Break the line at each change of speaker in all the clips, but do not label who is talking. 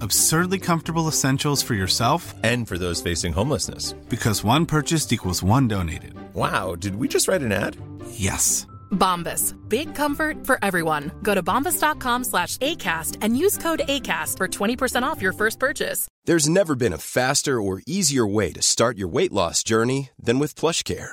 Absurdly comfortable essentials for yourself
And for those facing homelessness.
because one purchased equals one donated.
Wow, did we just write an ad?
Yes.
Bombas. Big comfort for everyone. Go to bombas.com slash ACAST and use code ACAST for 20% off your first purchase.
There's never been a faster or easier way to start your weight loss journey than with PlushCare.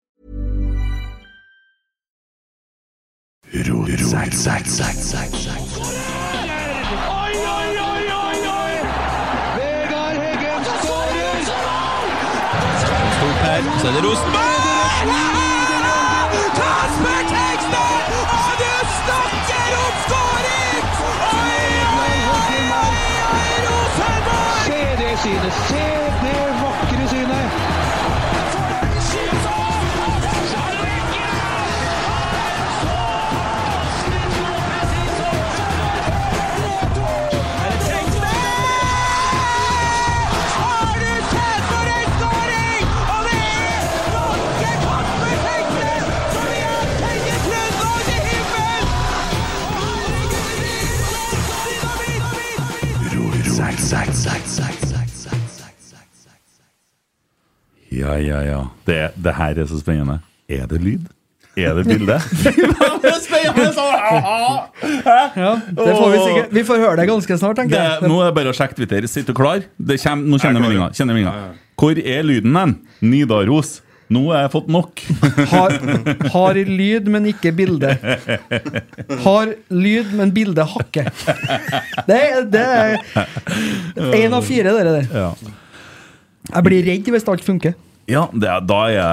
Oi, oi, oi, oi, oi! Vegard Heggen skårer!
Så er det
Se det synet! Se det vakre synet!
Ja, ja, ja. Det, det her er så spennende. Er det lyd? Er det bilde?
Det får vi sikkert Vi får høre det ganske snart, tenker
det,
jeg.
nå er det bare å sjekke Twitter. Sitter du klar? Det kjem, nå kjenner meldinga. Kjenner meldinga. Hvor er lyden hen? Nidaros. Nå har jeg fått nok.
Har, har lyd, men ikke bilde. Har lyd, men bilde hakker. Det, er- det er én av fire, dere der.
Ja,
Jeg blir redd hvis alt funker.
ja det, er- da er jeg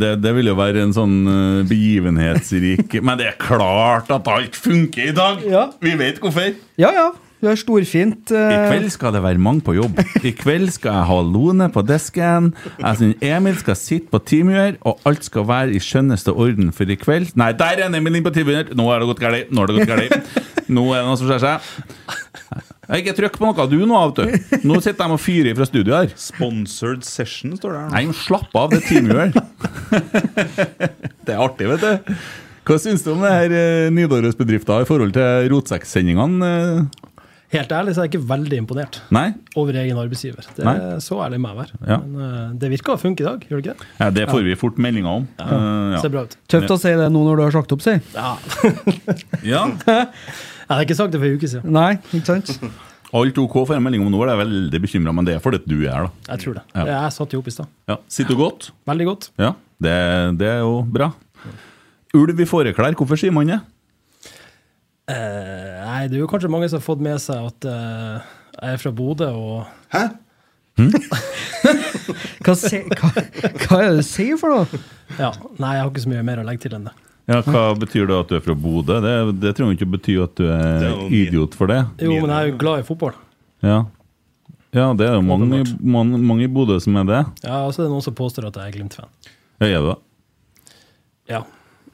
det, det vil jo være en sånn eh, begivenhetsrik Men det er klart at alt funker i dag!
Ja.
Vi vet hvorfor.
Ja, ja. Du er storfint.
I
eh,
kveld skal det være mange på jobb. I kveld skal jeg ha Lone på desken. Jeg synes Emil skal sitte på teamgjør, og alt skal være i skjønneste orden for i kveld. Nei, der er en Emil inne på teamgjør! Nå har det gått galt. Nå har det gått galt. Nå er det noe som skjer seg. Jeg har ikke trykk på noe du nå, vet du. Nå sitter de og fyrer fra studio her.
Sponsored session, står det her. nå.
Nei, men slapp av, det er teamgjør. Det er artig, vet du. Hva syns du om det her eh, Nidaros-bedrifta i forhold til rotsekksendingene? eh?
Helt ærlig så er jeg ikke veldig imponert
Nei?
over egen arbeidsgiver. Det
Nei.
er Så ærlig må jeg være.
Ja.
Men eh, det virker å funke i dag, gjør det ikke det?
Ja, det får vi fort meldinger om. Eh, ja.
Ser bra ut.
Tøft å si det nå når du har sagt opp, si.
Ja,
Jeg hadde ikke sagt det for en uke siden.
Nei, ikke sant?
Alt OK for en melding om nå, er jeg veldig bekymra, men det er fordi at du er her, da.
Jeg tror det.
Ja.
Jeg satt jo opp i stad.
Ja. Sitter du godt?
Veldig godt.
Ja, det, det er jo bra. Ulv i fåreklær, hvorfor sier man det?
Eh, nei, det er jo kanskje mange som har fått med seg at eh, jeg er fra Bodø, og
Hm? Hva, se, hva, hva er det du sier for noe?
ja, Nei, jeg har ikke så mye mer å legge til enn det.
Ja, Hva betyr det at du er fra Bodø? Det, det trenger jo ikke å bety at du er
Det er jo min-
idiot for det.
Jo, men jeg er jo glad i fotball.
Ja, ja det er jo mange, mange, mange i Bodø som er det.
Ja, Og så er det noen som påstår at jeg er Glimt-fan.
Ja, er du det?
Ja.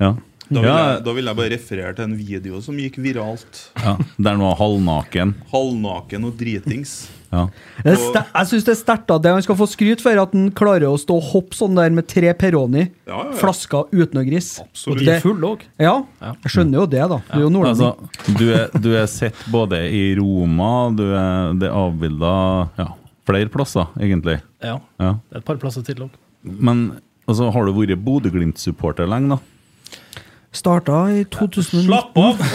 Ja.
Da vil,
ja,
jeg, da vil jeg bare referere til en video som gikk viralt.
ja. Der han var halvnaken.
Halvnaken og dritings.
Ja.
Det er ster- Jeg syns det er sterkt at det han skal få skryt for, at han klarer å stå og hoppe sånn der med tre Peroni,
Ja, ja, ja.
flasker uten å grisse.
Og
Absolutt.
de er fulle òg.
Ja, jeg skjønner jo det, da. Du er jo
Altså,
nordlending.
du er, du er sett både i Roma, du er, det er avbilda ja, flere plasser, egentlig.
Ja.
Ja.
Det er et par plasser til òg.
Men Og så har du vært Bodø-Glimt-supporter lenge, da.
Starta i 2019.
Slapp av!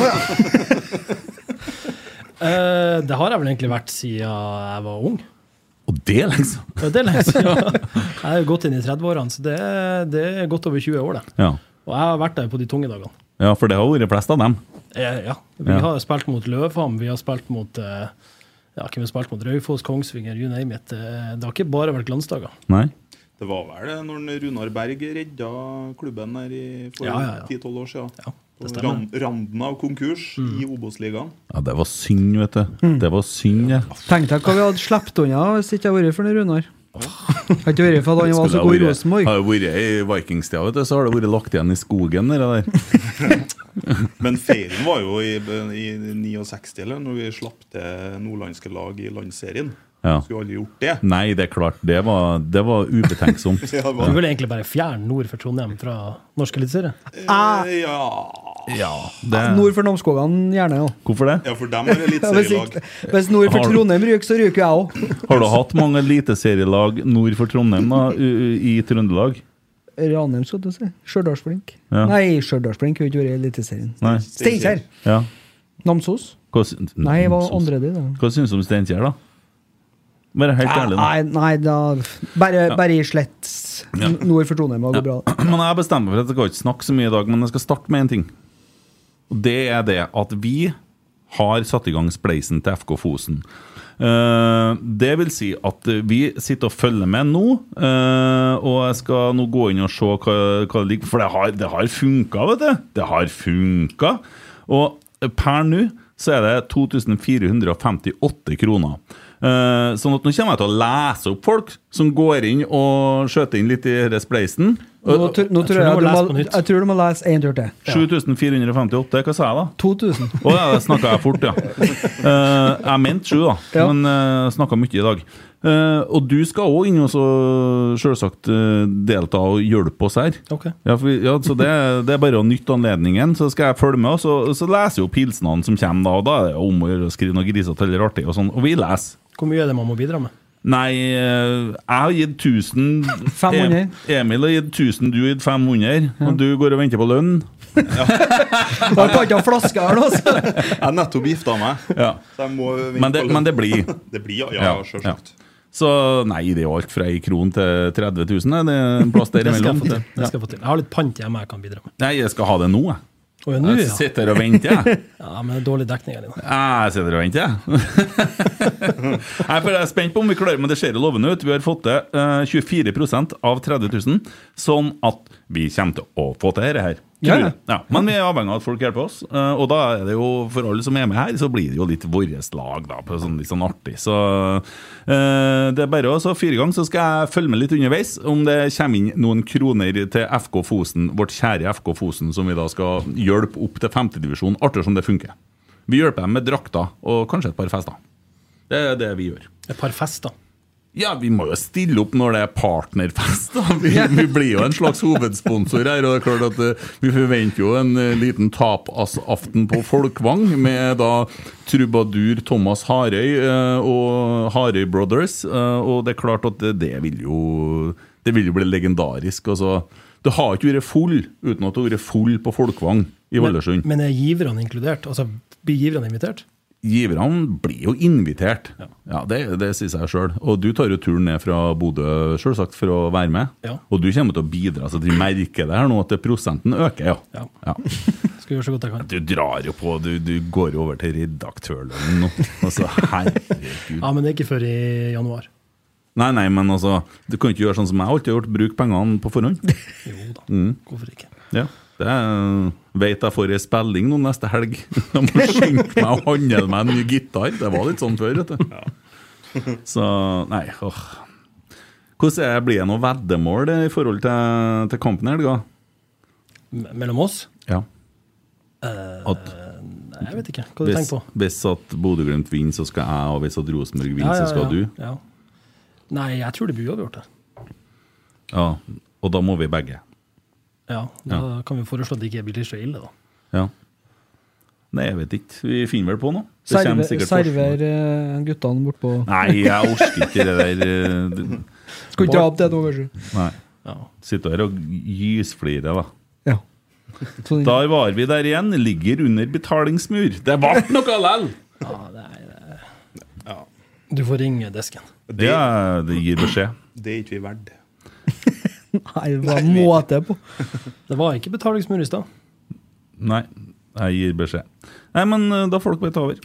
Eh, det har jeg vel egentlig vært siden jeg var ung.
Og det, liksom?
Ja, det er lenge siden. Jeg er jo godt inn i 30-årene, så det er, det er godt over 20 år. det.
Ja.
Og jeg har vært der på de tunge dagene.
ja, for det har vært flest av dem.
Eh, Ja. Vi
Ja.
har spilt mot Løvham, vi har spilt mot eh, ja, hvem har spilt mot Raufoss, Kongsvinger, you name it. Eh, Det har ikke bare vært glansdager.
Nei?
Det var vel det når Runar Berg redda klubben der i for
Ja, ja, ja.
10-12 år siden.
det
På
stemmer. Mm.
ran- randen av konkurs i Obos-ligaen.
Ja, det var synd, vet du.
Hmm.
Det var synd, det.
Tenk deg hva vi hadde sluppet unna hvis det ikke hadde vært for den Runar. Hadde ikke vært for at han var
Skulle
så god i
vært-
Rosenborg.
Har det vært i Vikingstida, vet du, så har det vært lagt igjen i skogen, det der.
Men feilen var jo i, i 69, eller når vi slapp til nordlandske lag i landserien.
Ja.
Skulle aldri gjort det.
Nei, det er klart. Det var, det var ubetenksomt.
Ja, det var-
Du vil egentlig bare fjerne nord for Trondheim fra norsk eliteserie?
Ah.
Eh, ja.
det-
Nord for Namsskogan, gjerne. Ja.
Hvorfor det?
ja, for dem er det litt
hvis,
serielag.
ikke, hvis nord for
Har du-
Trondheim ryker, så ryker jeg òg.
Har du hatt mange eliteserielag nord for Trondheim, da, u- u- i Trøndelag?
Ranheim, skal du si. Stjørdalsblink.
Ja.
Nei, Stjørdalsblink har ikke vært i Eliteserien.
Nei.
Steinkjer!
Ja.
Namsos?
Hva sy-
Nei, jeg var andre det, da.
Hva syns du om Steinkjer, da? Bare helt ærlig, nå.
Nei, nei da Bare, bare i slett
Ja.
nord for Trondheim, det går bra.
Men jeg bestemmer meg for at jeg skal ikke snakke så mye i dag, men jeg skal starte med en ting. Og det er det at vi har satt i gang spleisen til FK Fosen. Eh, det vil si at vi sitter og følger med nå, eh, og jeg skal nå gå inn og se hva, hva det ligger For det har, det har funka, vet du! Det har funka! Og per nå så er det 2458 kroner. Eh, sånn at nå kommer jeg til å lese opp folk som går inn og skjøter inn litt i denne spleisen.
Nå, tr- nå tror jeg,
må
du
lese på
må,
nytt.
jeg tror du må lese en tur til.
7458, hva sa jeg da?
2000.
Å ja, det snakka jeg fort, ja. Eh, jeg mente sju, da,
Ja.
men uh, snakka mye i dag. Eh, og du skal òg inn og så selvsagt eh, delta og hjelpe oss her.
Ok.
Ja, for, vi- ja, så det, det er bare å nytte anledningen, så skal jeg følge med. Og så, så leser jo pilsene som kommer, da, og da er det jo om å gjøre å skrive noe grisete eller artig, og sånn. Og vi leser.
Hvor mye er det man må bidra med?
Nei, eh, jeg har gitt 1000
500.
Em- Emil har gitt 1000, du har gitt 500, og du går og venter på lønn.
Jeg kan ikke ha flaske her nå, altså!
Jeg har nettopp gifta meg.
Ja.
Så jeg må vinke
Men det,
på lønn.
men det blir.
Det blir, ja, ja,
Ja,
selvsagt.
Så nei, det er jo alt fra ei kron til 30 000. er Det er en plass der
Det skal jeg
imellom.
få til. Det
Ja.
skal jeg, få til. jeg har litt pant hjemme jeg kan bidra med.
Nei, jeg skal ha det nå, jeg.
Og nå,
Jeg
ja.
sitter her og venter, jeg.
ja men det er dårlig dekning her inne.
Jeg sitter og venter, jeg. Nei, for jeg er spent på om vi klarer men det ser jo lovende ut. Vi har fått til eh, 24 av 30 000, sånn at vi kommer til å få til dette her.
Ja,
Tror
ja.
jeg. ja, Men vi er avhengig av at folk hjelper oss. eh, og da er det jo, for alle som er med her, så blir det jo litt vårt lag, da. På sånn, litt sånn artig. Så eh, det er bare å så fire ganger, så skal jeg følge med litt underveis. Om det kommer inn noen kroner til FK Fosen, vårt kjære FK Fosen, som vi da skal hjelpe opp til femtedivisjon. Artig som det funker. Vi hjelper dem med drakter og kanskje et par fester. Det er det vi gjør.
Et par fester.
Ja, vi må jo stille opp når det er partnerfest, da. Vi, vi blir jo en slags hovedsponsor her. Og det er klart at eh, vi forventer jo en eh, liten tapasaften på Folkvang med da trubadur Thomas Harøy eh, og Harøy Brothers. eh, Og det er klart at det, det vil jo Det vil jo bli legendarisk. Altså, du har ikke vært full uten at du har vært full på Folkvang i Ålesund.
Men er giverne inkludert? Altså, blir giverne invitert?
giverne blir jo invitert. Ja, Det, det sier seg sjøl. Og du tar jo turen ned fra Bodø selvsagt, for å være med.
Ja.
Og du kommer til å bidra, så de merker det her nå, at det- prosenten øker.
Ja.
ja. ja.
Skal gjøre så godt jeg kan.
Du drar jo på, du, du går jo over til redaktørlønnen nå. Altså, herregud.
Ja, men det er ikke før i januar.
Nei, nei, men altså, du kan ikke gjøre sånn som jeg alltid har gjort, bruk pengene på forhånd. Mm.
Jo da, hvorfor ikke?
Ja. Det er, vet jeg får ei spilling nå neste helg. Jeg må skynde meg og handle meg en ny gitar. Det var litt sånn før, vet du. Så Nei, åh. Hvordan er, blir det noe veddemål eh, i forhold til, til kampen i helga?
Me- Mellom oss?
Ja.
Eh,
At
nei, jeg vet ikke. Hva du
hvis,
tenker på?
hvis at Bodø-Glimt vinner, så skal jeg, og hvis at Rosenborg vinner, så skal du.
Ja. Nei, jeg tror det blir uavgjort. det.
Ja. Og da må vi begge.
Ja, da kan vi foreslå at det ikke blir så ille, da.
Ja. Nei, jeg vet ikke. Vi finner vel på noe. Det kommer
Server,
sikkert forslag.
server eh, guttene bortpå
Nei, jeg orker ikke det der eh,
Skal ikke dra opp det nå, kanskje?
Nei. Sitter her og gysflirer, da.
Så-
Da var vi der igjen. Ligger under betalingsmur. Det ble noe lell!
Du får ringe desken.
Det, det gir beskjed.
Det er ikke vi verdt.
Nei, det var måte på.
Det var ikke betalingsmur i stad.
Nei, jeg gir beskjed. Nei, men eh, da får dere bare ta over.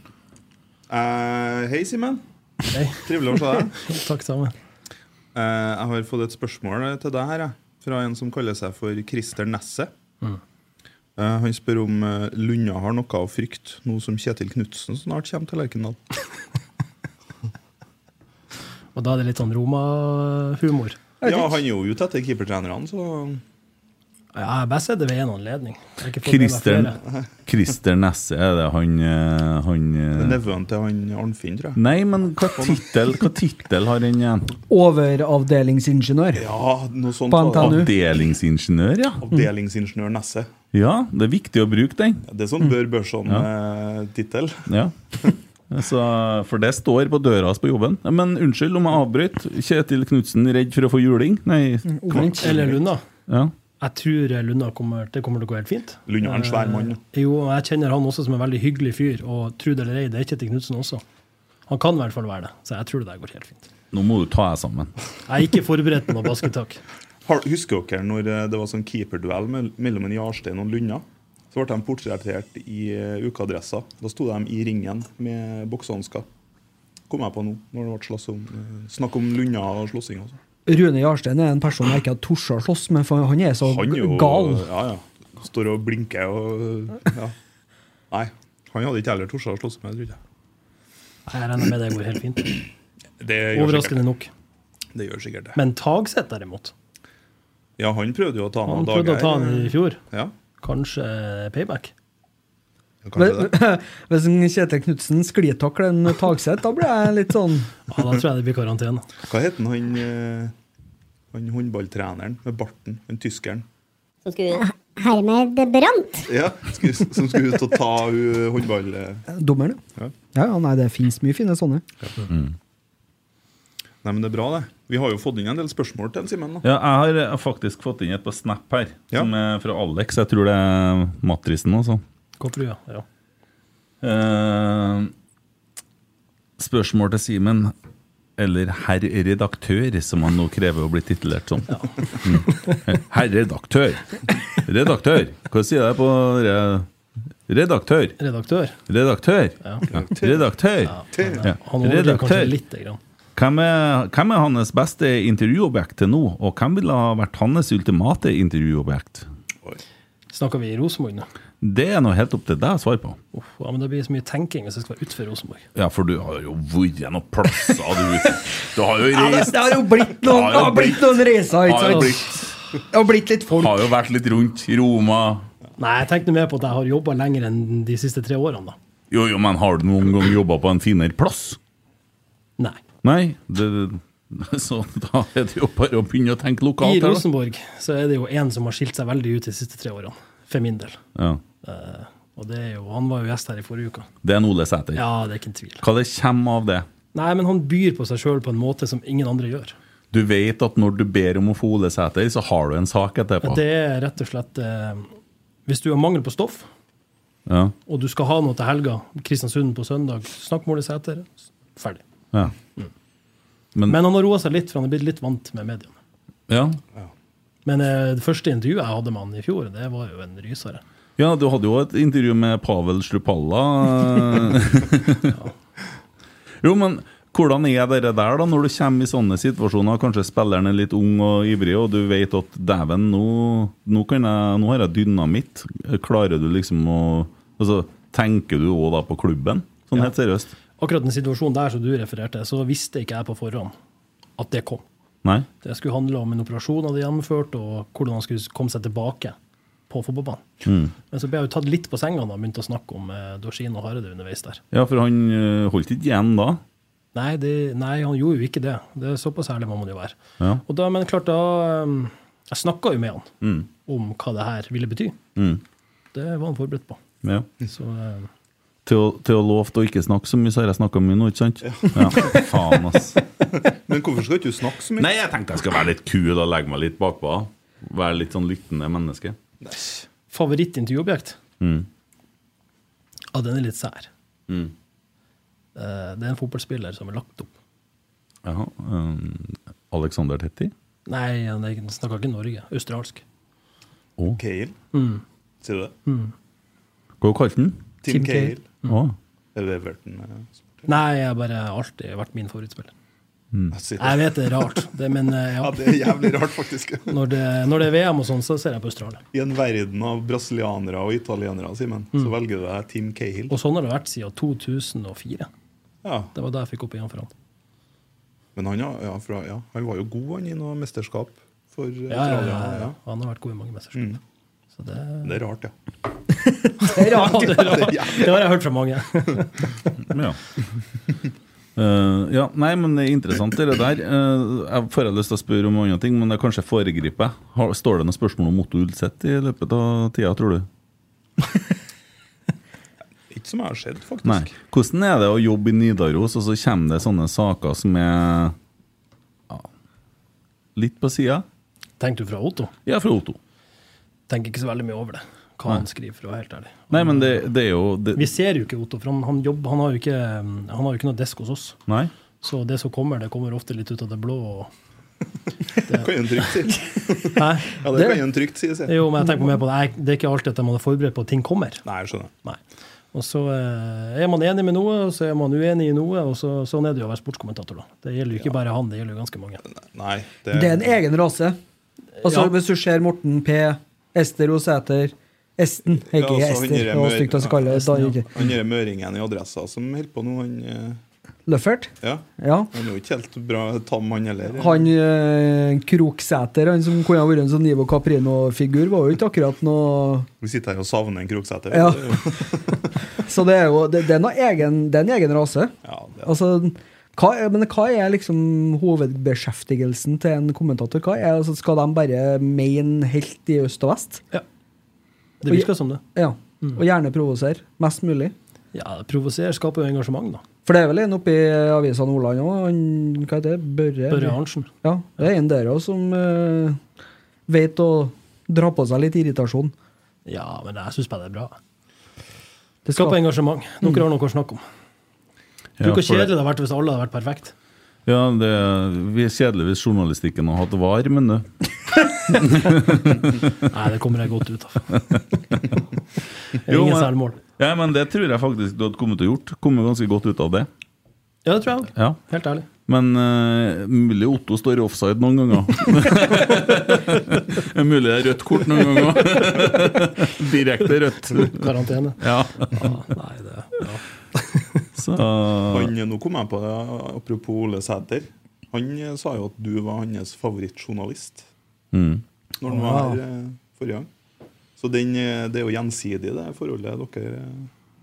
Eh, hei, Simen. Trivelig å se deg.
Takk sammen.
Eh, jeg har fått et spørsmål til deg her, jeg. fra en som kaller seg for Christer Nesset.
Mm.
Eh, han spør om eh, Lunde har noe å frykte, nå som Kjetil Knutsen snart kommer til Lerkendal.
Og da er det litt sånn Roma-humor.
Ja, han er jo ute etter keepertrenerne, så
Ja, jeg har bare sett det ved en anledning. Jeg har ikke fått med meg
Christer,
flere.
Christer Nesse, er det han, eh, han eh,
Nevøen til han Arnfinn, tror jeg.
Nei, men hva tittel, hva tittel har han igjen?
Overavdelingsingeniør.
Ja, noe sånt.
På NTNU.
Avdelingsingeniør, ja.
Avdelingsingeniør Nesse.
Ja, det er viktig å bruke den. Mm.
Det er sånn Bør eh, Børson-tittel.
Ja. Så, for det står på døra hans på jobben. Men unnskyld om jeg avbryter. Kjetil Knutsen redd for å få juling? Nei.
Mm,
Omvendt. Mm, Eller Lunda.
Ja.
Jeg tror Lunda kommer, det kommer til å gå helt fint.
Lunda er en svær mann, ja.
Eh, Jo, og jeg kjenner han også som en veldig hyggelig fyr, og tro det eller ei, det er Kjetil Knutsen også. Han kan i hvert fall være det, så jeg tror det der går helt fint.
Nå må du ta deg sammen.
Jeg er ikke forberedt på noe basketak.
Har- Husker dere når eh, det var sånn keeperduell mell- mellom en Jarstein og en Lunna? Så ble de portrettert i eh, ukeadressa. Da sto de i ringen med boksehansker. Kom jeg på nå, når det ble slåss om eh, Snakk om Lunna og sånn. slåssing. Også.
Rune Jarstein er en person jeg ikke har tort å slåss med, for han er så
Han er jo eh,
gal.
Ja, ja. Står og blinker og ja. Nei, han hadde ikke heller tort å slåss med, tror jeg.
Jeg regner med det går helt fint.
Det gjør
Overraskende
sikkert.
nok.
Det gjør sikkert det.
Men Tagseth, derimot,
Ja, han prøvde jo å ta han
han
av
prøvde å ta han i fjor.
Ja.
Kanskje eh, payback?
Kanskje det.
Hvis en Kjetil Knutsen sklitakler en Tagseth, da blir jeg litt sånn
Ja, da tror jeg det blir karantene.
Hva het han, han, eh, han håndballtreneren med barten? Han tyskeren?
Hermed brant.
Ja, skulle- som skulle ut og ta hun håndball... eh.
Dommer,
Ja.
det. Ja, ja, nei, det fins mye fine sånne.
Mm.
Nei, men det er bra, det. Vi har jo fått inn en del spørsmål til Simen. da.
Ja, jeg har eh, faktisk fått inn et på Snap her, som er fra Alex. Jeg tror det er matrisen, altså.
Kåprua, ja.
Eh, spørsmål til Simen, eller herr redaktør, som han nå krever å bli titulert som. Mm. Herr redaktør! Redaktør! Hva sier jeg på re Redaktør!
Redaktør.
Redaktør!
Ja.
Redaktør! Ja.
Han overdriver kanskje lite grann.
Hvem er, hvem er hans beste intervjuobjekt til nå, og hvem ville ha vært hans ultimate intervjuobjekt?
Snakker vi i Rosenborg nå?
Det er nå helt opp til deg å svare på.
Uff, ja, men det blir så mye tenking hvis jeg skal være utenfor Rosenborg.
Ja, for du har jo vært noen plasser, du. Du har jo
Ja, det,
reist
det har jo blitt
Det
noen, det
har jo
har blitt noen reiser,
Har jo
ikke
blitt.
sant? Det har blitt litt folk.
Har jo vært litt rundt i Roma.
Nei, jeg tenkte mer på at jeg har jobba lenger enn de siste tre årene, da.
Jo, jo, men har du noen gang jobba på en finere plass?
Nei.
Nei? Det, så da er det jo bare å begynne å tenke
I
lokalt. her, da.
Rosenborg så er det jo én som har skilt seg veldig ut de siste tre årene, for min del.
Ja.
Eh, og det er jo, han var jo gjest her i forrige uke.
Det er en Ole Sæter.
Ja, det er ikke en tvil.
Hva det kommer av det?
Nei, men han byr på seg sjøl på en måte som ingen andre gjør.
Du vet at når du ber om å få Ole Sæter, så har du en sak etterpå.
Det er rett og slett eh, Hvis du har mangel på stoff,
Ja.
og du skal ha noe til helga, Kristiansund på søndag, snakk med Ole Sæter. Ferdig. Mm.
Ja. Men,
Men han har roa seg litt, for han er blitt litt vant med mediene.
ja.
Men eh, det første intervjuet jeg hadde med han i fjor, det var jo en rysere.
ja, du hadde jo et intervju med Pavel Slupalla. jo, men hvordan er det der, da, når du kommer i sånne situasjoner? Kanskje spilleren er litt ung og ivrig, og du vet at dæven, nå, nå, kan jeg, nå har jeg dynamitt. Klarer du liksom å Altså, tenker du òg da på klubben? Sånn
Ja.
helt seriøst?
Akkurat den situasjonen der som du refererte, så visste ikke jeg på forhånd at det kom.
Nei?
Det skulle handle om en operasjon han hadde gjennomført, og hvordan han skulle komme seg tilbake på fotballbanen.
Mm.
Men så ble jeg jo tatt litt på senga da han begynte å snakke om eh, Dorsin og Hareide underveis der.
Ja, for han øh, holdt ikke igjen da.
Nei, det, nei, han gjorde jo ikke det. Det er Såpass ærlig må man jo være.
Ja.
Og da, men klart, da um, Jeg snakka jo med han
Mm.
om hva det her ville bety.
Mm.
Det var han forberedt på.
Ja.
Så eh,
til å, til å love til å ikke snakke så mye, så har jeg snakka mye nå, ikke sant? Ja. Faen, ass.
Men hvorfor skal ikke du snakke så mye?
Nei, jeg tenkte jeg skal være litt kul og legge meg litt bakpå. Være litt sånn lyttende menneske.
Favorittintervjuobjekt?
Mm.
Ja, den er litt sær.
Mm.
Eh, Det er en fotballspiller som er lagt opp.
Jaha. Um, Alexander Tetti?
Nei, han er ikke- snakker ikke Norge. Australsk.
Oh.
Kale?
Mm.
Sier du det?
Mm.
Hva kalte han?
Tim,
Tim
Cale.
Cale.
Mm. Å.
Er det Everton? eh,
Nei, jeg har bare alltid vært min favorittspiller.
Mm.
Jeg vet det er rart, det, men eh, ja.
Ja, det er jævlig rart, faktisk.
Når det, når det er VM og sånn, så ser jeg på Australia.
I en verden av brasilianere og italienere, Simen, så velger du deg Tim Cahill.
Mm. Og sånn har det vært siden 2004.
Ja.
Det var da jeg fikk opp igjen for han.
Men han, ja, ja, fra, ja, han var jo god han i noe mesterskap for
Ja,
eh,
ja,
Australia.
ja,
ja. Mm.
ja. Han har vært god i mange mesterskap. Så det,
Det er rart, ja.
det er rart. det, er rart. det har jeg hørt fra mange.
Ja. Eh, ja, nei, men det er interessant det der. Eh, jeg får jeg lyst til å spørre om andre ting, men det kanskje foregriper jeg. Har- Står det noen spørsmål om Otto Ulseth i løpet av tida, tror du?
Ikke som jeg har sett, faktisk.
Nei. Hvordan er det å jobbe i Nidaros, og så kommer det sånne saker som er ja, litt på sida?
Tenkte du fra Otto?
Ja, fra Otto.
Tenker ikke så veldig mye over det. Hva han skriver, for å være helt ærlig.
Nei, men det, det er jo det,
Vi ser jo ikke Otto, for han, han, jobber, han, har jo ikke, han har jo ikke noe desk hos oss.
Nei?
Så det som kommer, det kommer ofte litt ut av det blå. Og
Det kan jo en trygt si.
Nei,
Ja, det kan jo en trygt si, sier jeg.
Jo, men jeg tenker mer på det. Jeg- Det er ikke alltid at man er forberedt på at ting kommer.
Nei, jeg skjønner.
Nei. Og så eh, er man enig med noe, og så er man uenig i noe. og så, Sånn er det jo å være sportskommentator. da. Det gjelder jo ikke bare han, det gjelder jo ganske mange.
Nei,
Det er en egen rase. Altså,
Ja.
Hvis du ser Morten P, Ester Osæter Esten,
Ja,
ikke
altså, han
Ester.
gir
Det
dem-
var stygt å kalle det. da, ikke.
Han derre møringen i adressa som holder på nå, han eh,
Løffert?
ja.
Ja.
Han er jo ikke helt bra tam, han heller.
Han eh, Kroksæter, han som kunne ha vært en sånn Ivo Caprino-figur, var jo ikke akkurat noe
Vi sitter her og savner en Kroksæter.
Ja.
Det er jo-
Så det er jo det, det er noe egen, det er en egen rase. altså, hva, er- men hva er liksom hovedbeskjeftigelsen til en kommentator? Hva er, altså, skal de bare mene helt i øst og vest?
Ja. Det virker som det. Mm.
Ja. Og gjerne provosere mest mulig.
Ja, Provosere skaper jo engasjement, da.
For det er vel en oppe i avisa Nordland òg, han hva heter det? Børre
Børre Arntzen.
Ja, det er en der òg som eh, vet å dra på seg litt irritasjon.
Ja, men jeg syns bare det er bra.
Det
skaper engasjement. Dere har noe å snakke om. Tror
Ja,
du hvor
for
kjedelig
det-
det hadde vært hvis alle hadde vært perfekt?
Ja, det vi er kjedelig hvis journalistikken har hatt var, men du
Nei, det kommer jeg godt ut av. Det er
Jo,
ingen
men-
selvmål.
Ja, men det tror jeg faktisk du hadde kommet til å gjort. Kommet ganske godt ut av det.
Ja, det tror jeg òg.
Ja.
Helt ærlig.
Men eh, mulig Otto står i offside noen ganger. Det er mulig det er rødt kort noen ganger. Direkte rødt.
Karantene.
Ja.
nei, det,
Så
Han, nå kom jeg på det, apropos Ole Sæter. Han eh, sa jo at du var hans favorittjournalist
Mm.
når han var
Wow.
her eh, forrige gang. Så den, eh, det er jo gjensidig, det forholdet dere eh,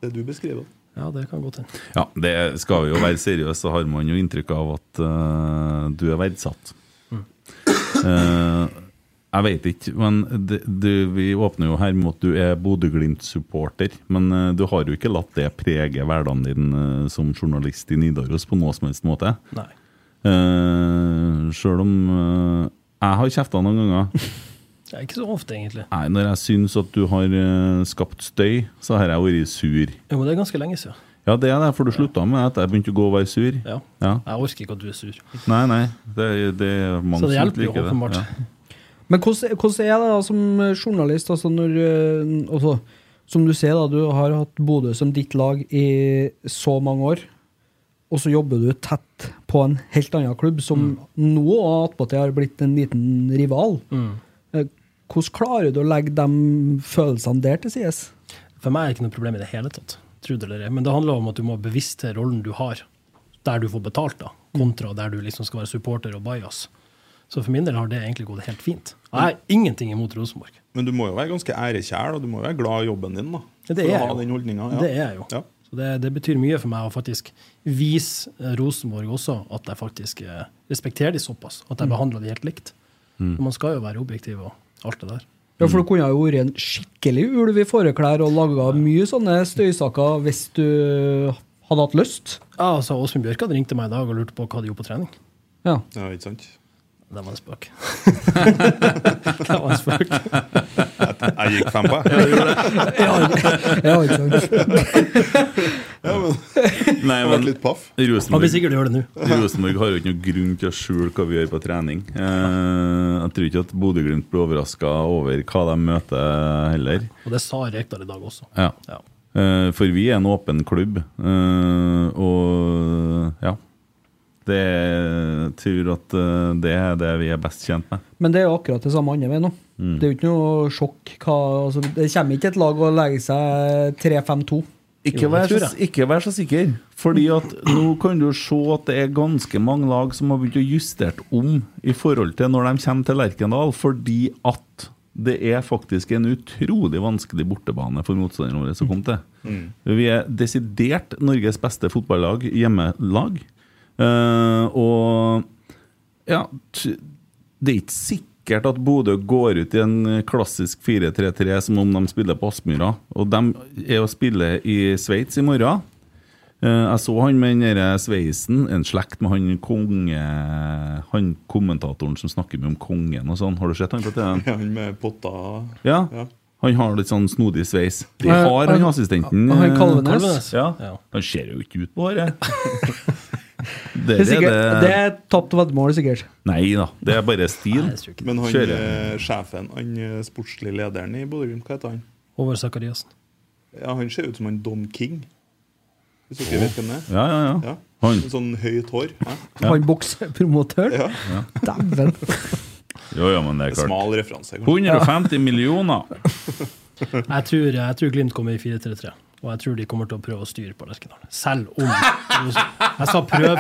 Det du beskriver.
Ja, det kan godt hende.
Ja, det skal vi jo være seriøse, så har man jo inntrykk av at eh, du er verdsatt. Eh, jeg veit ikke, men det, du, vi åpner jo her med at du er Bodø-Glimt-supporter. Men eh, du har jo ikke latt det prege hverdagen din eh, som journalist i Nidaros på noe som helst måte.
Nei.
Uh, Sjøl om eh, jeg har kjefta noen ganger.
Det er ikke så ofte, egentlig.
Nei, når jeg syns at du har eh, skapt støy, så har jeg vært sur.
Jo, men det er ganske lenge siden.
Ja, det er det, for du slutta med at jeg begynte å gå og være sur.
Ja.
ja.
Jeg orker ikke at du er sur.
Nei, nei. Det, det er mange
Så det
som
hjelper jo
liker det.
åpenbart.
Men hvordan, hvordan er det da som journalist, altså når eh, altså, Som du sier, da, du har hatt Bodø som ditt lag i så mange år, og så jobber du tett på en helt annen klubb, som
Mm.
nå attpåtil har blitt en liten rival. Eh, Hvordan klarer du å legge de følelsene der til sides?
For meg er det ikke noe problem i det hele tatt. Tro det eller ei. Men det handler om at du må være bevisst til rollen du har, der du får betalt, da,
Mm.
kontra der du liksom skal være supporter og bias. Så for min del har det egentlig gått helt fint.
Mm.
Jeg har ingenting imot Rosenborg.
Men du må jo være ganske ærekjær, og du må jo være glad i jobben din. da.
Ja, det
for
er
å ha
jeg jo.
den holdninga. Ja.
Det er jeg jo.
Ja.
Så det, det betyr mye for meg å faktisk vise eh, Rosenborg også at jeg faktisk
Mm.
eh, respekterer de såpass. At jeg behandler de helt likt.
Mm.
Man skal jo være objektiv og alt det der.
Ja, for det kunne jo vært en skikkelig ulv i fåreklær og laga mye sånne støysaker hvis du hadde hatt lyst.
Ja, altså, Åsmund Bjørkan ringte meg i dag og lurte på hva de gjorde på trening.
Ja.
Ja, ikke sant?
Det var en spøk. det var en spøk.
Jeg gikk fem på,
Ja,
jeg.
du gjorde det.
Ja, ikke sant.
Ja, men
Nei,
Jeg ble litt paff.
Han vil sikkert gjøre det nå.
Rosenborg har jo ikke noe grunn til å skjule hva vi gjør på trening. Eh, jeg tror ikke at Bodø-Glimt blir overraska over hva de møter, heller.
Og det sa Rekdal i dag også.
Ja. Eh, for vi er en åpen klubb, eh, og ja. Det jeg tror at eh, det er det vi er best kjent med.
Men det er jo akkurat det samme andre veien nå.
Mm.
Det er jo ikke noe sjokk. Hva, altså, det kommer ikke et lag og legger seg 3-5-2.
Ikke vær, så, ikke vær så sikker, Fordi at nå kan du se at det er ganske mange lag som har begynt å justere om i forhold til når de kommer til Lerkendal, fordi at det er faktisk en utrolig vanskelig bortebane for motstanderne våre som kom til.
Mm.
Vi er desidert Norges beste fotballag, hjemmelag. Eh, og ja, t- det er ikke sikkert at Bodø går ut i en klassisk 4-3-3 som om de spiller på Aspmyra. Og de er å spille i Sveits i morgen. Eh, Jeg så han med den der sveisen, en slekt med han konge... Han kommentatoren som snakker mye om kongen og sånn. Har du sett han på TV-en?
Ja, Han med potta
Ja. Han har litt sånn snodig sveis. Det
Ja,
har
han-
han assistenten.
han
eh,
Kalvenes.
Ja.
Ja.
Han ser jo ikke ut på håret.
Det
Der
er, sikkert,
det-
det er tapt veddemål, sikkert.
Nei da, det er bare stil.
Men han
Kjører.
eh, sjefen, han eh, sportslige lederen i Bodø-Glimt, hva heter han?
Håvard Sakariassen.
Ja, han ser ut som han Don King. Hvis dere
Åh.
vet hvem det er?
Ja, ja, ja. Han.
Med Sånn høyt hår. Ja.
Han boksepromotøren?
Ja.
Dæven.
Jo, jo, men det er klart.
Smal referanse. kanskje.
150 millioner!
Jeg tror, jeg tror Glimt kommer i 4-3-3, og jeg tror de kommer til å prøve å styre på Lerkendal. Selv om Jeg sa prøv.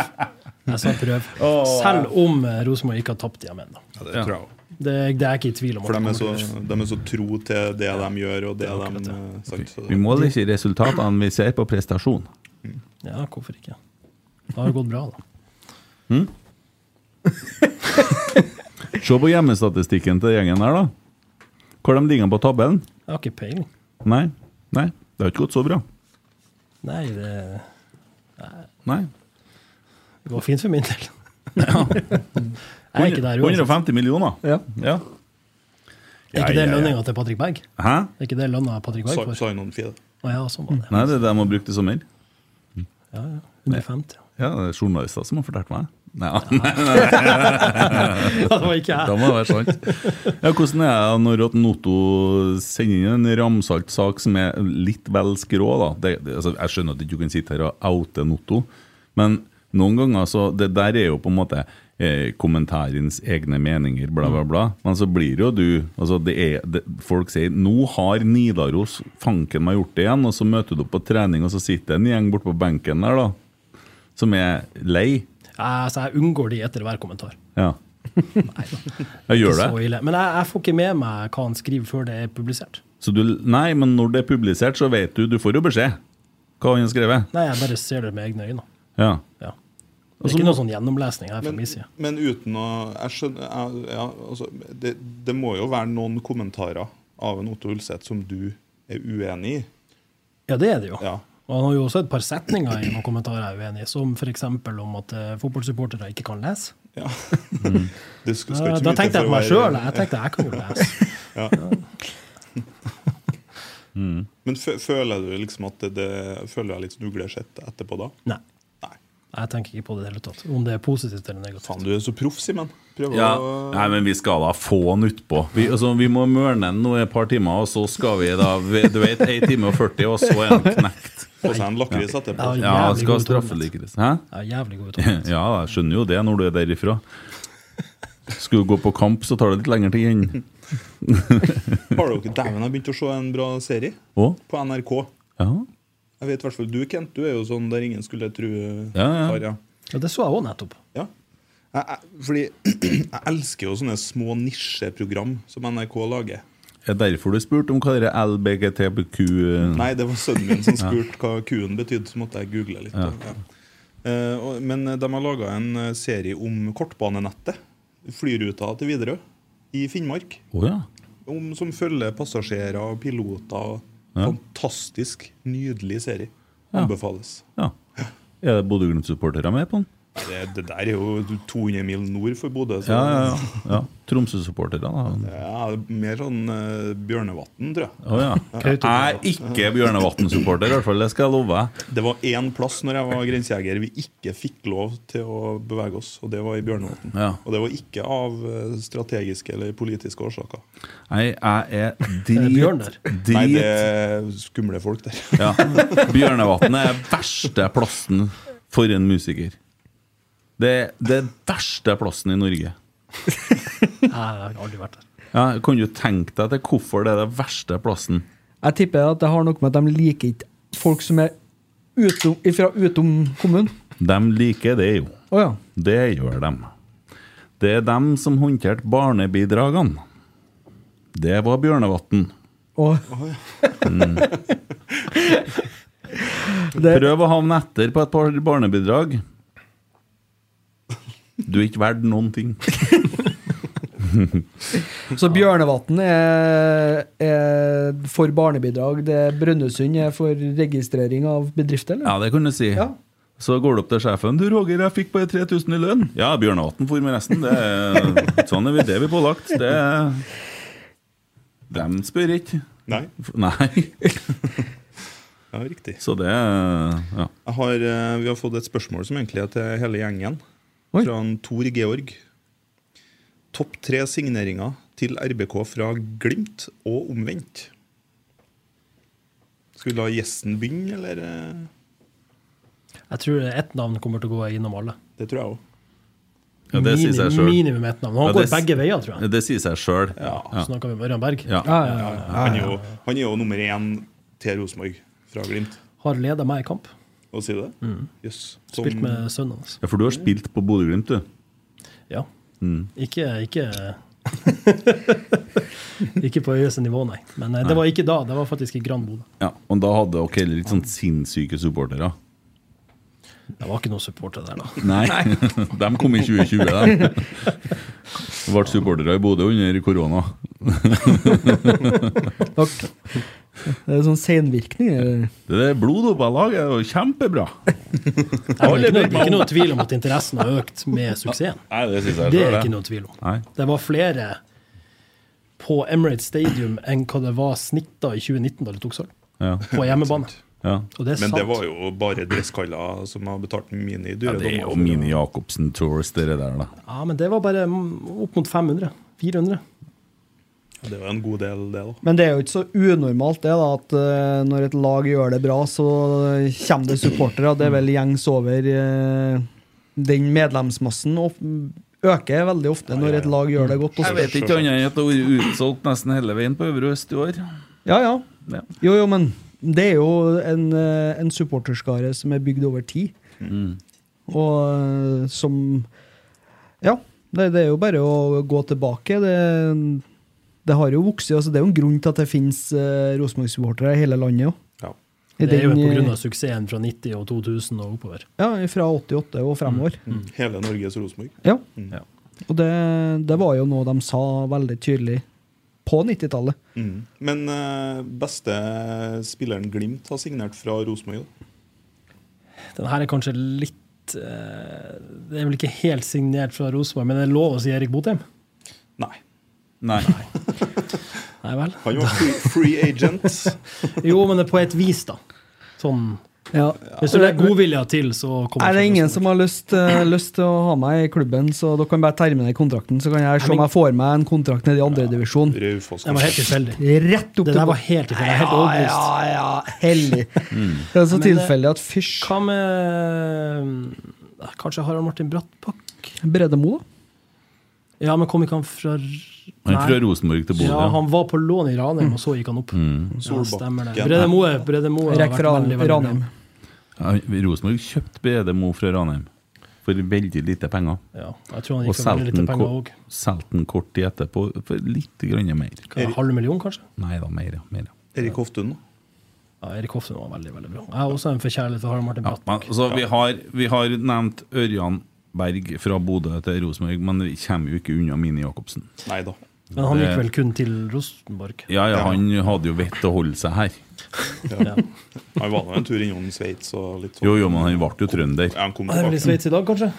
Jeg sa prøv.
Åh.
Selv om eh, Rosenborg ikke har tapt igjen ennå.
Ja, det tror jeg også.
Det, det er jeg ikke i tvil om. at
For de
det
er, så,
kommer til å gjøre.
de er så tro til det de gjør, og det, de eh, sant, så det-
Vi måler ikke resultatene, vi ser på prestasjon.
Ja, hvorfor ikke? Det har jo gått bra, da.
Hm? Se på hjemmestatistikken til gjengen her, da. Hvor de ligger på tabellen?
Jeg har ikke peiling.
Nei, nei, det har ikke gått så bra.
Nei, det
Nei.
Det går fint for min del. Jeg er ikke der uansett.
150 millioner.
Ja.
ja.
Er ikke
Ja, ja,
det
ja.
lønninga til Patrick Berg?
Hæ?
Er ikke det lønna Patrick Berg for?
Sign-on-fee, det.
Å ja, sånn var det.
Nei, det er det de har brukt i sommer.
Ja, ja. 150.
Ja, det er journalister som har fortalt meg. Nei, nei, nei.
Ja, det var ikke jeg.
Da må det være sant. Ja, hvordan er det når at Notto sender inn en ramsalt sak som er litt vel skrå? da? Det, det, altså, jeg skjønner at du ikke kan sitte her og oute Notto, men noen ganger så Det der er jo på en måte eh, kommentarens egne meninger, bla, bla,
Mm.
bla. Men så blir jo du altså det er, det, Folk sier 'nå har Nidaros fanken meg gjort det igjen', og så møter du opp på trening, og så sitter en gjeng borte på benken der da, som er lei.
Jeg- så jeg unngår de etter hver kommentar.
Ja. Jeg gjør
Ikke
det.
så ille. Men jeg, jeg får ikke med meg hva han skriver før det er publisert.
Så du, nei, men når det er publisert, så vet du Du får jo beskjed hva han har skrevet.
Nei, jeg bare ser det med egne øyne.
Ja.
Ja. Det er
Og
Altså,
så
ikke
må-
noe sånn gjennomlesning her fra min side.
Men uten å Jeg skjønner jeg, ja, altså, det, det må jo være noen kommentarer av en Otto Ulseth som du er uenig i.
Ja, det er det jo. Og han har jo også et par setninger i noen kommentarer jeg er uenig i, som f.eks. om at eh, fotballsupportere ikke kan lese.
Mm.
Det skal,
Ja, da
skal ikke mye til
tenkte jeg
for
på
å
meg
være-
sjøl. Jeg tenkte jeg kan jo lese.
Ja.
Mm.
Men fø- føler du liksom at det, det Føler du deg litt snuglesett etterpå da?
Nei. Jeg tenker ikke på det i det hele tatt. Om det er positivt eller negativt.
Faen, du er så proff, Simen. Prøver
Ja.
å
Nei, men vi skal da få han utpå. Vi, altså, vi må mørne han nå i et par timer, og så skal vi da vi- Du vet, 1 time og 40, og så er han knekt.
Få seg en lakris etterpå.
Ja,
Jeg har
ja
jævlig
skal
god
straffelikres. Hæ?
Jeg er jævlig god utholdenhet.
Ja, jeg skjønner jo det når du er derifra. Skulle du gå på kamp, så tar det litt lenger til igjen.
Har dere Dæven, jeg har begynt å se en bra serie
Å?
på NRK.
Ja.
Jeg vet i hvert fall du, Kent. Du er jo sånn der ingen skulle tro
Ja, ja.
Har, ja.
Ja, det så jeg òg nettopp.
Ja. Jeg, jeg, fordi jeg elsker jo sånne små nisjeprogram som NRK lager.
Er derfor du spurte om hva det er LBGTBQ
Nei, det var sønnen min som
Ja.
spurte hva kuen betydde, så måtte jeg google litt.
Ja.
Ja. Eh, og, men de har laga en eh, serie om kortbanenettet. Flyruta til Widerøe i Finnmark.
Å ja.
om, som følger passasjerer og piloter.
Ja.
Fantastisk, nydelig serie.
Ja.
Anbefales.
Ja. Er det Bodø-Glimt-supportere med på den?
Nei, Det, det der er jo 200 mil nord for Bodø. så-
Ja, ja, ja. ja. Tromsø-supportere, da.
Ja, det er mer sånn uh, Bjørnevatn, tror jeg.
Å ja. Jeg er ikke Bjørnevatn-supporter, i hvert fall. Det skal jeg love.
Det var én plass når jeg var grensejeger vi ikke fikk lov til å bevege oss, og det var i Bjørnevatn.
Ja.
Og det var ikke av eh, strategiske eller politiske årsaker.
Nei, jeg er drit,
Nei,
drit
det er skumle folk der.
Ja. Bjørnevatn er verste plassen for en musiker. Det er den verste plassen i Norge.
Nei, jeg har aldri vært der.
Ja, kan du tenke deg til hvorfor det er den verste plassen?
Jeg tipper at det har noe med at de liker ikke folk som er utom, fra utom kommunen.
De liker det jo.
Å ja.
Det gjør de. Det er dem som håndterte barnebidragene. Det var Bjørnevatn.
Å.
Mm. Prøv å havne etter på et par barnebidrag. Du er ikke verdt noen ting.
Så Bjørnevatn er, er for barnebidrag. Det Brønnøysund er for registrering av bedrifter, eller?
Ja, det kan du si. Så går du opp til sjefen. 'Du, Roger, jeg fikk bare 3000 i lønn.' 'Ja, Bjørnevatn for med resten.' Det er, sånn er vi, det er vi pålagt. Det er, dem spør ikke.
Nei.
Nei.
Ja, riktig.
Så det er- ja.
Jeg har, eh, vi har fått et spørsmål som egentlig er til hele gjengen. Fra en Tor Georg. Topp tre signeringer til RBK fra Glimt og omvendt. Skal vi la gjesten begynne, eller? eh?
Jeg tror ett navn kommer til å gå innom alle.
Det tror jeg òg.
Ja, det sier seg selv.
Minimum ett navn. Han
Ja,
går
det s-
begge veier, tror jeg.
Det sier seg sjøl.
Så snakker vi om Ørjan Berg.
Ja.
Han, er jo, han er jo nummer én til Rosenborg fra Glimt.
Har leda meg i kamp.
Å si det?
Mm.
Jøss. Som-
Spilt med sønnen hans.
Ja, for du har spilt på Bodø-Glimt, du?
Ja.
Mm.
Ikke, ikke Ikke på høyeste nivå, nei. Men eh,
Nei.
det var ikke da. Det var faktisk i Grand Bodø.
Ja, og da hadde dere heller litt sånn sinnssyke supportere.
Det var ikke noen supporter der, da.
Nei, de kom i 2020, de. Ble supportere i Bodø under korona.
Takk. Det er sånn senvirkning. eller?
Det der bloddoppa-laget er jo kjempebra.
Det er ikke noe, ikke noe tvil om at interessen har økt med suksessen.
Nei, det synes jeg
Det er
selv, det.
ikke noe tvil om.
Nei.
Det var flere på Emirates Stadium enn hva det var snitta i 2019 da de tok sølv.
Ja.
På hjemmebane.
Ja.
Og det er
Men det
sant.
var jo bare dresskaller som har betalt mine
Ja,
i dyre
det er jo
dommer.
Mini Jacobsen Tours, det der, da.
Ja, men det var bare mm, opp mot 500. 400.
Ja, Det var en god del, det, da.
Men det er jo ikke så unormalt det da, at eh, når et lag gjør det bra, så kommer det supportere. Det er vel gjengs over eh, den medlemsmassen. Og øker veldig ofte når et lag gjør det godt. også.
Jeg vet ikke annet enn at det har vært utsolgt nesten hele veien på Øvre Øst i år.
Ja, ja. Jo, jo, men det er jo en, eh, en supporterskare som er bygd over tid.
Mm.
Og eh, som Ja, det, det er jo bare å gå tilbake. Det, det har jo vokst. Altså, det er jo en grunn til at det finnes eh, Rosenborg-supportere i hele landet òg. I
Det er jo
den, eh,
pga. suksessen fra 90 og 2000 og oppover.
Ja, fra 88 og fremover.
Mm.
Mm. Hele Norges Rosenborg. Mm.
Ja. Og det, det var jo noe de sa veldig tydelig på 90-tallet.
Mm. Men eh, beste spilleren Glimt har signert fra Rosenborg, da?
Den her er kanskje litt eh, Det er vel ikke helt signert fra Rosenborg, men det er lov å si Erik Botheim?
Nei.
Nei.
Nei vel.
Han var free, free agent.
jo, men det er på et vis, da. Sånn. Hvis du legger godvilja til, så kommer
Er det ingen som har lyst, eh, lyst til å ha meg i klubben, så dere kan bare terminere kontrakten, så kan jeg se om jeg får meg en kontrakt nede i andre divisjon.
Raufoss.
Det var helt tilfeldig.
Rett opp
Det der var helt tilfeldig. Helt overbevist.
Ja, ja, ja. Hellig.
Mm.
Det er
Men,
så
eh,
tilfeldig at fysj
Hva med eh, Kanskje Harald Martin Brattbakk?
Bredemo, da?
Ja, men kom ikke han fra
Han er
Nei.
fra Rosenborg til Bodø. Mm.
Ja, han var på lån i Ranheim, og så gikk han opp. Ja, stemmer det. Brede Moe, Brede Moe har
Rekk
vært
fra
veldig, veldig bra.
Ranheim.
Ja, Rosenborg kjøpte Brede Mo fra Ranheim for veldig lite penger.
Ja, jeg tror han
og
gikk for veldig lite
solgte
penger
ko-
òg.
solgte den kort tid etterpå for litt grann mer.
Halv million, kanskje?
Nei da, mer, ja. Mer, ja.
Erik Hoftun.
Ja, Erik Hoften var veldig veldig bra. Jeg har også en forkjærlighet for Harald Martin
Ja,
Bratt.
men, så vi, har, vi har nevnt Ørjan Berg fra Bodø til Rosenborg, men vi kommer jo ikke unna Mini Jacobsen.
Nei da.
Men han gikk
Det-
vel kun til Rosenborg?
Ja, ja, han hadde jo vett å holde seg her.
Ja.
Han var nå en tur innom Sveits og litt sånn.
Jo, jo, men han ble jo trønder.
Ja, han kom
Han er vel i
tilbake.
Sveits i dag, kanskje?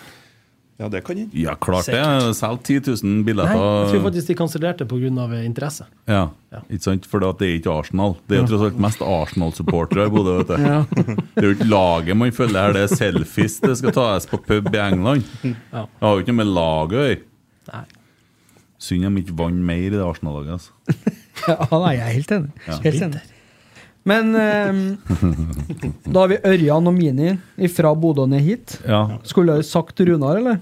Ja, det kan han.
Ja, klart det. Solgt 10 000
Nei, jeg tror
billetter.
faktisk de kansellerte pga. interesse.
Ja, ikke sant? For at det er ikke Arsenal. Det er jo tross alt mest Arsenal-supportere i Bodø. vet
Ja.
du. Det er jo ikke laget man følger her, det er selfies det skal tas på pub i England.
Ja.
Det har jo ikke noe med laget å
gjøre.
Synd de ikke vant mer i det Arsenal-laget. altså.
Ja, nei, jeg er helt enig.
Ja.
Helt enig. Men ehm, da har vi Ørjan og Mini fra Bodø ned hit.
Ja.
Skulle jeg sagt Runar, eller?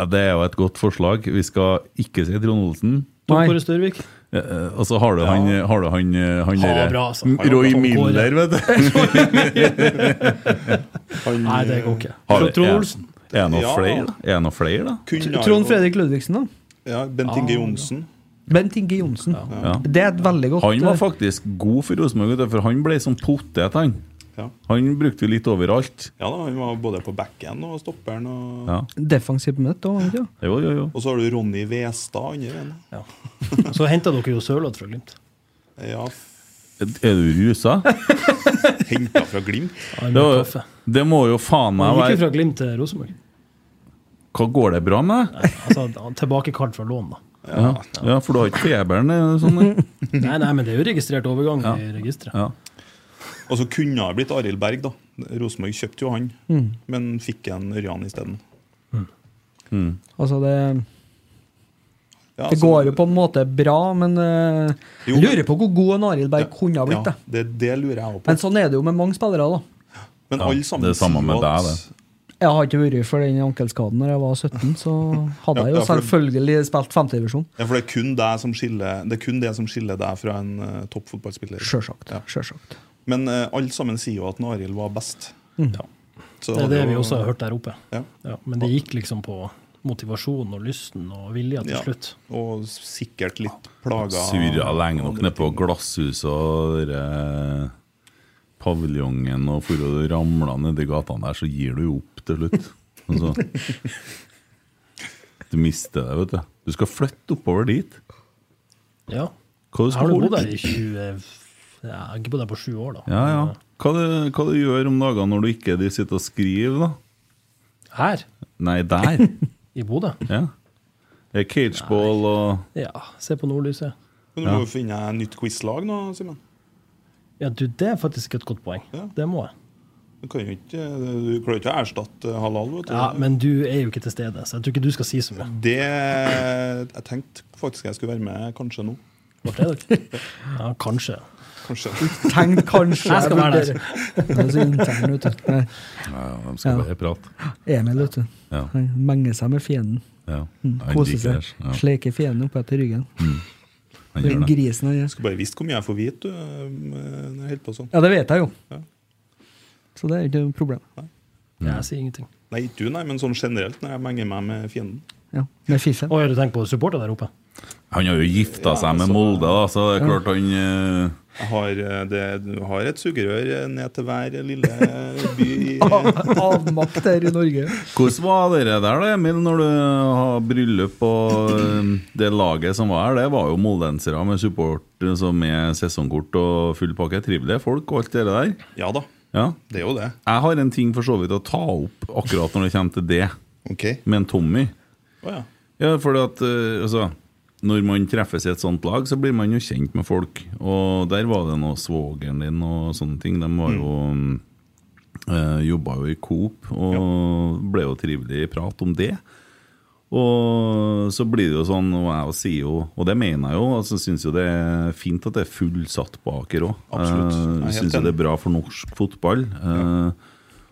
Ja, det er jo et godt forslag. Vi skal ikke si Trond Olsen.
Tom Kåre Størvik.
Eh, eh, Og så har du han, har du han, eh, han
Han var
derre-
bra, altså. Han var
Roy
Tom Kåre.
Miller, vet du.
Han- Nei, det går ikke.
eh,
Har-
Trond
er-
Olsen.
Er det noe
Ja.
flere, da? Er det noe flere, da?
Kunne
Trond
ha-
Fredrik Ludvigsen, da?
Ja, Bent
Ah,
Inge Johnsen.
Bent Inge Johnsen.
Ja.
Det er et veldig godt
eh?
Han var faktisk god for Rosenborg, vet du, for han ble som potet, han.
Ja.
Han brukte vi litt overalt.
Ja da, Han var både på backen og stopperen. Og,
Ja.
eh, defensivt møte. var han ikke det?
Jo, jo, jo.
og så har du Ronny Westad andre veien.
Ja. Så henta dere jo Sørloth fra Glimt.
Er du rusa?
Henta fra Glimt?
Han
Det,
ble
var-
kaffe.
det må jo faen meg
Han gikk jo
være
fra Glimt til Rosenborg.
Hva går det bra med deg?
Altså, han tilbakekalt fra lån, da.
Ja. ja, for du har ikke feberen? eh, Sånn.
Nei, nei, men det er jo registrert overgang i registeret.
Og så kunne det ha blitt Arild Berg, da. Rosenborg kjøpte jo han,
Mm.
men fikk en Ørjan isteden.
Altså, det
Ja,
Det
altså-
går jo på en måte bra, men eh,
Jo,
jeg
men-
lurer på hvor god en Arild Berg kunne ha blitt.
Ja,
det.
det, det lurer jeg også på.
Men sånn er det jo med mange spillere. da
Men alle sammen
det er samme
sier
med
jo
deg,
at-
det.
Jeg har ikke vært for den ankelskaden når jeg var 17, så hadde jeg jo
Ja, for det-
selvfølgelig spilt femtedivisjon.
Ja, for det er kun det som skiller, det er kun det som skiller deg fra en uh, toppfotballspiller.
Sjølsagt.
Men eh, alle sammen sier jo at Arild var best.
Mm.
Så
det er det
hadde
vi
jo-
også har hørt der oppe.
Ja.
Ja, men det gikk liksom på motivasjonen og lysten og vilja til
Ja.
slutt.
Og sikkert litt plaga
Surra lenge nok nede på glasshuset og dere paviljongen, og for å ramle nedi gatene der, så gir du jo opp til slutt. Altså, du mister det, vet du. Du skal flytte oppover dit.
Ja.
Hva du
Jeg har
skal
du bodd
holde?
der i 20 ja, Jeg har ikke bodd der på sju år, da.
Ja, ja. Hva du, hva du gjør om dagene når du ikke de sitter og skriver, da?
Her
Nei, der.
i Bodø.
Ja. Det er cageball og
Ja, se på nordlyset.
Men du må jo finne et nytt quizlag nå, Simen.
Ja, du, det er faktisk et godt poeng. Det må jeg.
Du kan jo ikke, eh, du klarer jo ikke å erstatte eh, halal. Vet du.
Ja, Men du er jo ikke til stede, så jeg tror ikke du skal si så mye.
Det Jeg tenkte faktisk jeg skulle være med kanskje nå.
Ble det dere? Ja, kanskje.
Kanskje.
Tenk kanskje
Jeg skal
jeg
være
vurderer.
der.
Det er så intern, vet du. Nei.
Ja, de skal bare prate.
Emil, vet du.
Ja.
Han menger seg med fienden.
Ja.
Mm,
Han
Koser
liker
seg.
det, ja. Mm.
Sleker fienden opp etter ryggen.
Han gjør det.
Grisen han gjør.
Skulle bare visst hvor mye jeg får vite du, eh, når jeg holder på sånn.
Ja, det vet jeg jo.
Ja.
Så det er ikke noe problem.
Jeg sier ingenting.
Nei, ikke du, nei, men sånn generelt når jeg menger meg med fienden.
Ja, Med fiffen.
Å, har du tenkt på supporter der oppe?
Han har jo gifta seg med Molde, da, så det er klart han eh,
Jeg har, eh, det, du har et sugerør eh, ned til hver lille by i
Avmakt her i Norge.
Hvordan var dere der, da, Emil, når du har bryllup og eh, det laget som var her? Det var jo moldensere med support eh, som er sesongkort og full pakke. Trivelige folk og alt det der.
Ja da,
Ja.
det er jo det.
Jeg har en ting for så vidt å ta opp akkurat når det kommer til det,
Ok.
med en Tommy.
Å ja.
Ja, fordi at eh, altså, Når man treffes i et sånt lag, så blir man jo kjent med folk. Og der var det noe svogeren din og sånne ting. De var jo mm, eh, Jobba jo i Coop og ble jo trivelig i prat om det. Og så blir det jo sånn, og jeg sier jo, og det mener jeg jo, altså syns jo det er fint at det er fullsatt på Aker òg.
Absolutt. Jeg er helt
syns jo det er bra for norsk fotball. Eh,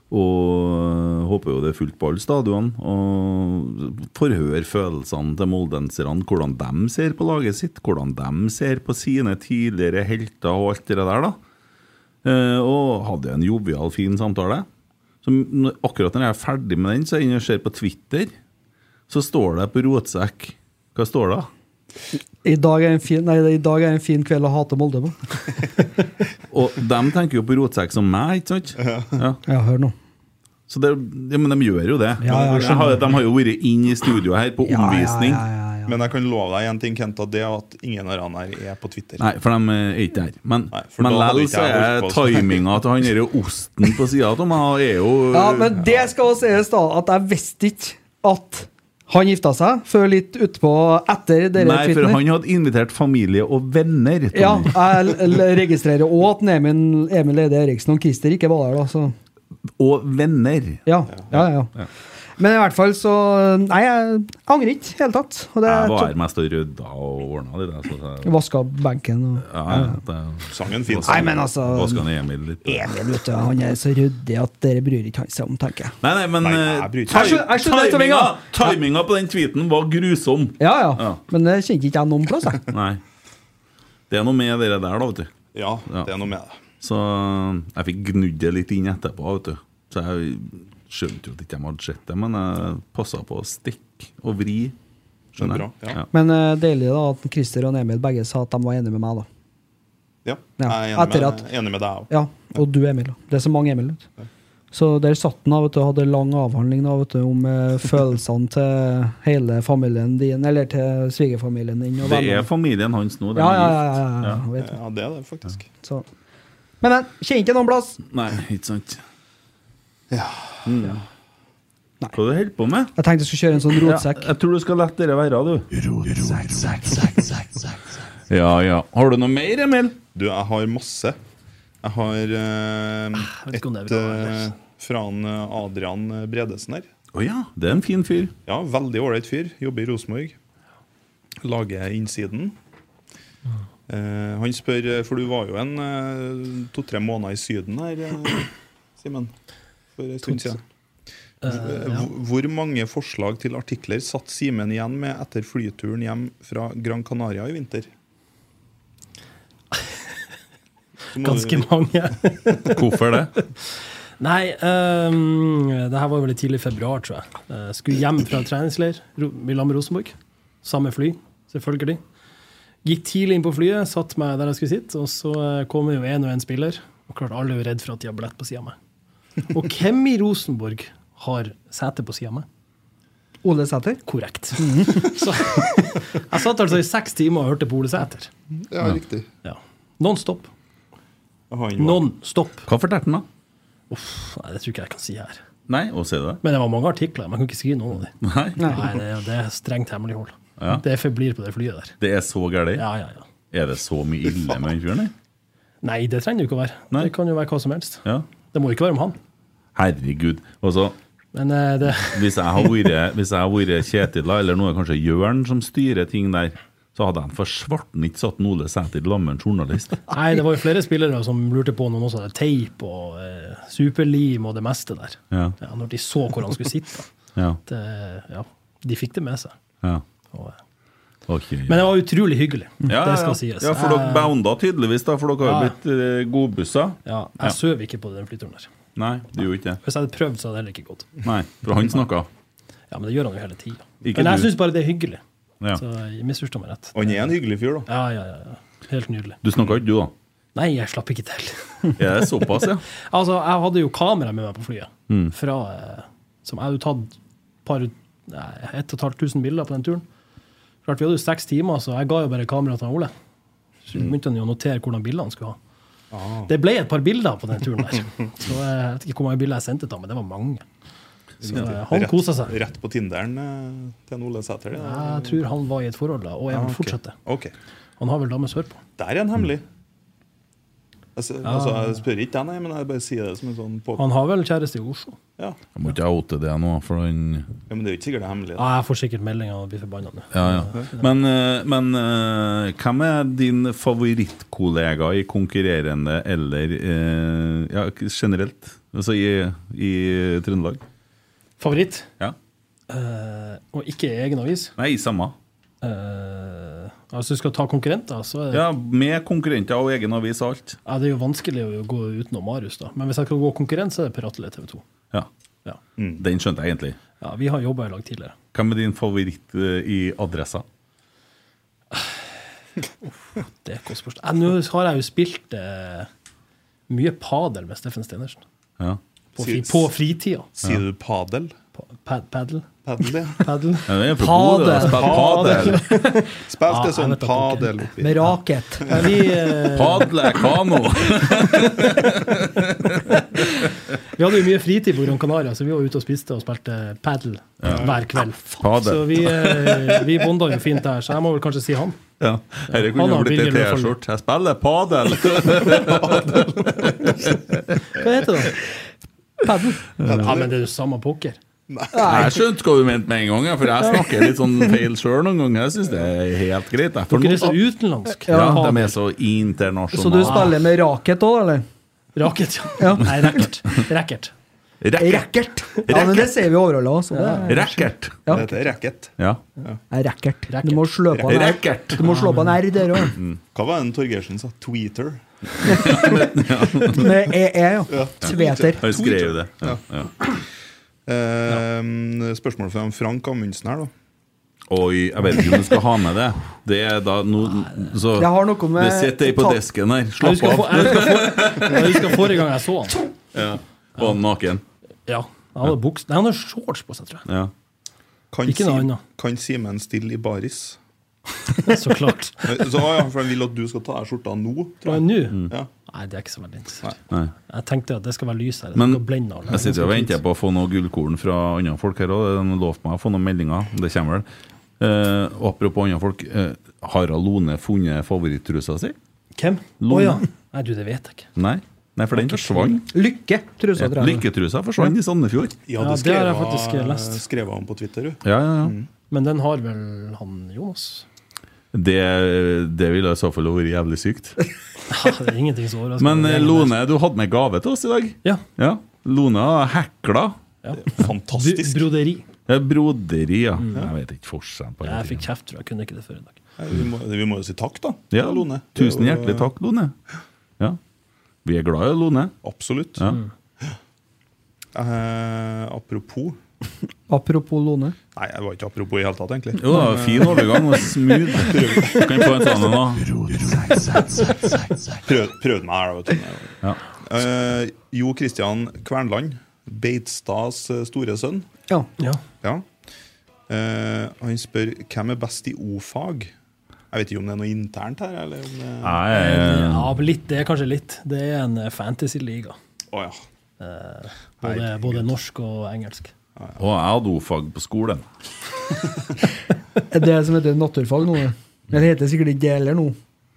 Og håper jo det er fullt på alle stadionene. Og forhør følelsene til moldenserne, hvordan de ser på laget sitt, hvordan de ser på sine tidligere helter og alt det der, da. Eh, Og hadde en jovial, fin samtale. Så n- akkurat når jeg er ferdig med den, så er jeg inne og ser på Twitter. Så står det på rotsekk Hva står det?
I dag er en fin, nei, i dag er en fin kveld å hate Molde på.
Og de tenker jo på rotsekk som meg, ikke sant? Ja.
Ja, hør nå.
Så det, ja, men de gjør jo det.
Ja, ja,
de, har, de har jo vært inn i studioet her på
Ja, ja,
omvisning.
ja, ja, ja,
Men jeg kan love deg en ting, Kent, at det er at ingen av dem her er på Twitter.
Nei, for de er ikke der. Men,
for
men
da hadde
likevel
ikke
så
jeg
er
holdt på sånn.
timinga til han derre osten på sida av meg er jo
Ja, men det skal også sies, da, at jeg visste ikke at han gifta seg før litt utpå etter dere
Nei, for han hadde invitert familie og venner. Tommy.
Ja, jeg l- l- registrerer òg at Emil, Emil Eide Eriksen og Christer ikke var der, da. Så.
Og venner.
Ja, ja, ja. Men i hvert fall så Nei, jeg angrer ikke i det hele tatt. Og det,
Jeg var her mest og rydda og ordna det der. så- så-
Vaska benken og
Ja, ja, det-
Sangen
finnes. Nei, men altså-
Vaska ned Emil litt.
Emil, vet du, han er så ryddig at dere bryr ikke han seg om, tenker jeg.
Nei, nei, men eh,
bryter.
tim-
Jeg skjønner- jeg skjønner det, Tommy,
timinga,
ja.
timinga på den tweeten var grusom.
Ja, ja. Men det kjente ikke jeg noen plass, jeg.
Nei. Det er noe med det der, da, vet du.
Ja, det er noe med det.
Så eh, jeg fikk gnudd det litt inn etterpå, vet du. Så jeg skjønte jo at ikke de hadde sett det, men jeg passa på å stikke og vri. Skjønner
Bra,
jeg?
ja.
Men eh, deilig da at Christer og Emil begge sa at de var enige med meg, da.
Ja,
Ja,
jeg er enig
etter
med,
at-
enig med deg òg.
Ja, og du, Emil. da. Det er så mange Emil. Vet. du. Så der satt han da, vet du, og hadde lang avhandling da, vet du, om eh, følelsene til hele familien din, eller til svigerfamilien din. Og
Det
vennene.
er familien hans nå. de
Ja,
er
ja,
gift.
ja, ja, ja, ja, jeg vet det.
Ja, det er det faktisk.
Så. Men jeg kjenner ikke noen plass.
Nei, ikke sant. Mm. Hva er det du holder på med?
Jeg tenkte jeg skulle kjøre en sånn rotsekk.
Ja, jeg tror du skal la dere være, du. Ja, ja. Har du noe mer, Emil?
Du, jeg har masse. Jeg har eh,
Ah,
vet ikke om det er
et eh, fra han, eh, Adrian Bredesen her.
Å ja, det er en fin fyr.
Ja, veldig ålreit fyr. Jobber i Rosenborg. Lager innsiden. Eh, han spør eh, For du var jo en eh, to-tre måneder i Syden her, eh, Simen. For en stund
To-
siden.
Eh,
Hvor-
ja.
Hvor mange forslag til artikler satt Simen igjen med etter flyturen hjem fra Gran Canaria i vinter? Så må du-
Ganske mange.
Hvorfor det?
Nei, ehm, det her var vel i tidlig februar, tror jeg. Eh, skulle hjem fra en treningsleir ro- i lag med Rosenborg. Samme fly, selvfølgelig. Gikk tidlig inn på flyet, satt meg der jeg skulle sitte, og så eh, kom det jo én og én spiller. Og klart alle er jo redd for at de har billett på sida av meg. Og hvem i Rosenborg har sete på sida av meg?
Ole Sæter?
Korrekt. Så jeg satt altså i seks timer og hørte på Ole Sæter.
Ja, riktig.
Ja. Non stop.
Han var-
Non stop.
Hva fortalte han, da?
Uff, nei, det tror ikke jeg kan si her.
Nei, å se det.
Men det var mange artikler. Man kan ikke skrive noen av dem.
Nei.
Nei, det, er- det er strengt hemmelighold.
Ja.
Det forblir på det flyet der.
Det er så gærent?
Ja, ja, ja.
Er det så mye ille med den fyren? eller?
Nei, det trenger det jo ikke å være. Det kan jo være hva som helst.
Ja.
Det må jo ikke være om han.
Herregud. Altså,
Men eh, det
hvis jeg har vært, hvis jeg har vært Kjetil, da, eller nå er det kanskje Jørn som styrer ting der, så hadde han for svarten ikke satt en Ole Sæter sammen med en journalist.
Nei, det var jo flere spillere som lurte på om noen også hadde teip og eh, superlim og det meste der.
Ja.
Ja, når de så hvor han skulle sitte.
Ja.
Det, ja, de fikk det med seg.
Ja.
Og, eh,
Ok.
Men det var utrolig hyggelig.
Ja,
det
ja, ja.
skal sies.
ja, for dere
Jeg-
bounda tydeligvis, da, for dere har
Ja.
jo blitt eh, godbussa.
ja,
Ja.
jeg søv ikke på den flyturen der.
Nei, du gjorde ikke det.
Hvis jeg hadde prøvd, så hadde det heller ikke gått.
Nei, for han snakka.
Ja, men det gjør han jo hele tida.
Ikke
Men jeg
du.
syns bare det er hyggelig.
Ja.
Så jeg misforstår meg rett.
Han er en hyggelig fyr, da.
Ja, ja, ja, ja. Helt nydelig.
Du snakka ikke, du, da?
Nei, jeg slapp ikke til.
Er det såpass, ja?
altså, jeg hadde jo kamera med meg på flyet,
Mm.
fra, eh, som jeg hadde jo tatt par, nei, 1500 bilder på den turen. Klart, Vi hadde jo seks timer, så jeg ga jo bare kameraet til han Ole. Så
Mm.
begynte han jo å notere hvordan bilder han skulle ha. Ah. Det ble et par bilder på den turen der. Så eh, jeg vet ikke hvor mange bilder jeg sendte til han, men det var mange. Så eh, han
Rett-
kosa seg.
Rett på Tinderen eh, til en Ole Sæter? det.
Ja, Jeg tror han var i et forhold da, og jeg
Ah,
vil
ok.
fortsette.
Ok.
Han har vel dame sørpå.
Der er en hemmelig. Altså,
Ja.
altså, jeg spør ikke deg, nei, men jeg bare sier det som en sånn påpekning.
Han har vel kjæreste i Oslo.
Ja.
Jeg må ikke oute det nå, for han
Ja, men det er jo ikke sikkert det er hemmelig.
Ja, Ah, jeg får sikkert melding av å bli forbanna nå.
Ja, ja. Men, eh, men eh, hvem er din favorittkollega i konkurrerende eller eh, ja, generelt? Altså i, i Trøndelag?
Favoritt?
Ja.
Eh, og ikke i egen avis.
Nei, samme.
Eh, altså, du skal ta konkurrenter, så er det,
Ja, med konkurrenter og egen avis og alt.
ja, det er jo vanskelig å gå utenom Marius, da. Men hvis jeg skal gå konkurrent, så er det Per Atle TV 2.
Ja.
Ja.
Den skjønte jeg egentlig.
Ja, vi har jobba i lag tidligere.
Hvem er din favoritt eh, i Adressa?
Det er et godt spørsmål. Eh, Nå har jeg jo spilt eh, mye padel med Steffen Stenersen.
Ja.
På,
Sier-
fri, på fritida.
Sier du padel?
Pa- Paddle?
Paddle,
Paddle.
Ja, det er fra Bodø, da. Spill padel.
Spilte
Ah, jeg vet
sånn
at dere-
padel oppi.
Med raket.
Ja, vi, eh,
Padle kano!
Vi hadde jo mye fritid på Gran Canaria, så vi var ute og spiste og spilte padel hver kveld.
Padel.
Så vi, eh, vi bonda jo fint der, så jeg må vel kanskje si han.
Ja. Dette
Han
kunne
har
jo blitt
billig
en
løfall.
T-skjorte. Jeg spiller padel!
Hva heter det? Padel. Ja, men det er jo samme pokker.
Jeg skjønte hva du mente med en gang, ja, for jeg snakker litt sånn feil sjøl noen ganger. Jeg syns det er helt greit. jeg. For
Dere
nå-
er så utenlandske.
ja, de er så internasjonale.
Så du spiller med raket òg, eller?
Raket, ja. Nei, racket. Racket.
Racket! Ja, men det sier vi overholdet også. Det er-
Racket!
Ja.
Det heter racket.
Ja.
Nei, racket. Du må slå på en R.
Racket!
Du må slå på en R der òg.
Mm. Hva var den Torgersen sa? Tweeter?
Med
E,
EE, ja. Tveter.
Han skrev det. Ja. Ja.
Eh, Spørsmål fra Frank Amundsen her, da.
Oi, jeg vet ikke om du skal ha med det. Det er da no, så,
Jeg har noe med-
Det sitter ei på
Ta-
desken her.
Jeg
Slapp
husker,
av.
for, jeg, husker for, jeg husker forrige gang jeg så han.
Ja. Var han naken?
Ja, Han hadde buks... Nei, han hadde shorts på seg, tror jeg.
Ja.
Kan,
Ikke noe
Sim-
annet.
kan Simen stille i baris?
Så klart.
Så, ah, ja, for Han vil at du skal ta av skjorta nå.
Og
Tror jeg.
nå
Ja.
Nei, det er ikke så veldig interessant.
Nei.
Jeg tenkte at det skal være lys her. Det
Men
skal blende alle.
jeg sitter og venter på å få noe gullkorn fra andre folk her òg. De lovte meg å få noen meldinger. Det kommer vel. Eh, og apropos andre folk. eh, har Lone funnet favorittrusa si?
Hvem? Å
Lone.
ja. Nei, du, det vet jeg ikke.
Nei, Nei for den forsvant.
Lykke, trusa
Ja,
og drar.
Lykketrusa forsvant i Sandefjord.
Ja,
Ja,
det
det har jeg
skrev
faktisk
jeg-
lest.
skrev han på Twitter. du.
Ja, ja, ja.
Mm.
Men den har vel han Jonas?
Det, det ville i så fall vært jævlig sykt.
Ja, det er ingenting som overrasker
Men
meg.
eh, Lone, du hadde med gave til oss i dag.
Ja.
Ja. Lone har hekla.
Du,
Fantastisk.
broderi. Mm.
Det er Broderi, ja. Jeg vet ikke forskjellen på
Jeg
det.
fikk kjeft, tror jeg. jeg. Kunne ikke det før i dag.
Nei, Vi må, vi må jo si takk, da.
Ja,
Lone. Det er
Tusen
jo-
hjertelig takk, Lone. Ja. Vi er glad i Lone.
Absolutt.
Ja.
Mm.
Eh, apropos
Apropos Lone.
Nei, det var ikke apropos i hele tatt, egentlig.
Jo, det var en fin overgang og smooth. Kan få en sånn en, da.
Prøv, prøvde meg her, da. vet du.
Ja.
Eh, jo Kristian Kvernland, Beitstads eh, store sønn.
Ja.
Ja.
Ja. Eh, han spør hvem er best i O-fag. Jeg vet ikke om det er noe internt her, eller om det
Nei, eh,
ja, men litt, det er kanskje litt. Det er en eh, fantasy-liga.
Å ja.
Eh, både,
Herregud.
både norsk og engelsk.
Og jeg hadde O-fag på skolen.
Er Det som heter naturfag nå, det. Men det heter sikkert ikke det heller nå.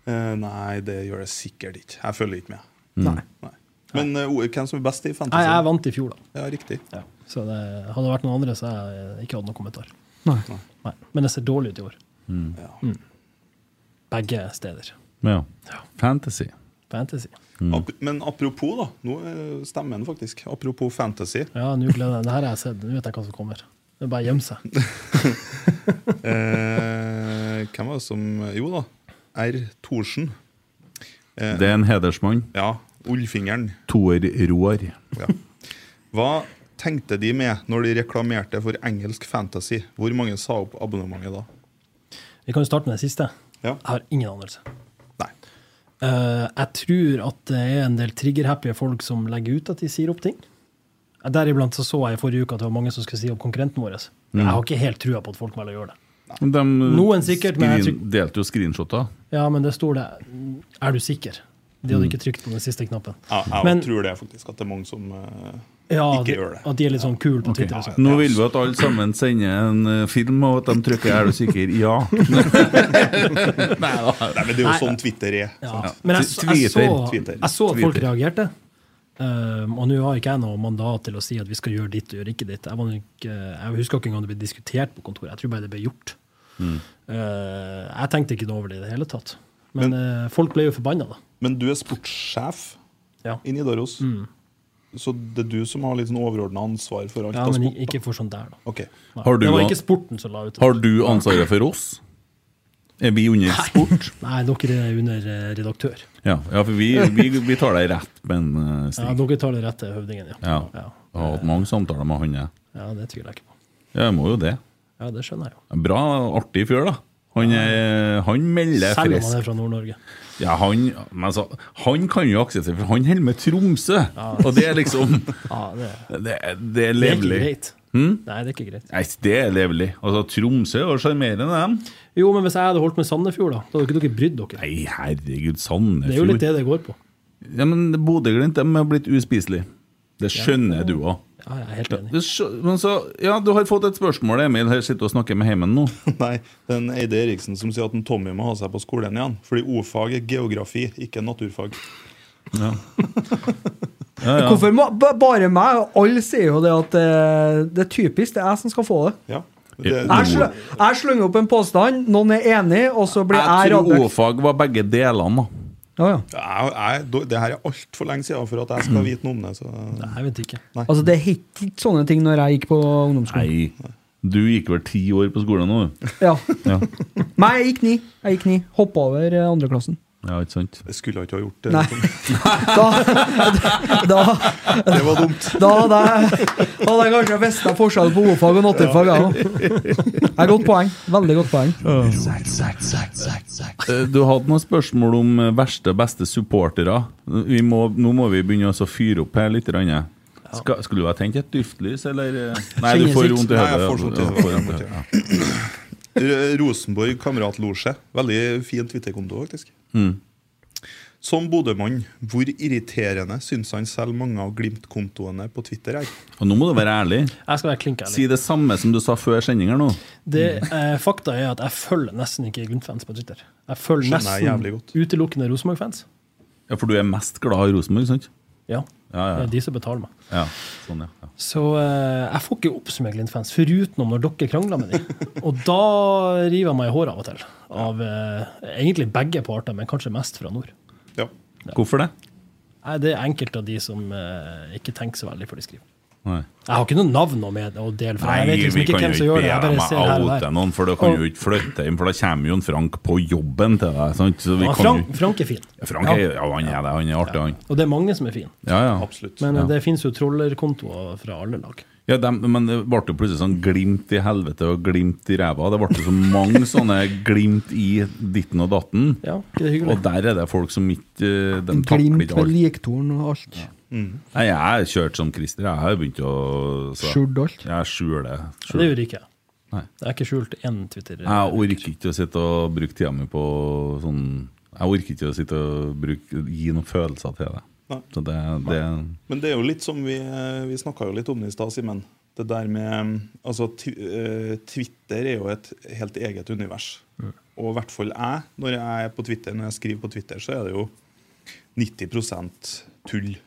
Eh, nei, det gjør jeg sikkert ikke. Jeg følger ikke med.
Mm.
Nei.
Nei. Men eh, O- hvem som er best i
Nei,
fantasy?
jeg vant i fjor, da.
Ja, riktig.
Så det hadde det vært noen andre, så jeg eh, ikke hadde noen kommentar.
Nei.
Nei. Men det ser dårlig ut i år.
Mm.
Ja.
Begge steder.
Men Mm. ja. Fantasy.
Fantasy.
Ap men apropos, da. Nå eh, stemmer den faktisk. Apropos fantasy.
Ja, nå gleder jeg Det her har jeg sett. Nå vet jeg hva som kommer. Det er bare å gjemme seg.
Eh, hvem var det som Jo da, R. Thorsen. Eh,
Det er en hedersmann.
Ja, Ullfingeren.
Toer Roar.
Ja. Hva tenkte de med når de reklamerte for engelsk fantasy? Hvor mange sa opp abonnementet da?
Vi kan jo starte med det siste.
Ja.
Jeg har ingen anelse.
Nei.
Eh, jeg tror at det er en del triggerhappy folk som legger ut at de sier opp ting. Eh, Deriblant så, så jeg i forrige uke at det var mange som skulle si opp konkurrenten vår.
Mm.
Jeg har ikke helt trua på at folk velger å gjøre det.
De
Noen sikkert, men jeg
skrin- delte jo screenshoter.
Ja, men det står det Er du sikker? De
Mm.
hadde ikke trykt på den siste knappen.
Ja, jeg
Men-
tror det faktisk at det er mange som eh,
Ja,
ikke gjør det.
At de er litt sånn kule på
Ok.
Twitter. og sånn.
Nå vil vi at alle sammen sender en eh, film, og at de trykker 'er du sikker?' ja.
Nei, men Det er jo sånn Twitter er.
Ja.
sant?
Men jeg, jeg, så,
Twitter.
jeg så at folk
Twitter.
reagerte. Um, og nå har ikke jeg noe mandat til å si at vi skal gjøre ditt og gjøre ikke ditt. Jeg, var nok, eh, jeg husker ikke engang det ble diskutert på kontoret. Jeg tror bare det ble gjort.
Mm.
Eh, jeg tenkte ikke noe over det i det hele tatt. Men, eh, folk ble jo forbanna, da.
Men du er sportssjef
Ja. Mm.
i Nidaros. Så det er du som har litt sånn overordna ansvar for alt
Ja,
av
men
sport?
i- ikke for sånt der, da.
Ok.
Nei.
Har du
det var
an-
ikke sporten som la ut det.
Har du ansvaret for oss? Er vi under sport?
Nei, dere er under eh, redaktør.
Ja, ja for vi, vi, vi tar deg rett på en eh,
Ja,
stig.
dere tar det rette høvdingen, ja.
Ja.
ja.
Jeg har hatt mange samtaler med han, jeg.
Ja, det tviler jeg ikke på.
Ja, jeg må jo det.
Ja, det skjønner jeg jo.
Bra, artig fyr, da. Han, er, han melder
Selv om han
frisk.
er fra Nord-Norge.
Ja, han, men altså, han kan jo akseptere, for han holder med Tromsø. Og det er liksom
Ja, det,
Det, det er
det er ikke
levelig.
greit.
Hm?
Nei, det er ikke greit.
Nei, det er levelig. Altså, Tromsø var sjarmerende, dem.
Jo, men hvis jeg hadde holdt med Sandefjord, da, da hadde ikke dere brydd dere.
Nei, herregud, Sandefjord
Det er jo litt det det går på.
Ja, men Bodø-Glimt de har blitt uspiselige. Det skjønner du òg.
Ja, jeg er helt enig.
Men så, ja, du har fått et spørsmål, Emil. Her sitter du og snakker med heimen nå.
Nei, det er en Eide Eriksen som sier at en Tommy må ha seg på skolen igjen. Fordi O-fag er geografi, ikke naturfag.
Ja.
Hvorfor må, ba- bare meg? Alle sier jo det at eh, det er typisk, det er jeg som skal få det.
Det-
Jeg, sl jeg slenger opp en påstand, noen er enig, og så blir jeg
Jeg tror
radbøkt.
O-fag var begge delene, da.
Jeg, jeg, det her er altfor lenge siden for at jeg skal vite noe om det. Så.
Jeg vet ikke.
Nei.
Altså, det het ikke sånne ting når jeg gikk på ungdomsskolen.
Nei. Du gikk vel ti år på skolen nå, du?
Ja.
Ja.
Nei, jeg gikk ni. Jeg gikk ni. Hoppa over eh, andreklassen.
ja, ikke sant?
Jeg skulle ikke ha gjort det.
Nei.
Oh.
Da, da,
Det var dumt.
da hadde jeg da hadde jeg kanskje visst forskjell på O-fag og naturfag. jeg også. Det er godt poeng. Veldig godt poeng.
Eh, Du hadde noen spørsmål om eh, verste og beste supportere. Vi må, nå må vi begynne å fyre opp her litt. grann. Ska, skulle du ha tent et duftlys, eller? eh? Nei, du får vondt i
Nei, jeg
hodet.
får sånt i
Ja,
hodet.
får vondt i hodet, ja.
R- Rosenborg kameratlosje. Veldig fin Twitter-konto, faktisk.
Mm.
Som Bodø-mann, hvor irriterende syns han selv mange av Glimt-kontoene på Twitter er?
Og nå må du være ærlig.
Jeg skal være klink ærlig.
Si det samme som du sa før sending her nå.
Det, eh, fakta er at jeg følger nesten ikke Glimt-fans på Twitter. Jeg følger
Skjønner jeg jævlig
nesten utelukkende Rosenborg-fans.
Ja, For du er mest glad i Rosenborg, sant?
Ja.
Ja, ja.
Det er de som betaler meg.
ja. Sånn, ja.
Så eh, jeg får ikke oppsummert Glimt-fans, foruten om når dere krangler med dem. Og da river jeg meg i håret av og til. Av eh, egentlig begge parter, men kanskje mest fra nord.
Hvorfor det?
Nei, det er enkelte av de som eh, ikke tenker så veldig før de skriver.
Nei.
Jeg har ikke noe navn å med- å dele fra. Jeg vet liksom ikke hvem som gjør det. Jeg bare ser her og
oute
der.
noen, for da kan du jo ikke flytte inn, for da kommer jo en Frank på jobben til deg. sant? Så vi
Ja,
kan jo-
Frank, Frank er fin.
Ja, Frank er, ja, han er det. Han er artig, han.
Og det er mange som er fine.
Ja, ja.
Men eh,
Ja.
det finnes jo trollerkontoer fra alle lag.
Ja, dem- men det ble jo plutselig sånn glimt i helvete og glimt i ræva. Det ble jo så mange sånne glimt i ditten og datten.
det er hyggelig.
og der er det folk som ikke eh, De takler
Glimt
ikke
med
alt. Mm.
liktorn og alt.
Nei, jeg har kjørt som Christer. Jeg har jo begynt å så-
Skjult alt.
Jeg skjuler.
Ja, det
skjuler.
gjør ikke jeg.
Nei. Ah,
Jeg har ikke skjult én Twitter.
Jeg orker ikke å sitte og bruke tida mi på sånn Jeg orker ikke å sitte og bruke, gi noen følelser til det.
Nei.
Så det, det
Men det er jo litt som vi, eh, vi snakka jo litt om det i stad, Simen. Det der med Altså, tw eh, Twitter er jo et helt eget univers.
Mm.
Og i hvert fall jeg, når jeg er på Twitter, når jeg skriver på Twitter, så er det jo 90 tull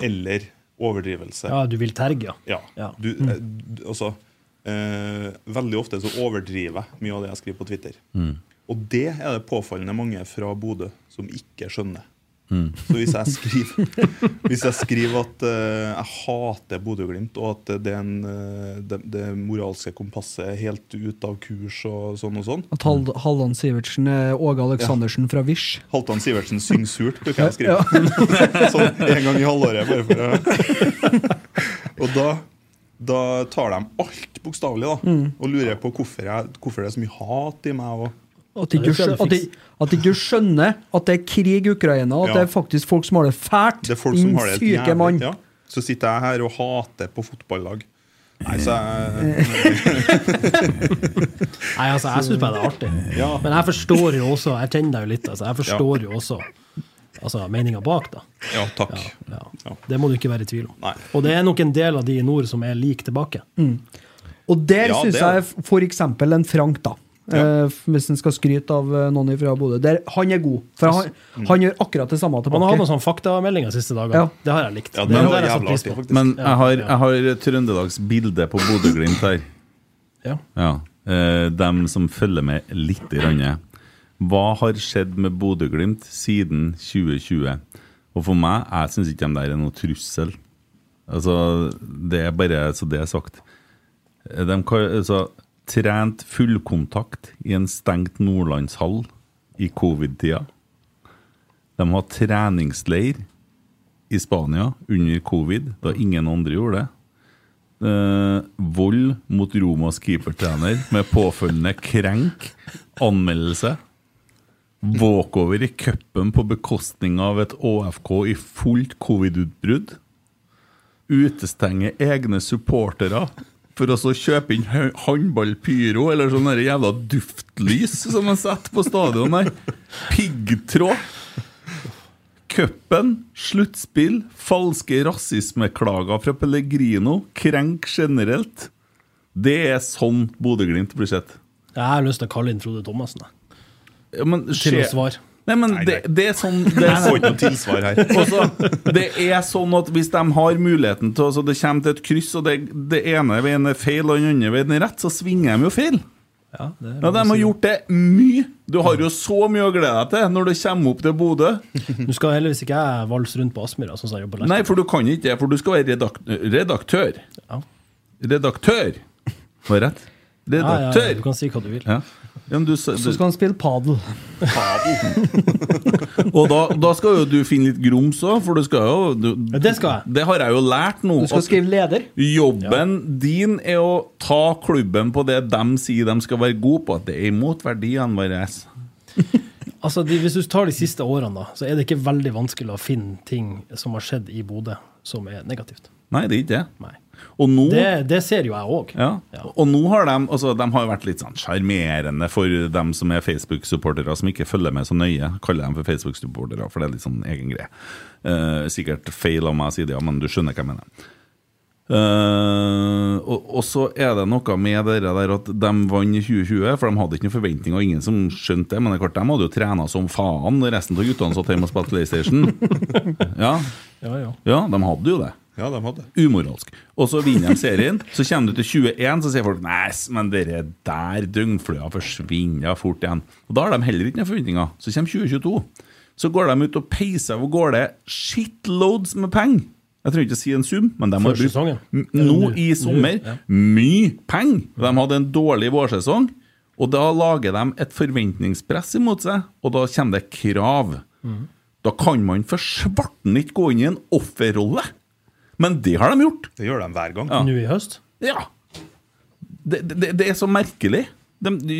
eller overdrivelse.
Ja, Mm. du vil terge,
ja. Du, eh, d- altså, eh, veldig ofte så overdriver jeg mye av det jeg skriver på Twitter.
Mm.
Og det er det påfallende mange fra Bodø som ikke skjønner.
Mm.
Så hvis jeg skriver, hvis jeg skriver at eh, jeg hater Bodø-Glimt, og at det, er en, eh, det, det moralske kompasset er helt ute av kurs og sånn og sånn
At Hald- Halland Sivertsen er Åge Aleksandersen fra Vish.
Halvdan Sivertsen synger surt, bruker jeg å skrive. sånn en gang i halvåret, bare for å Og da, da tar de alt bokstavelig, da.
Mm.
Og lurer på hvorfor, jeg, hvorfor det er så mye hat i meg. Og,
At ikke, du skjønner, at, ikke, at ikke du skjønner at det er krig i Ukraina, at
Ja.
det er faktisk folk som har det fælt.
Det er folk som
Din
har det
syke
jævlig-
mann.
Ja. Så sitter jeg her og hater på fotballag. Nei, så jeg
Nei, altså, jeg syns bare det er artig.
Ja.
Men jeg forstår jo også Jeg kjenner deg jo litt, altså. Jeg forstår jo også altså, meninga bak, da.
Ja, takk.
Ja, Det må du ikke være i tvil om.
Nei.
Og det er nok en del av de i nord som er lik tilbake.
Mm. Og der
Ja,
synes
det
syns
er
jeg f- for eksempel en Frank, da.
Ja.
Eh, hvis en skal skryte av eh, noen fra Bodø. Der, han er god, for han,
Mm.
han gjør akkurat det samme
Han har hatt sånn-
tilbake.
noen sånne faktameldinger de siste dagene.
Ja.
Det har jeg likt.
Ja,
det,
det
er
var
jeg satt
jævla
pris
artig,
på.
Men jeg har, jeg har Trøndelags bilde på Bodø-Glimt her.
Ja.
Eh, dem som følger med litt. i randet. Hva har skjedd med Bodø-Glimt siden 2020? Og for meg, jeg syns ikke de der er noe trussel. Altså, Det er bare så det er sagt. Eh, De kan, altså, trent fullkontakt i en stengt nordlandshall i covid-tida. De har treningsleir i Spania under covid, da ingen andre gjorde det. Eh, vold mot Romas keepertrener med påfølgende krenk, anmeldelse. Walkover i cupen på bekostning av et ÅFK i fullt covid-utbrudd. Utestenge egne supportere for å så kjøpe inn hø- håndballpyro eller sånn der jævla duftlys som man setter på stadion der. Piggtråd. Cupen, sluttspill, falske rasismeklager fra Pellegrino, krenk generelt. Det er sånn Bodø-Glimt blir sett.
Jeg har lyst til å kalle inn Frode Thomassen. jeg.
Ja, men
Til å
skje-
svare.
Nei, men det, det er sånn det er
Nei, nei.
Også, det er sånn at hvis de har muligheten til Så det kommer til et kryss, og det, det ene veien er feil, og den andre veien er rett, så svinger de jo feil.
Ja, det er
Ja, De
lov å
har
si.
gjort det mye. Du har jo så mye å glede deg til når du kommer opp til Bodø.
Nå skal heldigvis ikke jeg valse rundt på Aspmyra, sånn som jeg jobber
Nei, for du kan ikke det, for du skal være redak redaktør. Redaktør. Var det rett? Redaktør.
Ja, ja, du kan si hva du vil.
Ja. Ja, men du, sa-
Så skal han spille padel.
Og da, da skal jo du finne litt grums òg, for du skal jo du,
Det skal jeg.
Det har jeg jo lært nå.
Du skal
at
skrive leder.
Jobben din er å ta klubben på det de sier de skal være gode på, at det er imot verdiene våre.
Altså, de, Hvis du tar de siste årene, da, så er det ikke veldig vanskelig å finne ting som har skjedd i Bodø som er negativt.
Nei, det er ikke det. Og nå
Det, det ser jo jeg òg.
Ja. Og nå har de altså, De har jo vært litt sånn sjarmerende for dem som er Facebook-supportere, som ikke følger med så nøye. Kaller dem for Facebook-supportere, for det er litt sånn egen greie. Eh, sikkert feil av meg å si det, ja, men du skjønner hva jeg mener. Eh, og, og så er det noe med det der at de vant i 2020, for de hadde ikke noen forventninger, og ingen som skjønte det. Men det er klart, de hadde jo trena som faen, og resten av guttene satt hjemme og spilte PlayStation. Ja.
Ja, ja.
ja, de hadde jo det.
Ja, de hadde.
Umoralsk. Og så vinner de serien. Så kommer du til 21, så sier folk Nei, men dere der døgnflua forsvinner fort igjen. Og Da har de heller ikke noen forventninger. Så kommer 2022. Så går de ut og peiser hvor går det shitloads med penger. Jeg trenger ikke å si en sum, men de har
Før sesongen.
brukt m- nå i sommer
Ja.
mye penger. De hadde en dårlig vårsesong, og da lager de et forventningspress imot seg, og da kommer det krav. Da kan man for svarten ikke gå inn i en offerrolle. Men det har de gjort.
Det gjør de hver gang.
Nå i høst?
Ja. Det, det, det er så merkelig. De, de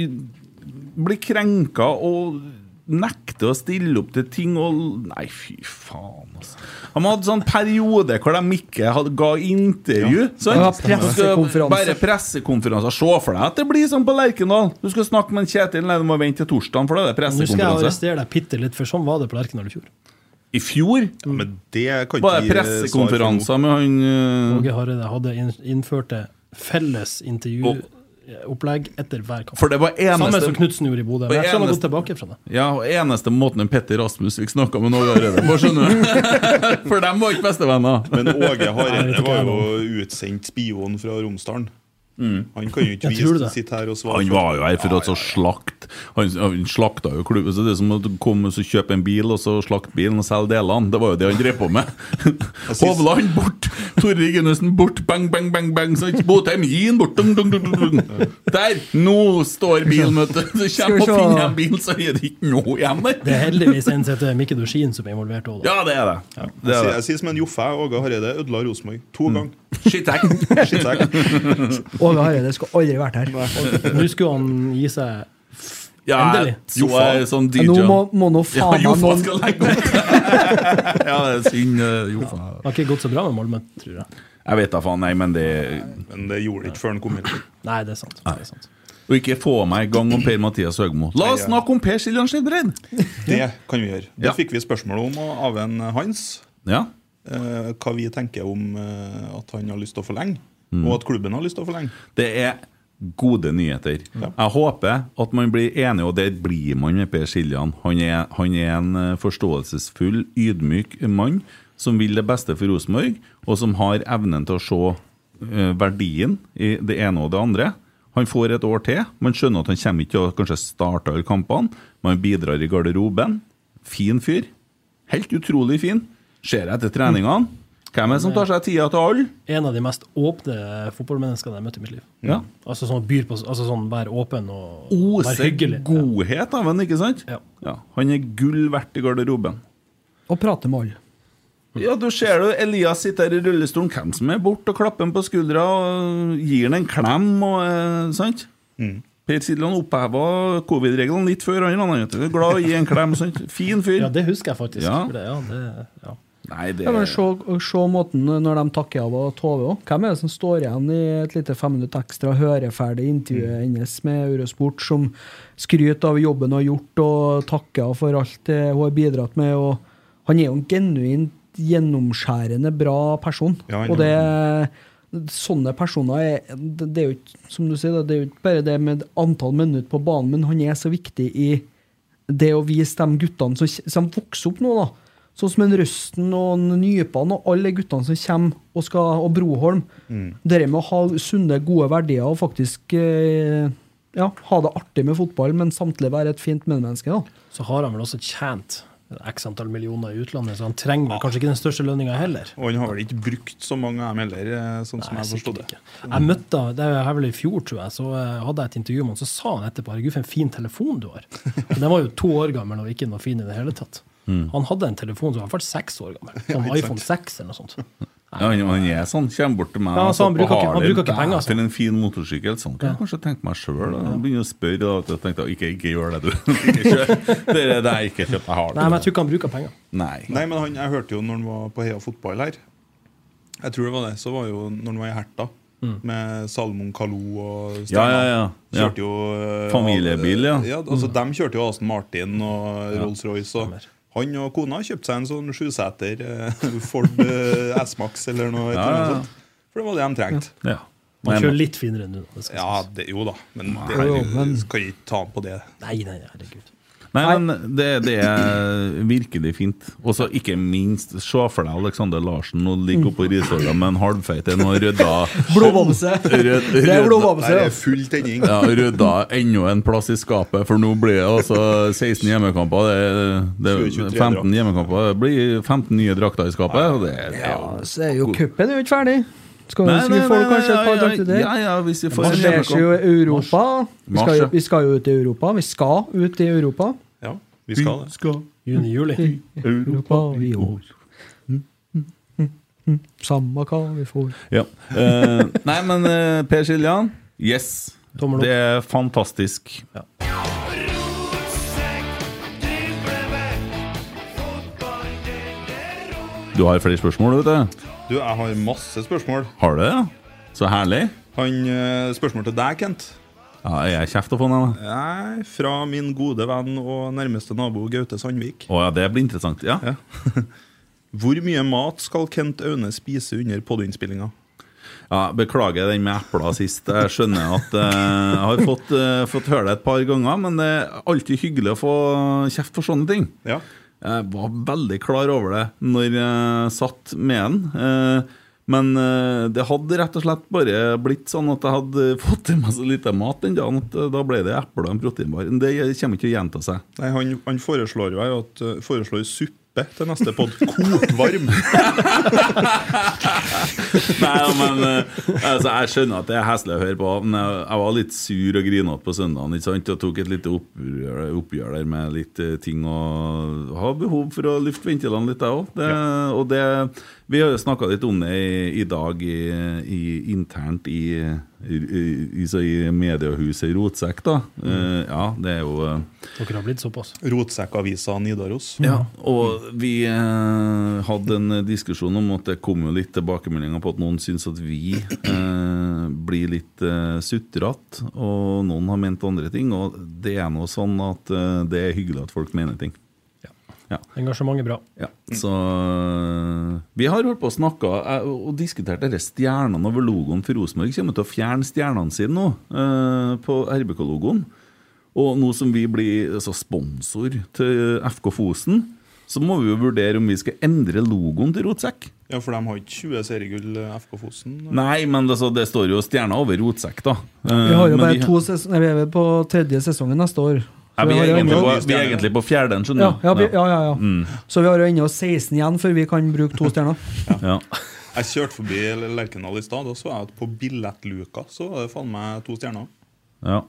blir krenka og nekter å stille opp til ting og Nei, fy faen, altså. De hadde sånn periode hvor de ikke hadde, ga intervju.
Ja.
sant?
Ja,
Du skal
pressekonferanse.
Bare pressekonferanser. Se for deg at det blir sånn på Lerkendal. Du skal snakke med en Kjetil, nei, du må vente til torsdagen, for da er det
Nå skal jeg
pressekonferanse.
arrestere deg bitte litt, for sånn var det på Lerkendal i fjor.
I fjor
kan ikke
var det
vi, eh, svare
pressekonferanser med han eh,
Åge Hareide hadde inn- innførrt det felles intervjuopplegg etter hver kamp.
For det var eneste-
Samme som Knutsen gjorde i Bodø. Men
Og
jeg skjønner
eneste-
godt tilbake fra det.
Ja, og eneste måten en Petter Rasmus fikk snakka med Norge Hareide på, skjønner du. For dem var ikke bestevenner.
Men Åge
Nei,
Hareide
vet ikke
var
jeg nå.
jo utsendt spion fra Romsdalen. Han kan jo ikke
Jeg tror
vise
det.
sitte her og svare.
Mm. Han var jo her for å så slakte. Han, han slakta jo klubben. Så det er som å komme og så kjøpe en bil, og så slakte bilen og selge delene. Det var jo det han drev på med. Hovland bort! Torrid Gunnesen bort! Bang, bang, bang, bang! Så ikke Botheim, gi den bort! Dung, dung, dung, dung, dung. Der! Nå står bilen, vet du. Så
Skal
kommer
vi
og
se.
finner en bil, så er det ikke noe igjen der.
Det er heldigvis en som heter Mikke Dorsin som er involvert òg.
Ja, det er det. Mm.
Jeg sier- Jeg sier som en Joffe, jeg, Åge Hareide ødela Rosenborg to ganger. Skittsekk.
Åge Hareide skulle aldri vært her.
Nå skulle han gi seg f-
Ja,
endelig.
så jeg sånn DJ.
Nå må, må nå
Ja,
faen meg
Jofa
noen-
skal legge opp! ja, det er synd, eh, Jofa.
Det har ikke gått så bra med Malmö, tror jeg.
Jeg vet da faen, nei, men det
Men det gjorde det ikke før han kom inn.
Nei, det er sant. Det er sant.
Og ikke få meg i gang om Per-Mathias Høgmo. La oss snakke om Per Siljan Skildred!
Det kan vi gjøre. Det
Ja.
fikk vi spørsmål om av en Hans.
Ja.
Eh, hva vi tenker om eh, at han har lyst til å forlenge,
Mm.
og at klubben har lyst til å forlenge.
Det er gode nyheter. Jeg håper at man blir enig, og det blir man med Per Siljan. Han er, han er en eh, forståelsesfull, ydmyk mann som vil det beste for Rosenborg, og som har evnen til å se eh, verdien i det ene og det andre. Han får et år til. Man skjønner at han kommer ikke til å kanskje starte alle kampene. Man bidrar i garderoben. Fin fyr. Helt utrolig fin. Ser jeg etter treningene. Hvem er det som tar seg tida til alle?
en av de mest åpne fotballmenneskene jeg har møtt i mitt liv.
Ja.
Altså sånn byr på altså sånn Vær åpen og vær
Ose
hyggelig.
godhet av ham, ikke sant? Ja. Han er gull verdt i garderoben.
og prate med alle.
Ja, du ser jo Elias sitter her i rullestolen, hvem som er borte, og klapper ham på skuldra og gir ham en klem, og eh, sant?
Mm.
Per Siljan oppheva covid-reglene litt før han, han er glad i å gi en klem. Sant? Fin fyr.
Ja, det husker jeg faktisk.
Ja.
For det, ja, det, ja.
Nei, det
Ja, men se, se måten når de takker av og Tove òg. Hvem er det som står igjen i et lite fem minutter ekstra høreferdig intervjuet
Mm.
hennes med Eurosport, som skryter av jobben hun har gjort og takker henne for alt det hun har bidratt med? Og han er jo en genuint gjennomskjærende bra person.
Ja, han er
og det Sånne personer er Det det er jo ikke som du sier, da, det er jo ikke bare det med antall minutter på banen, men han er så viktig i det å vise de guttene som, som vokser opp nå, da. Sånn som en Røsten og en Nypan og alle de guttene som kommer, og, skal, og Broholm.
Mm.
Det med å ha sunne, gode verdier og faktisk eh, ja, ha det artig med fotball, men samtidig være et fint medmenneske. da.
Så har han vel også tjent x antall millioner i utlandet, så han trenger
Ah.
vel kanskje ikke den største lønninga heller.
Og han har vel ikke brukt så mange av dem heller, eh, sånn som jeg har forstått det.
Mm.
Jeg møtte han- det er her vel i fjor, tror jeg, så eh, hadde jeg et intervju med han, så sa han etterpå herregud, for en fin telefon du har. Men Den var jo to år gammel og ikke noe fin i det hele tatt.
Mm.
Han hadde en telefon som var faktisk seks år
Ja,
gammel, sånn
ikke sant.
iPhone 6 eller noe sånt.
Ja, han, han er sånn, kommer bort til meg
Ja, altså, han
på
bruker ikke- han
Harley,
bruker ikke penger, altså.
Til en fin motorsykkel. Sånn kan jeg kanskje tenke meg sjøl. Han begynner å spørre. Da, vet du, jeg tenkte jeg, ikke, ikke gjør det, du. Ikke kjør. Det er det jeg ikke kjøper Harley.
Nei, men jeg tror ikke han bruker penger.
Nei.
Nei, men han, jeg hørte jo når han var på Heia fotball her Jeg tror det var det. Så var jo når han var i Herta,
Mm.
med Salomon Kalou og
Ja, ja, ja. Ja.
Kjørte jo eh,
Familiebil, ja. Mm.
ja altså, De kjørte jo Aston Martin og Rolls-Royce. og Han og kona kjøpte seg en sånn sjuseter eh, Ford eh, S-Max eller noe. et
Ja, ja,
eller annet
ja.
sånt. For det var det de trengte.
Ja.
Man kjører litt finere enn du. det skal
Ja, det, jo da, men det
Nei, jo,
kan jeg ikke ta han på det.
Nei, nei, herregud.
Nei, men det, det er virkelig fint. Og så ikke minst, se for deg Alexander Larsen og ligge oppå Risøla med en halvfeit en og rydda
Blodbamse.
Rød-
Det er
rød-
blodbamse,
Nei, det
ja.
er full tenning. Ja, rydda enda en plass i skapet, for nå blir det altså 16 hjemmekamper. Det, er- det, er 15 hjemmekamper. Det blir 15 nye drakter i skapet. Og det, det er jo
Så er jo cupen er jo ikke ferdig. Skal,
Nei,
så
nei,
vi får
nei,
kanskje et
nei,
par
ja,
drakter til.
ja, ja, hvis vi får
Og
en
det skjer jo i Europa. Vi
Mars,
skal,
ja.
jo- vi skal jo ut i Europa. Vi skal ut i Europa.
Ja, vi skal det.
Juni-juli.
Europa i år. Mm, Samme hva vi får.
Ja. Eh, nei, men eh, Per Siljan, yes.
Tommel opp.
Det er fantastisk. Du har flere spørsmål, vet du.
Du, jeg har masse spørsmål.
Har du det? ja? Så herlig.
Han, eh, spørsmål til deg, Kent.
Ja, jeg er kjeft å få den. da.
Nei, fra min gode venn og nærmeste nabo Gaute Sandvik.
Å ja, det blir interessant. Ja.
Hvor mye mat skal Kent Aune spise under podiinnspillinga?
Ja, beklager den med epla sist. Jeg skjønner at eh, jeg har fått, eh, fått høre det et par ganger, men det er alltid hyggelig å få kjeft for sånne ting. Jeg var veldig klar over det når jeg satt med den. eh, men eh, det hadde rett og slett bare blitt sånn at jeg hadde fått i meg så lite mat den dagen at eh, da ble det eple og en proteinbar. Det kommer ikke til å gjenta seg.
Nei, han, han foreslår jo her at eh, foreslår suppe til neste pod. Kokvarm!
Nei, ja, men eh, altså, Jeg skjønner at det er heslig å høre på, men jeg, jeg var litt sur og grinete på søndagen. Ikke sant? Og tok et lite oppgjør, oppgjør der med litt eh, ting og har behov for å lufte ventilene litt, jeg òg. Det- Og det Vi har jo snakka litt om det i, i dag i, i, internt i, i, i, så i mediehuset Rotsekk, da. Eh, ja, det er jo eh,
Dere har blitt såpass.
Rotsekkavisa Nidaros.
ja, og vi eh, hadde en diskusjon om at det kom jo litt tilbakemeldinger på at noen syns at vi eh, blir litt eh, sutrete, og noen har ment andre ting. Og det er nå sånn at eh, det er hyggelig at folk mener ting.
Engasjementet er bra.
Ja, så eh, Vi har holdt på å snakke eh, og diskutert dette stjernene over logoen for Rosenborg. Kommer til å fjerne stjernene sine nå eh, på RBK-logoen. Og nå som vi blir altså, sponsor til FK Fosen, så må vi jo vurdere om vi skal endre logoen til Rotsekk.
Ja, for de har ikke 20 seriegull, eh, FK Fosen.
Nei, men altså, det står jo stjerna over Rotsekk, da. Eh,
Vi har jo
men
bare to sesonger, nei, vi er vel på tredje sesongen neste år.
Ja,
Så
vi,
har
er
jo-
egentlig på, vi er egentlig på fjerden,
ja,
skjønner du.
ja, vi, ja, ja, ja.
Mm.
Så vi har jo ennå 16 igjen før vi kan bruke to stjerner.
Ja.
Jeg kjørte forbi Lerkendal i stad, og så jeg at på billettluka så var det faen meg to stjerner.
Ja.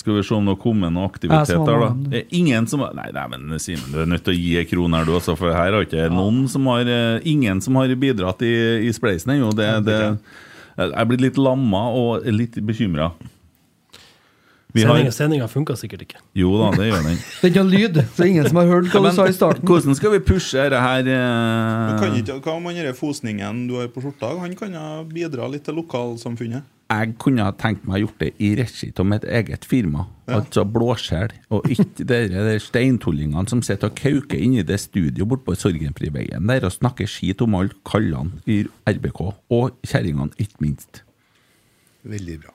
Skal vi se om det har kommet noe
Jeg som
aktivitet
har
der, da.
mannen.
Det er ingen som har Nei, nei men Simen, du er nødt til å gi en krone her, du også, for her har ikke noen som har eh, Ingen som har bidratt i, i spleisen ennå. Det, det, jeg er blitt litt lamma og litt bekymra. Vi har-
Sendinga- Sendinga funka sikkert ikke.
Jo da, det gjør den.
Det er ikke noe lyd. Det er ingen som har hørt hva
Men
du sa i starten.
Hvordan skal vi pushe dette her eh?
Du kan ikke, hva om han derre fosningen du har på skjorta? Han kan ha bidra litt til lokalsamfunnet.
Jeg kunne ha tenkt meg å gjort det i regi av mitt eget firma,
Ja.
altså Blåskjell, og ikke dere der steintullingene som sitter og kauker inni det studio borte på Sorgenfriveien der og snakker skit om alle kallene i RBK, og kjerringene, ikke minst.
Veldig bra.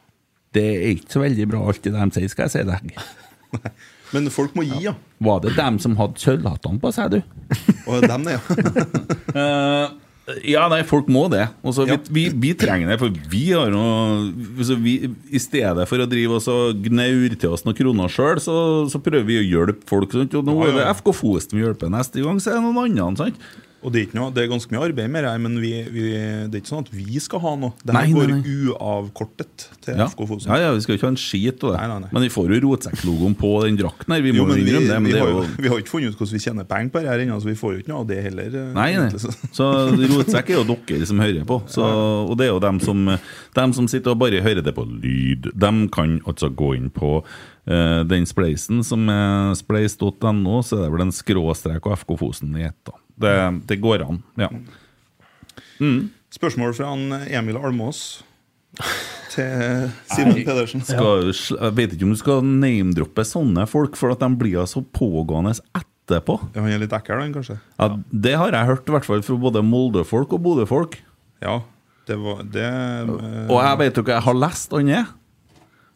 Det er ikke så veldig bra alt det de sier, skal jeg si deg.
Men folk må gi, ja.
Var det dem som hadde sølvhattene på seg, du?
Og dem, det,
ja. Eh, ja, nei, folk må det. Og så vi, vi, vi trenger det, for vi har noe så vi, I stedet for å drive oss og gnaure til oss noen kroner sjøl, så, så prøver vi å hjelpe folk. Sant? Og nå
Ja, ja,
er det
ja.
FK Fosen vi hjelper neste gang, så er det noen andre. Sant?
Og det er ikke noe, det er ganske mye arbeid med det, her, men vi, vi, det er ikke sånn at vi skal ha noe. Det
Nei,
her
nei,
går
nei.
uavkortet til
Ja.
FK Fosen.
ja, ja, vi skal jo ikke ha en skit av det. Men vi får jo rotsekklogoen på den drakten her. Vi
Jo,
må
men
jo
vi,
innrømme det. Men
vi,
det
har
er
jo,
jo
vi har ikke funnet ut hvordan vi tjener penger på det her ennå, så vi får jo ikke noe av det heller. eh,
Nei, nei.
egentlig, så-
Så rotsekk er jo dere som hører på. Så, og det er jo dem som, dem som sitter og bare hører det på lyd. Dem kan altså gå inn på eh, den spleisen som er spleis.no, så er det vel en skråstrek og FK Fosen i ett. da. Det, det går Mm. an. ja.
Spørsmål fra han Emil Almås til Simen
Nei,
Pedersen.
Skal, jo sl- jeg vet ikke om du skal name-droppe sånne folk, for at de blir jo så pågående etterpå.
Ja, han er litt ekkel, han kanskje?
Ja, det har jeg hørt, i hvert fall fra både Molde-folk og Bodø-folk.
Ja, det var det, eh,
Og jeg vet jo hva jeg har lest han er.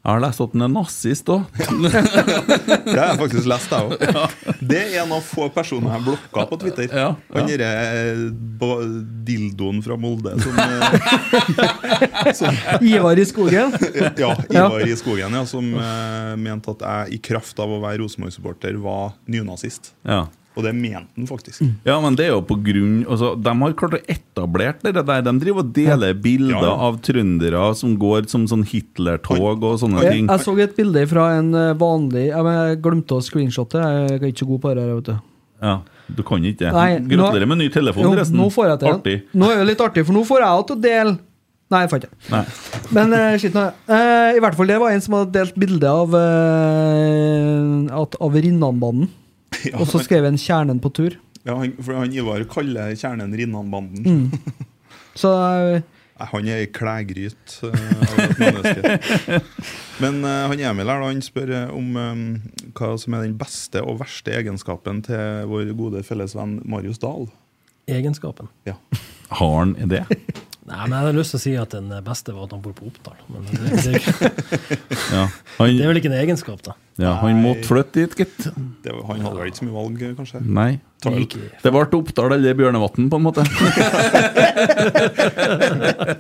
Jeg har lest at han er nazist òg.
Det har jeg faktisk lest, jeg òg. Det er en av få personer jeg blokka på Twitter. Han derre eh, ba- dildoen fra Molde som, eh, som
Ivar i skogen?
Ja, Ivar i skogen, ja, som eh, mente at jeg i kraft av å være Rosenborg-supporter var nynazist.
Ja.
Og det mente han faktisk.
ja, men det er jo på grunn altså, De har klart å etablert det der. De driver og deler bilder
Ja, ja.
av trøndere som går som sånn Hitler-tog og sånne
Jeg,
ting.
jeg så et bilde fra en eh, vanlig Jeg, men jeg glemte å screenshotte. Jeg er ikke så god på det her. vet du
Ja, Du kan ikke det.
Nei, nå-
Gratulerer med ny telefon,
Jo,
forresten.
Nå får jeg til
Artig.
den. Nå er det litt artig, for nå får jeg til å dele Nei, jeg fant det.
Nei.
Men eh, skitt nå. Eh, I hvert fall det var en som hadde delt bilde av eh, at, av Rinnanbanen.
Ja,
og så
men-
skrev en 'Kjernen på tur'.
Ja, han, for han Ivar kaller kjernen Rinnan-banden.
Mm. Så eh,
Nei, Han er ei klægryt eh, av et menneske. Men eh, han Emil her, da, han spør eh, om eh, hva som er den beste og verste egenskapen til vår gode fellesvenn Marius Dahl.
Egenskapen.
Ja.
Har han det?
Nei, men Jeg hadde lyst til å si at den beste var at han bor på Oppdal. Men det, det, er ikke-
Ja, han-
det er vel ikke en egenskap, da.
Ja, han måtte flytte dit, gitt.
Det var, han hadde vel ikke så mye valg, eh, kanskje?
Nei.
Ta vel-
Det ble Oppdal eller Bjørnevatn, på en måte.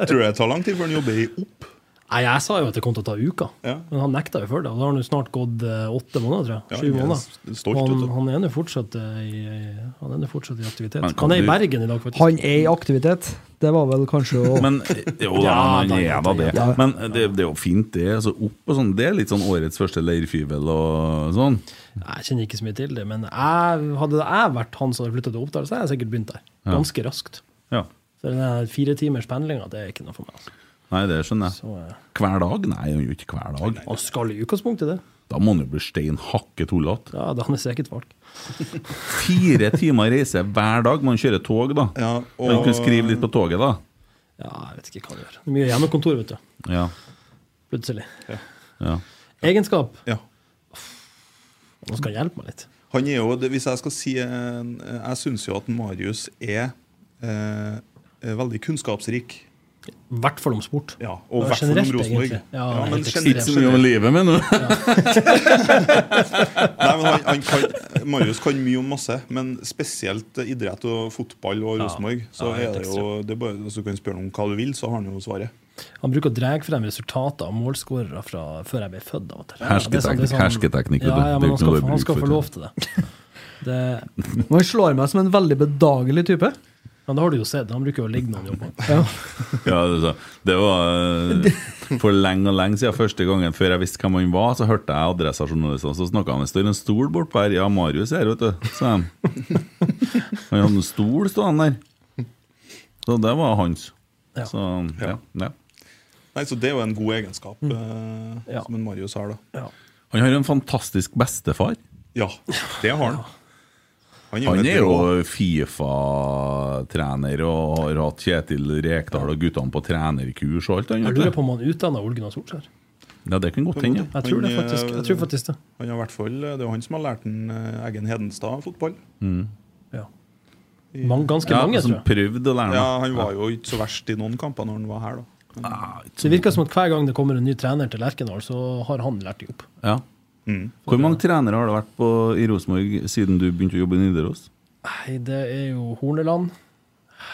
Tror du det tar lang tid før han jobber i Opp?
Nei, Jeg sa jo at det kom til å ta uker, men han nekta jo for det. Og da har han jo snart gått eh, åtte måneder, tror
Ja,
jeg. Sju
han er
måneder.
s- stolt,
Og
vet
han,
du.
han er nå fortsatt, eh, i- han er nå fortsatt i aktivitet.
Men
Han,
kan
er
du-
i Bergen i dag, faktisk.
han er i aktivitet. Det var vel kanskje å
Men jo da, han er da det. Men det, det er jo fint, det. Altså, opp og sånn, det er litt sånn årets første leirfyvel og sånn.
Jeg kjenner ikke så mye til det, men jeg, hadde jeg vært han som hadde flytta til Oppdal, så hadde jeg sikkert begynt der.
Ja.
Ganske raskt.
Ja.
For den her fire timers pendlinga, det er ikke noe for meg. Altså.
Nei, det skjønner jeg. Hver dag? Nei, han gjør ikke hver dag.
Han skal i utgangspunktet det.
Da må han jo bli stein hakket hullete.
Ja, da han er sikkert valgt.
Fire timer reise hver dag. Man kjører tog, da.
og-
Man kunne skrive litt på toget, da.
Ja, jeg vet ikke hva han gjør. Mye hjemmekontor, vet du.
Ja.
Plutselig.
ja.
Egenskap.
Ja.
Nå skal han hjelpe meg litt.
Han er jo, det- Hvis jeg skal si eh, Jeg syns jo at Marius er eh, eh, veldig kunnskapsrik.
I hvert fall om sport.
Ja, og
Ja,
i hvert fall om
generelt,
Rosenborg.
egentlig. Ja,
Ja,
helt
men
ekstremt.
generelt-
Ikke så mye om livet, men nå.
Nei, men han, han kan, Marius kan mye om masse, men spesielt idrett og fotball og
Ja.
Rosenborg. Så
Ja, helt
er det jo det er bare, altså, Du kan spørre ham om hva du vil, så har han jo svaret.
Han bruker å dra frem resultater av målskårere fra før jeg ble født. Av og til.
Hersketeknikk,
Det er sånn- det er sånn-
hersketeknikk, vet du.
Ja, ja, men han
Det er jo
skal,
ikke noe
han skal
det
få
er
lov til det. det.
Han slår meg som en veldig bedagelig type.
Men det har du jo sett. Han bruker jo å ligge når han jobber.
Ja, det, så- det var eh, for lenge og lenge siden. Første gangen før jeg visste hvem han var, så hørte jeg Adressa-journalistene som snakka om det står en stol bortpå her. Ja, Marius er her, vet du, sa de. Han hadde en stol stående der. Så det var hans.
Ja.
Så, ja, ja.
Nei, Så det er jo en god egenskap eh, som en Marius har. da
Mm. Ja.
Han har jo en fantastisk bestefar.
Ja, det har han.
Han er jo Fifa-trener og har hatt Kjetil Rekdal og guttene på trenerkurs og alt. Han,
Jeg
vet
lurer
du.
på om han utdanna Ole Gunnar Solskjær.
ja, det kan godt hende.
Jeg tror det faktisk- jeg tror faktisk det.
eh, Han har i hvert fall, det er jo han som har lært en eh, Eggen Hedenstad fotball.
Mm.
I-
Mange- ganske Ja, mange, som tror jeg. prøvde å lære
Ja,
noe.
han var
Ja.
jo ikke så verst i noen kamper når han var her, da. Men-
Ah,
Det virker som at hver gang det kommer en ny trener til Lerkendal, så har han lært de opp.
Ja.
Mm.
Hvor mange trenere har det vært på, i Rosenborg siden du begynte å jobbe i Nidaros?
Nei, det er jo Horneland,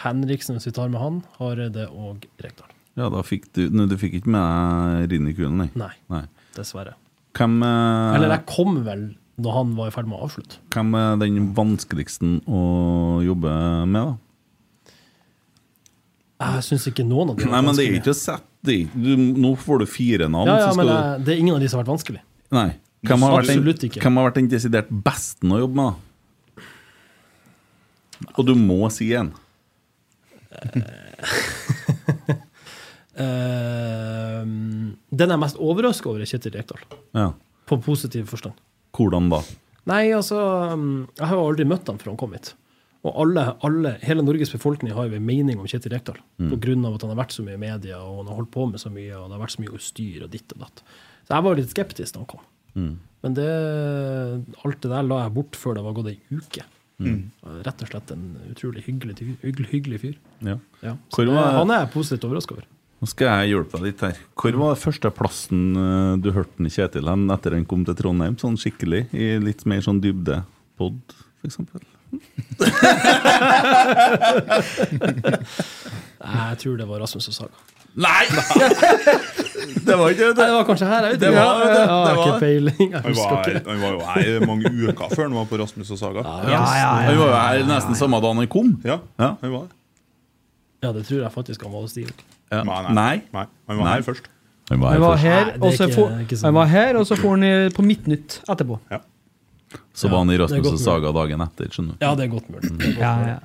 Henriksen hvis vi tar med han, Hareide og Rekdal.
Ja, da fikk du, nei, du fikk ikke med deg Rini Kulen, nei.
Nei. Dessverre.
Hvem, eh,
Eller jeg kom vel når han var i ferd med å avslutte.
hvem er den vanskeligsten å jobbe med, da?
Jeg syns ikke noen av de
Nei, men det er ikke å sette det er- du, Nå får du fire navn.
Ja, ja,
så skal du-
men jeg, det er ingen av de som har vært vanskelig.
Nei. Hvem har, vært
Absolutt
den,
ikke.
hvem har vært den desidert besten å jobbe med, da? Og du må si en.
Ehm, den jeg er mest overraska over, er Kjetil Rekdal.
Ja.
På positiv forstand.
Hvordan da?
Nei, altså um, Jeg har jo aldri møtt han før han kom hit. Og alle, alle, hele Norges befolkning har jo en mening om Kjetil Rekdal.
Mm.
På grunn av at han har vært så mye i media, og han har holdt på med så mye, og det har vært så mye styr og ditt og datt. Så jeg var jo litt skeptisk da han kom.
Mm.
Men det, alt det der la jeg bort før det var gått ei uke.
Mm.
Rett og slett en utrolig hyggelig, hyggelig, hyggelig fyr.
Ja.
Så
Hvor
det,
var-
han er jeg positivt overraska over.
Nå skal jeg hjelpe deg litt her. Hvor var første plassen eh, du hørte den Kjetil hen etter han kom til Trondheim, sånn skikkelig? I litt mer sånn dybdepod, f.eks.?
Nei, jeg tror det var Rasmus og Saga.
Nei! det var ikke det.
Nei, det var kanskje her jeg er ute.
Det var det,
Jeg har Ah,
det var
ikke
det.
peiling. Jeg
Han var,
husker ikke.
han var jo her mange uker før han var på Rasmus og Saga.
Han var jo her nesten samme dagen han kom.
Ja,
Ja.
han var det.
Ja, det tror jeg faktisk han var hos Stil.
Ja.
Nei. Nei, han var
Nei.
her først.
Han var
Han var her,
Nei, det er
og så
ikke-
for-
det er ikke sånn.
han var her, og så for han i- på Midtnytt etterpå.
Så var han i
det er
Rasmus
godt
og
mulig.
Saga dagen etter, skjønner du.
Ja, det er godt mulig. Det er godt
Ja,
mulig.
ja.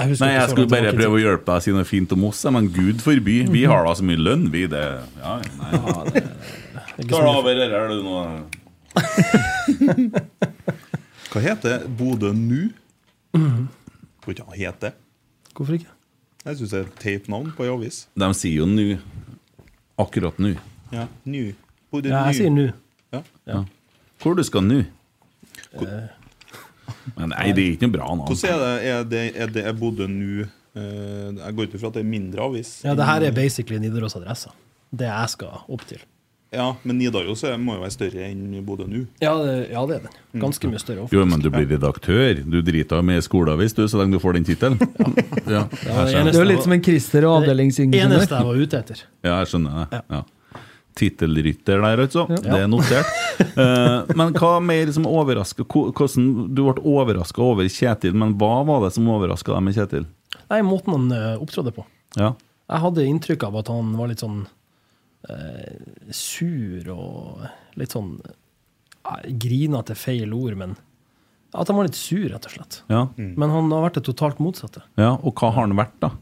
Jeg husker
Nei,
ikke
jeg skulle
så langt
bare
tilbake i Mhm.
prøve å hjelpe deg å si noe fint om oss, ja, men gud forby. Vi har da så mye lønn, vi. Det Ja, nei.
tid.
Tar du over dette, er du nå
Hva heter Bodø nå? Tror ikke han het det.
Hvorfor ikke?
Jeg syns det er et teit navn på ei avis.
De sier jo nu. Akkurat nå.
Ja, nu. Bodø
Ja, jeg
nu.
sier nu.
Ja.
Ja. Hvor du skal nå? Eh, Men nei, det er ikke noe bra navn.
Hvordan er det? Er, det, er, det, er Bodø nå eh, Jeg går ut ifra at det er mindre avis.
Ja, det her er basically Nidaros adresse. Det jeg skal opp til.
Ja, men Nidaros er- må jo være større enn Bodø nå.
Ja, det, ja, det er den. Ganske mye større.
Jo, men du blir redaktør. Du driter med skoleavis du, så lenge du får den tittelen. Ja. jeg
var det
skjønner.
Det er jo litt som en Christer og avdelingsingeniør.
Eneste jeg var ute etter.
Ja, jeg skjønner det. Ja. Tittelrytter der, altså. Det er notert. Eh, men hva mer som overrasker Ko- Hvordan Du ble overraska over Kjetil, men hva var det som overraska deg med Kjetil?
Nei, måten han eh, opptrådde på.
Ja.
Jeg hadde inntrykk av at han var litt sånn eh, sur og litt sånn eh, Grinete er feil ord, men at han var litt sur, rett og slett.
Ja.
Men han har vært det totalt motsatte.
ja. Og hva har han vært, da?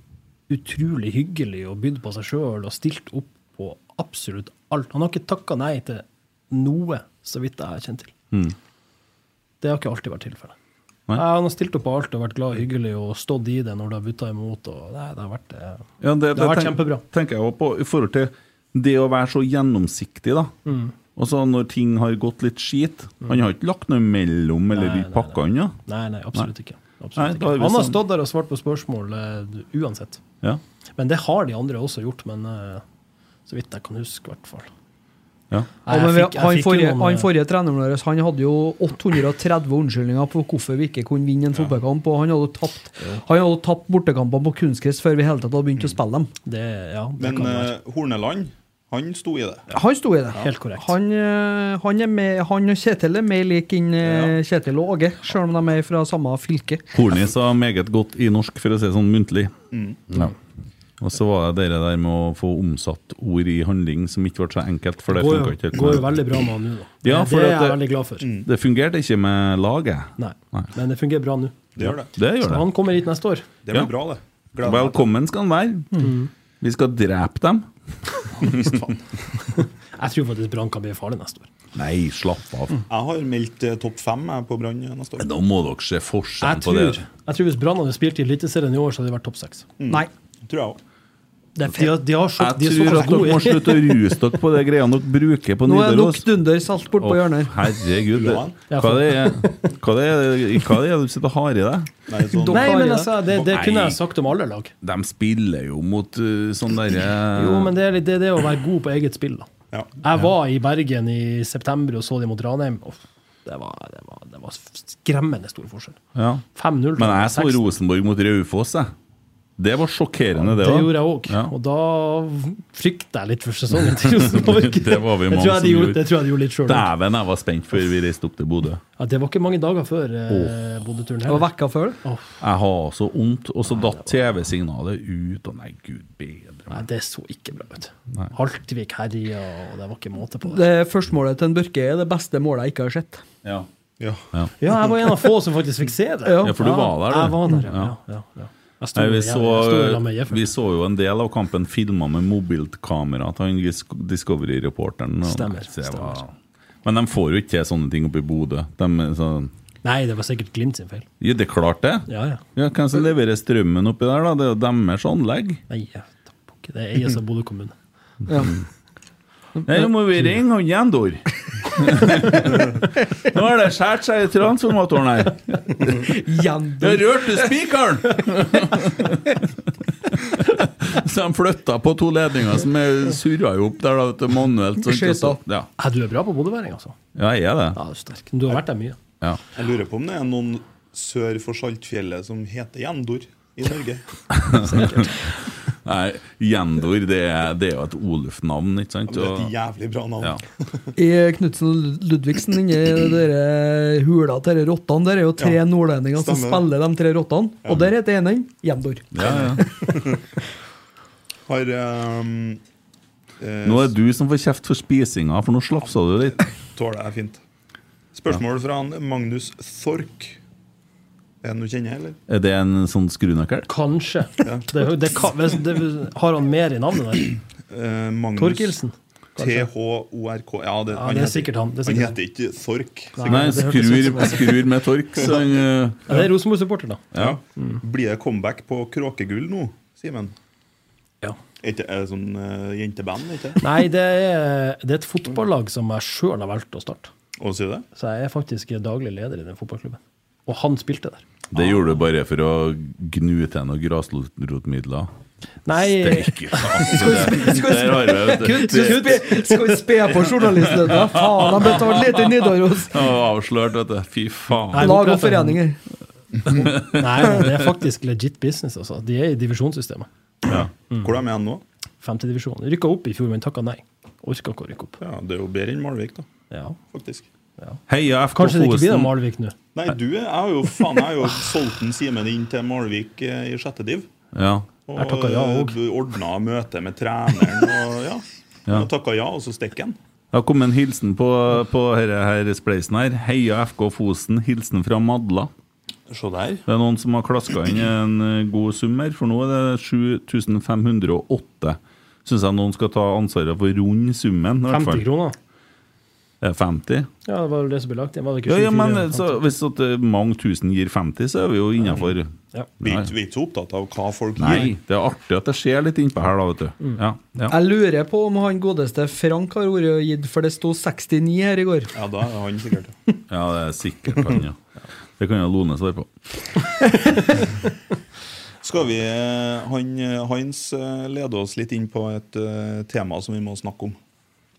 Utrolig hyggelig og bydd på seg sjøl og stilt opp på absolutt alt. Han har ikke takka nei til noe, så vidt jeg kjenner til.
Mm.
Det har ikke alltid vært tilfellet.
Nei.
Nei, Han har stilt opp på alt og vært glad og hyggelig og stått i det når det har butta imot. Og nei, det har vært, eh,
Ja, det,
det har vært
tenk-
kjempebra.
tenker jeg jo på i forhold til det å være så gjennomsiktig, da.
Mm.
Og så når ting har gått litt skit Han har ikke lagt noe mellom eller pakka unna.
Nei, nei, absolutt ikke.
Nei, da
Absolutt
er
ikke.
vi
Han har
sammen.
stått der og svart på spørsmål eh, uansett.
Ja.
Men det har de andre også gjort, men eh, så vidt jeg kan huske, i hvert fall.
Ja.
Ja, men vi,
Jeg fikk- jeg
han,
fikk jo
forrige,
noen,
han
eh,
forrige treneren vår han hadde jo 830 unnskyldninger på hvorfor vi ikke kunne vinne en fotballkamp. Og han hadde jo tapt, han hadde jo tapt bortekampene på kunstgress før vi i hele tatt hadde begynt å spille dem.
Det, ja, det
Men
kan være.
eh, Horneland, han sto i det.
Han sto i det.
Helt korrekt.
Han, eh, han, er med, han og Kjetil er mer lik enn eh, Kjetil og Åge, selv om de er fra samme fylke.
Horny sa meget godt i norsk, for å si det sånn muntlig.
Mm.
Ja. Og så var det det der med å få omsatt ord i handling som ikke ble så enkelt. For det,
går,
funket
jo,
ikke helt.
går jo veldig bra med han nå, da.
Ja,
det
for
er
at
jeg
det-
veldig glad for.
Mm.
Det fungerte ikke med laget.
Nei. Men det fungerer bra nå.
Det gjør det. Det gjør
Så
det.
han kommer hit neste år.
Det blir bra, det. Gleder meg.
Velkommen skal han være.
Mhm.
Vi skal drepe dem.
Jeg tror faktisk Brann kan bli farlig neste år.
Nei, slapp av.
Mm. Jeg har meldt eh, topp fem jeg, på Brann eh, neste år.
Da må dere se forskjellen
Jeg
på
tror,
det. Mm.
jeg tror hvis Brann hadde spilt i Eliteserien i år, så hadde de vært topp seks.
Nei. Tror jeg også.
Det er fe- de, har- de har så, de
Jeg
er
tror
såpass
at dere må
gode.
slutte å ruse dere på de greiene dere bruker på
Nå er det nok
Nidaros.
dunder salt bort på
Å,
hjørnet.
Herregud. det- Hva det er hva det er- hva det er du sitter og har i deg?
Nei, men altså, det, det kunne jeg sagt om alle lag.
De spiller jo mot uh, sånn derre
Jo, men det er litt det, er det å være god på eget spill, da. Jeg var i Bergen i september og så de mot Ranheim. Uff, det, var, det, var, det var skremmende stor forskjell.
ja.
5-0.
Men jeg så Rosenborg mot Raufoss, jeg. Det var sjokkerende, det
Det
òg.
gjorde jeg òg, og da frykter jeg litt for sesongen til Rosenborg.
Det var vi
Det
mange
tror jeg
som
de gjorde-
gjorde.
det tror jeg de gjorde litt selv.
Dæven, jeg var spent før vi reiste opp til Bodø.
Ja, det var ikke mange dager før eh, Bodø-turen
Det var
heller.
vekka før det.
Jeg har så vondt. Og så datt TV-signalet ut, og nei, gud bedre.
Nei, det så ikke bra ut. Haltvik herja, og det var ikke måte på.
Det førstemålet til en Børke er det beste målet jeg ikke har sett.
Ja.
Ja.
Ja, jeg var en av få som faktisk fikk se det.
Ja.
Ja, for du var der, du.
Jeg var der, ja.
Ja.
ja, ja, ja. Jeg sto
Nei, vi,
jeg- jeg sto i lag med
så,
Jeff.
vi så jo en del av kampen filma med mobilkamera til han Dis- Discovery-reporteren. og-
Stemmer,
nei, så det var- Men de får jo ikke til sånne ting oppe i Bodø. De, er sånn-
Nei, det var sikkert Glimt sin feil.
ja, det er klart, det.
Ja, ja.
Hvem som leverer strømmen oppi der, da? Det er jo deres anlegg.
Nei, jeg tar på ikke. det eies av Bodø kommune.
Nei, nå må vi ringe han Jendor. Nå har det skåret seg i transformatoren her.
Jendor.
Jeg rørte spikeren! Så de flytta på to ledninger som er surra jo opp der da, vet du, manuelt. sant? Og så- altså. Ja.
Ja, du er bra på bodøværing, altså.
ja, jeg er det.
Ja, du er sterk. Du har vært der mye.
Ja.
Jeg lurer på om det er noen sør for Saltfjellet som heter Jendor i Norge.
Nei, Jendor, det er, det er jo et Oluf-navn, ikke sant?
Det er et
Og,
jævlig bra navn.
ja.
I Knutsen og Ludvigsen, inni dere hula til dere rottene, der er jo tre
Ja.
nordlendinger som
Stemmer.
spiller de tre rottene. Og der heter enen Jendor.
Ja, ja.
Har ehm, eh,
Nå er du som får kjeft for spisinga, for nå slafsa du litt.
Tåler jeg fint. Spørsmål fra han Magnus Thork. Er han du kjenner, eller?
Er det en sånn skrunøkkel?
Kanskje. Det, det, kan- hvis det, har han mer i navnet der?
Eh, Magnus
Torkelsen? Kanskje.
T-H-O-R-K. Ja, det,
Ja, det er sikkert han. Det er sikkert
han heter ikke Thork.
Nei,
Nei,
det hørtes ut
skrur,
som det.
skrur med tork, så han eh,
Ja, det er Rosenborg-supporter, da. Mm.
Ja.
Blir det comeback på Kråkegull nå, Simen?
Ja.
Er det er det sånn eh, jenteband, ikke det?
Nei, det er, det er et fotballag som jeg sjøl har valgt å starte.
Å, sier du det?
Så jeg er faktisk daglig leder i den fotballklubben. Og han spilte der.
Det gjorde du bare for å gnu til noen grasrotmidler.
Nei,
Steike, altså, det, der har vi vet du.
Kutt, kutt, spe- Skal vi spe på journalistlønna? Faen, de betalte litt i Nidaros!
Det var avslørt, vet du. Fy faen.
Nei,
Lag og
opprettet-
foreninger.
nei, det er faktisk legit business, altså. De er i divisjonssystemet.
Hvor er de er nå?
Femtedivisjon. Rykka opp i fjor, men takka nei. Orka ikke å rykke opp.
Ja, Det er jo bedre enn Malvik, da.
Ja.
Faktisk.
Heia FK
Kanskje det ikke blir
Fosen.
det Malvik nå.
Nei, du er, jeg har jo faen, jeg har jo solgt en Simen inn til Malvik eh, i sjette div.
Ja.
Og
Jeg takker ja og.
eh, ordna møte med treneren og ja.
Ja.
Og takka ja, og så stikker han.
Det har kommet en hilsen på, på herre her spleisen her. Heia FK Fosen. Hilsen fra Madla.
Se der.
Det er noen som har klaska inn en eh, god sum her, for nå er det 7508. Syns jeg noen skal ta ansvaret for rund summen. i hvert
50
fall.
kroner.
Eh, 50?
Ja, det var jo det som ble lagt inn. Var det ikke
Ja, ja,
24,
men
eller noe
så,
sånt?
hvis at eh, mange tusen gir 50, så er vi jo innafor.
Ja.
Vi er ikke- vi er ikke så opptatt av hva folk
Nei,
gir.
det er artig at det skjer litt innpå her, da, vet du.
Mm.
Ja, ja.
Jeg lurer på om han godeste Frank har vært og gitt, for det sto 69 her i går.
Ja, da er han sikkert
ja det er sikkert han, ja. Det kan jo Lone svare på.
Skal vi eh, han, eh, Hans eh, leder oss litt inn på et eh, tema som vi må snakke om.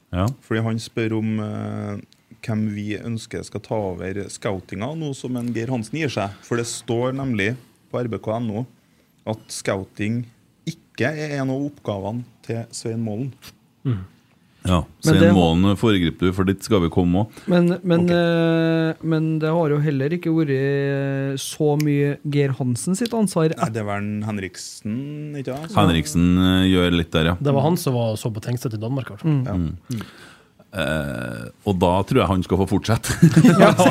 Ja.
Fordi han spør om eh, hvem vi ønsker skal ta over scoutinga nå som en Geir Hansen gir seg. For det står nemlig på rbk.no at scouting ikke er en av oppgavene til Svein Målen.
ja.
Men det-
Svein Målen foregriper du, for dit skal vi komme òg.
Men, men,
Ok.
eh, men det har jo heller ikke vært eh, så mye Geir Hansen sitt ansvar.
Nei, det er vel en Henriksen, ikke sant?
Henriksen eh, gjør litt der, ja. Mm.
Det var han som var og så på Tengstedt i Danmark, i hvert fall.
Ja.
Eh, og da tror jeg han skal få fortsette.
Ja, det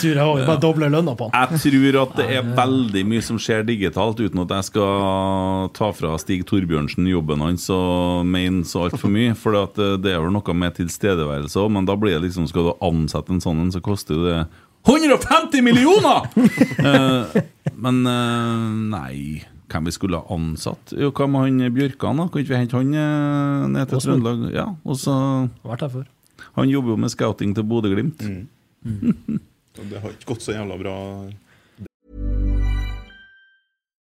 tror jeg òg. Bare dobler lønna på han.
Jeg tror at det er veldig mye som skjer digitalt, uten at jeg skal ta fra Stig Torbjørnsen jobben hans og mene så altfor mye. For at eh, det er vel noe med tilstedeværelse òg, men da blir det liksom Skal du ansette en sånn en, så koster jo det 150 millioner! Eh, men eh, nei hvem vi skulle ha ansatt? Jo, hva med han Bjørkan? da? Kan ikke vi hente han eh, ned til
Åsmund.
Trøndelag? Ja, og så
Vært her før.
Han jobber jo med scouting til Bodø-Glimt.
Mm.
Det har ikke gått så jævla bra.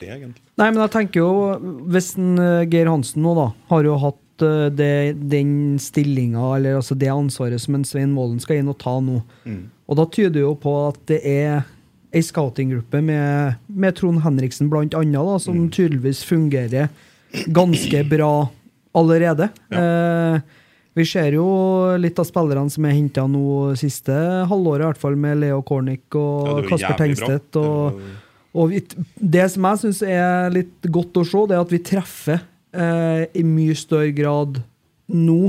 Det, egentlig.
Nei, men jeg tenker jo Hvis en, eh, Geir Hansen nå da har jo hatt eh, det, den stillinga, eller altså det ansvaret som en Svein Målen skal inn og ta nå.
Mm.
Og da tyder det jo på at det er ei scoutinggruppe med, med Trond Henriksen blant annet, da,
Mm.
som tydeligvis fungerer ganske bra allerede. Eh, vi ser jo litt av spillerne som er henta nå siste halvåret, i hvert fall med Leo Kornic
Ja,
og
det var
Kasper
jævlig bra.
Tengstedt. Og, og vi, det som jeg syns er litt godt å se, det er at vi treffer eh, i mye større grad nå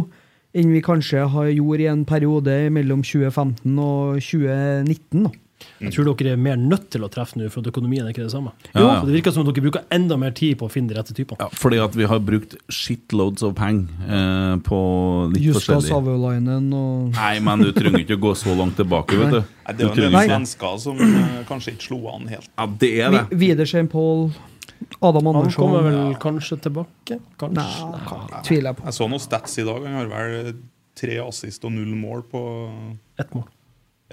enn vi kanskje har gjort i en periode mellom 2015 og 2019. da.
Jeg tror dere er mer nødt til å treffe nå, for at økonomien er ikke det samme.
Ja, ja.
Så Det virker som om dere bruker enda mer tid på å finne de rette typene.
Fordi at vi har brukt shitloads of peng eh, på litt
Juskas
forskjellig.
Savolainen og
Nei, men du trenger ikke å gå så langt tilbake, vet du.
Nei, det er
Du
jo en
trenger
del
ikke-
svensker som eh, kanskje ikke slo an helt.
Ja, det er det.
Vi- Widersen Paul, Adam
Han
Andersson
kommer vel kanskje tilbake? Kanskje.
tviler jeg på.
Jeg så noen stats i dag. Han har vel tre assist og null mål på
Ett mål.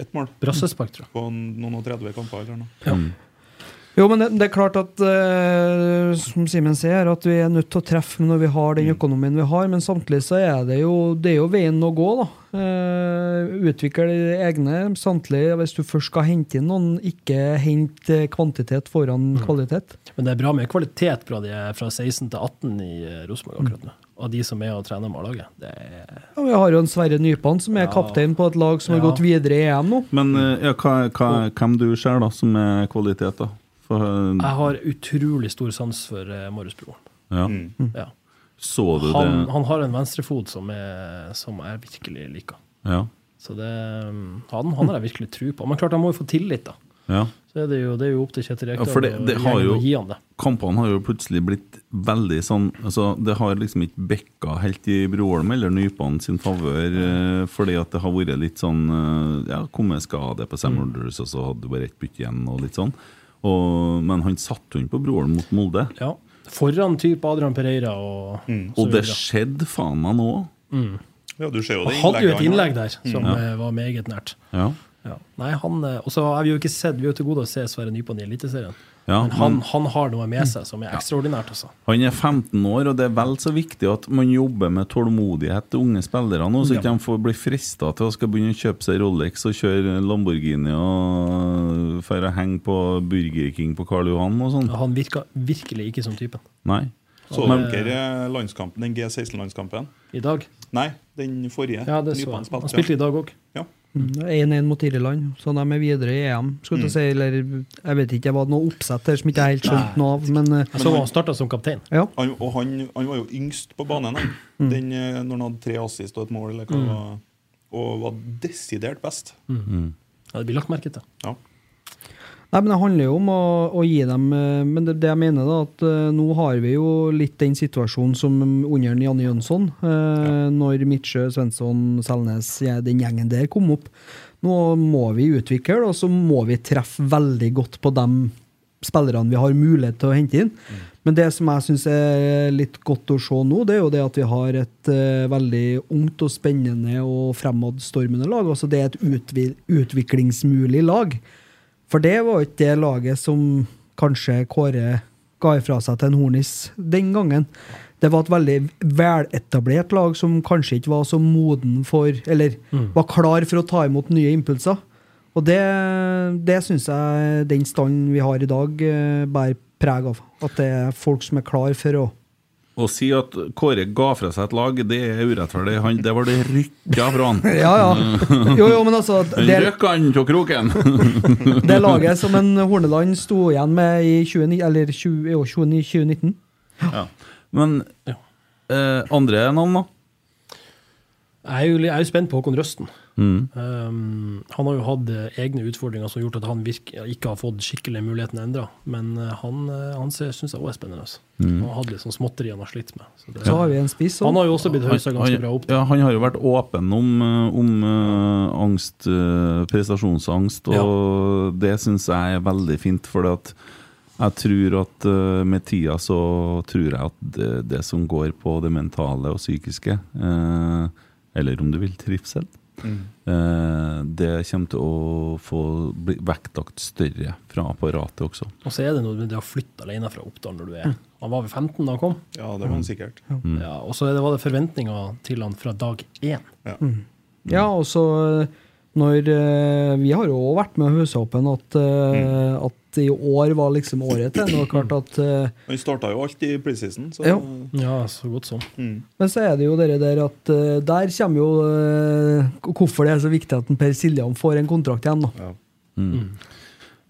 Ett mål.
Brassespark, tror jeg.
På noen og 30 kamper eller noe.
Jo, men det, det er klart at eh, som Simen sier, at vi er nødt til å treffe når vi har
Mm.
den økonomien vi har, men samtidig så er det jo, det er jo veien å gå, da. Eh, utvikle de egne. Samtidig, hvis du først skal hente inn noen, ikke hent eh, kvantitet
Mm.
foran kvalitet.
Men det er bra med kvalitet fra, de, er fra 16 til 18 i eh, Rosenborg akkurat nå. Av de som er og trener med A-laget. Det er-
Ja, vi har jo en Sverre Nypan som er kaptein på et lag som har gått videre i EM nå.
Men eh, ja, hva, hva, hvem du ser da som er kvalitet, da? For, eh,
Jeg har utrolig stor sans for eh, Marius Broren.
ja.
Mm.
Ja.
Så du
Han,
det?
han har en venstrefot som, er, som jeg virkelig liker.
Ja.
Så det, mm, han, han har jeg virkelig tro på. Men klart, han må jo få tillit, da.
ja.
Så er det, jo, det er jo opp til Kjetil
Ja,
Rekdal
for det,
og
det har
gjengen
jo,
å gi han det.
Kampene har jo plutselig blitt veldig sånn altså, Det har liksom ikke bekka helt i Broholm eller Nypan sin favør, eh, fordi at det har vært litt sånn eh, Ja, kom med skade på Sam
Mm.
Rogers, og så hadde du bare ett bytte igjen, og litt sånn. Og, men han satte hun på Broholm mot Molde,
Ja. Foran type Adrian Pereira og så
og det
videre.
skjedde faen meg nå.
Mm.
Mm. Ja, du ser jo det
Han hadde jo et innlegg
innlegget
der
han Mm.
som
har.
eh, var meget nært.
Ja.
Ja. Nei, han, eh, og så har vi jo ikke sett, vi er jo til gode å se Sverre Nypan i Eliteserien.
Ja,
men han,
men-
han har noe med seg som er ekstraordinært, altså.
Han er 15 år, og det er vel så viktig at man jobber med tålmodighet til unge spillere nå, så ikke
Ja.
de får bli frista til å skal begynne å kjøpe seg Rolex og kjøre Lamborghini og for å henge på Burger King på Karl Johan og sånn.
Han virka virkelig ikke som typen.
Nei.
Så
Men-
dere landskampen, den G16-landskampen?
I dag?
Nei, den forrige.
Ja, det så jeg.
Nypans
Han
spilte.
spilte i dag òg.
Mm, 1-1 mot Irland, så de er videre i EM. Skulle til å si, eller Jeg vet ikke, det var noe oppsett der som ikke jeg helt skjønte noe av. Men, eh,
Men han-
Ja.
Han, og han, han var jo yngst på banen han.
Mm.
Den, eh, når han hadde tre assist og et mål. Eller hva, det
Mm.
var, og var desidert best.
Mm. Ja, det blir lagt merke til.
Ja.
Nei, men Det handler jo om å, å gi dem eh, Men det, det jeg mener, da, at eh, nå har vi jo litt den situasjonen som under Janne Jønsson, eh, når Midtsjø, Svensson, Selnes, ja, den gjengen der kom opp. Nå må vi utvikle, og så må vi treffe veldig godt på de spillerne vi har mulighet til å hente inn. Men det som jeg syns er litt godt å se nå, det er jo det at vi har et eh, veldig ungt og spennende og fremadstormende lag. Altså det er et utvi utviklingsmulig lag. For det var jo ikke det laget som kanskje Kåre ga ifra seg til en Hornis den gangen. Det var et veldig veletablert lag som kanskje ikke var så moden for Eller
Mm.
var klar for å ta imot nye impulser. Og det, det syns jeg den standen vi har i dag, eh, bærer preg av. At det er folk som er klar for å
Å si at Kåre ga fra seg et lag, det er urettferdig. Han, det var det rykka fra han.
Ja, ja. Jo, jo, men altså,
Han
det-
røkk han av kroken.
Det laget som en Horneland sto igjen med i 20, eller 20, jo, 20, 2019.
Ja. Men eh, andre navn, da?
Jeg er jo, jeg er jo spent på Håkon Røsten.
Mm.
Um, han har jo hatt eh, egne utfordringer som har gjort at han virk- ikke har fått skikkelig muligheten endra. Men eh, han, eh, han syns jeg òg er spennende. Altså.
Mm.
Han har hatt litt sånn småtteri han har slitt med. Så det-
Så har vi en spiss også.
Han har jo også blitt hausa ganske
han,
bra opp.
Ja, han har jo vært åpen om, eh, om eh, angst, eh, prestasjonsangst, og det syns jeg er veldig fint. For at jeg tror at eh, med tida så tror jeg at det, det som går på det mentale og psykiske, eh, eller om du vil trivsel,
Mm.
eh, det kommer til å få bli vektlagt større fra apparatet også.
Og så er det noe med det å flytte alene fra Oppdal når du er Han var vel 15 da han kom?
Ja, det var han sikkert.
Mm.
Ja, og så er det- var det forventninger til han fra dag én.
Mm. Ja, og så eh, når eh, Vi har jo også vært med og haussa opp en at, eh,
Mm.
at i år var liksom året til. Det var klart at eh,
Han starta jo alt i preseason. Så, Mm.
Ja.
Ja, Mm, så godt som.
Men så er det jo dere der at eh, der kommer jo eh, hvorfor det er så viktig at en Per Siljan får en kontrakt igjen, da.
Mm.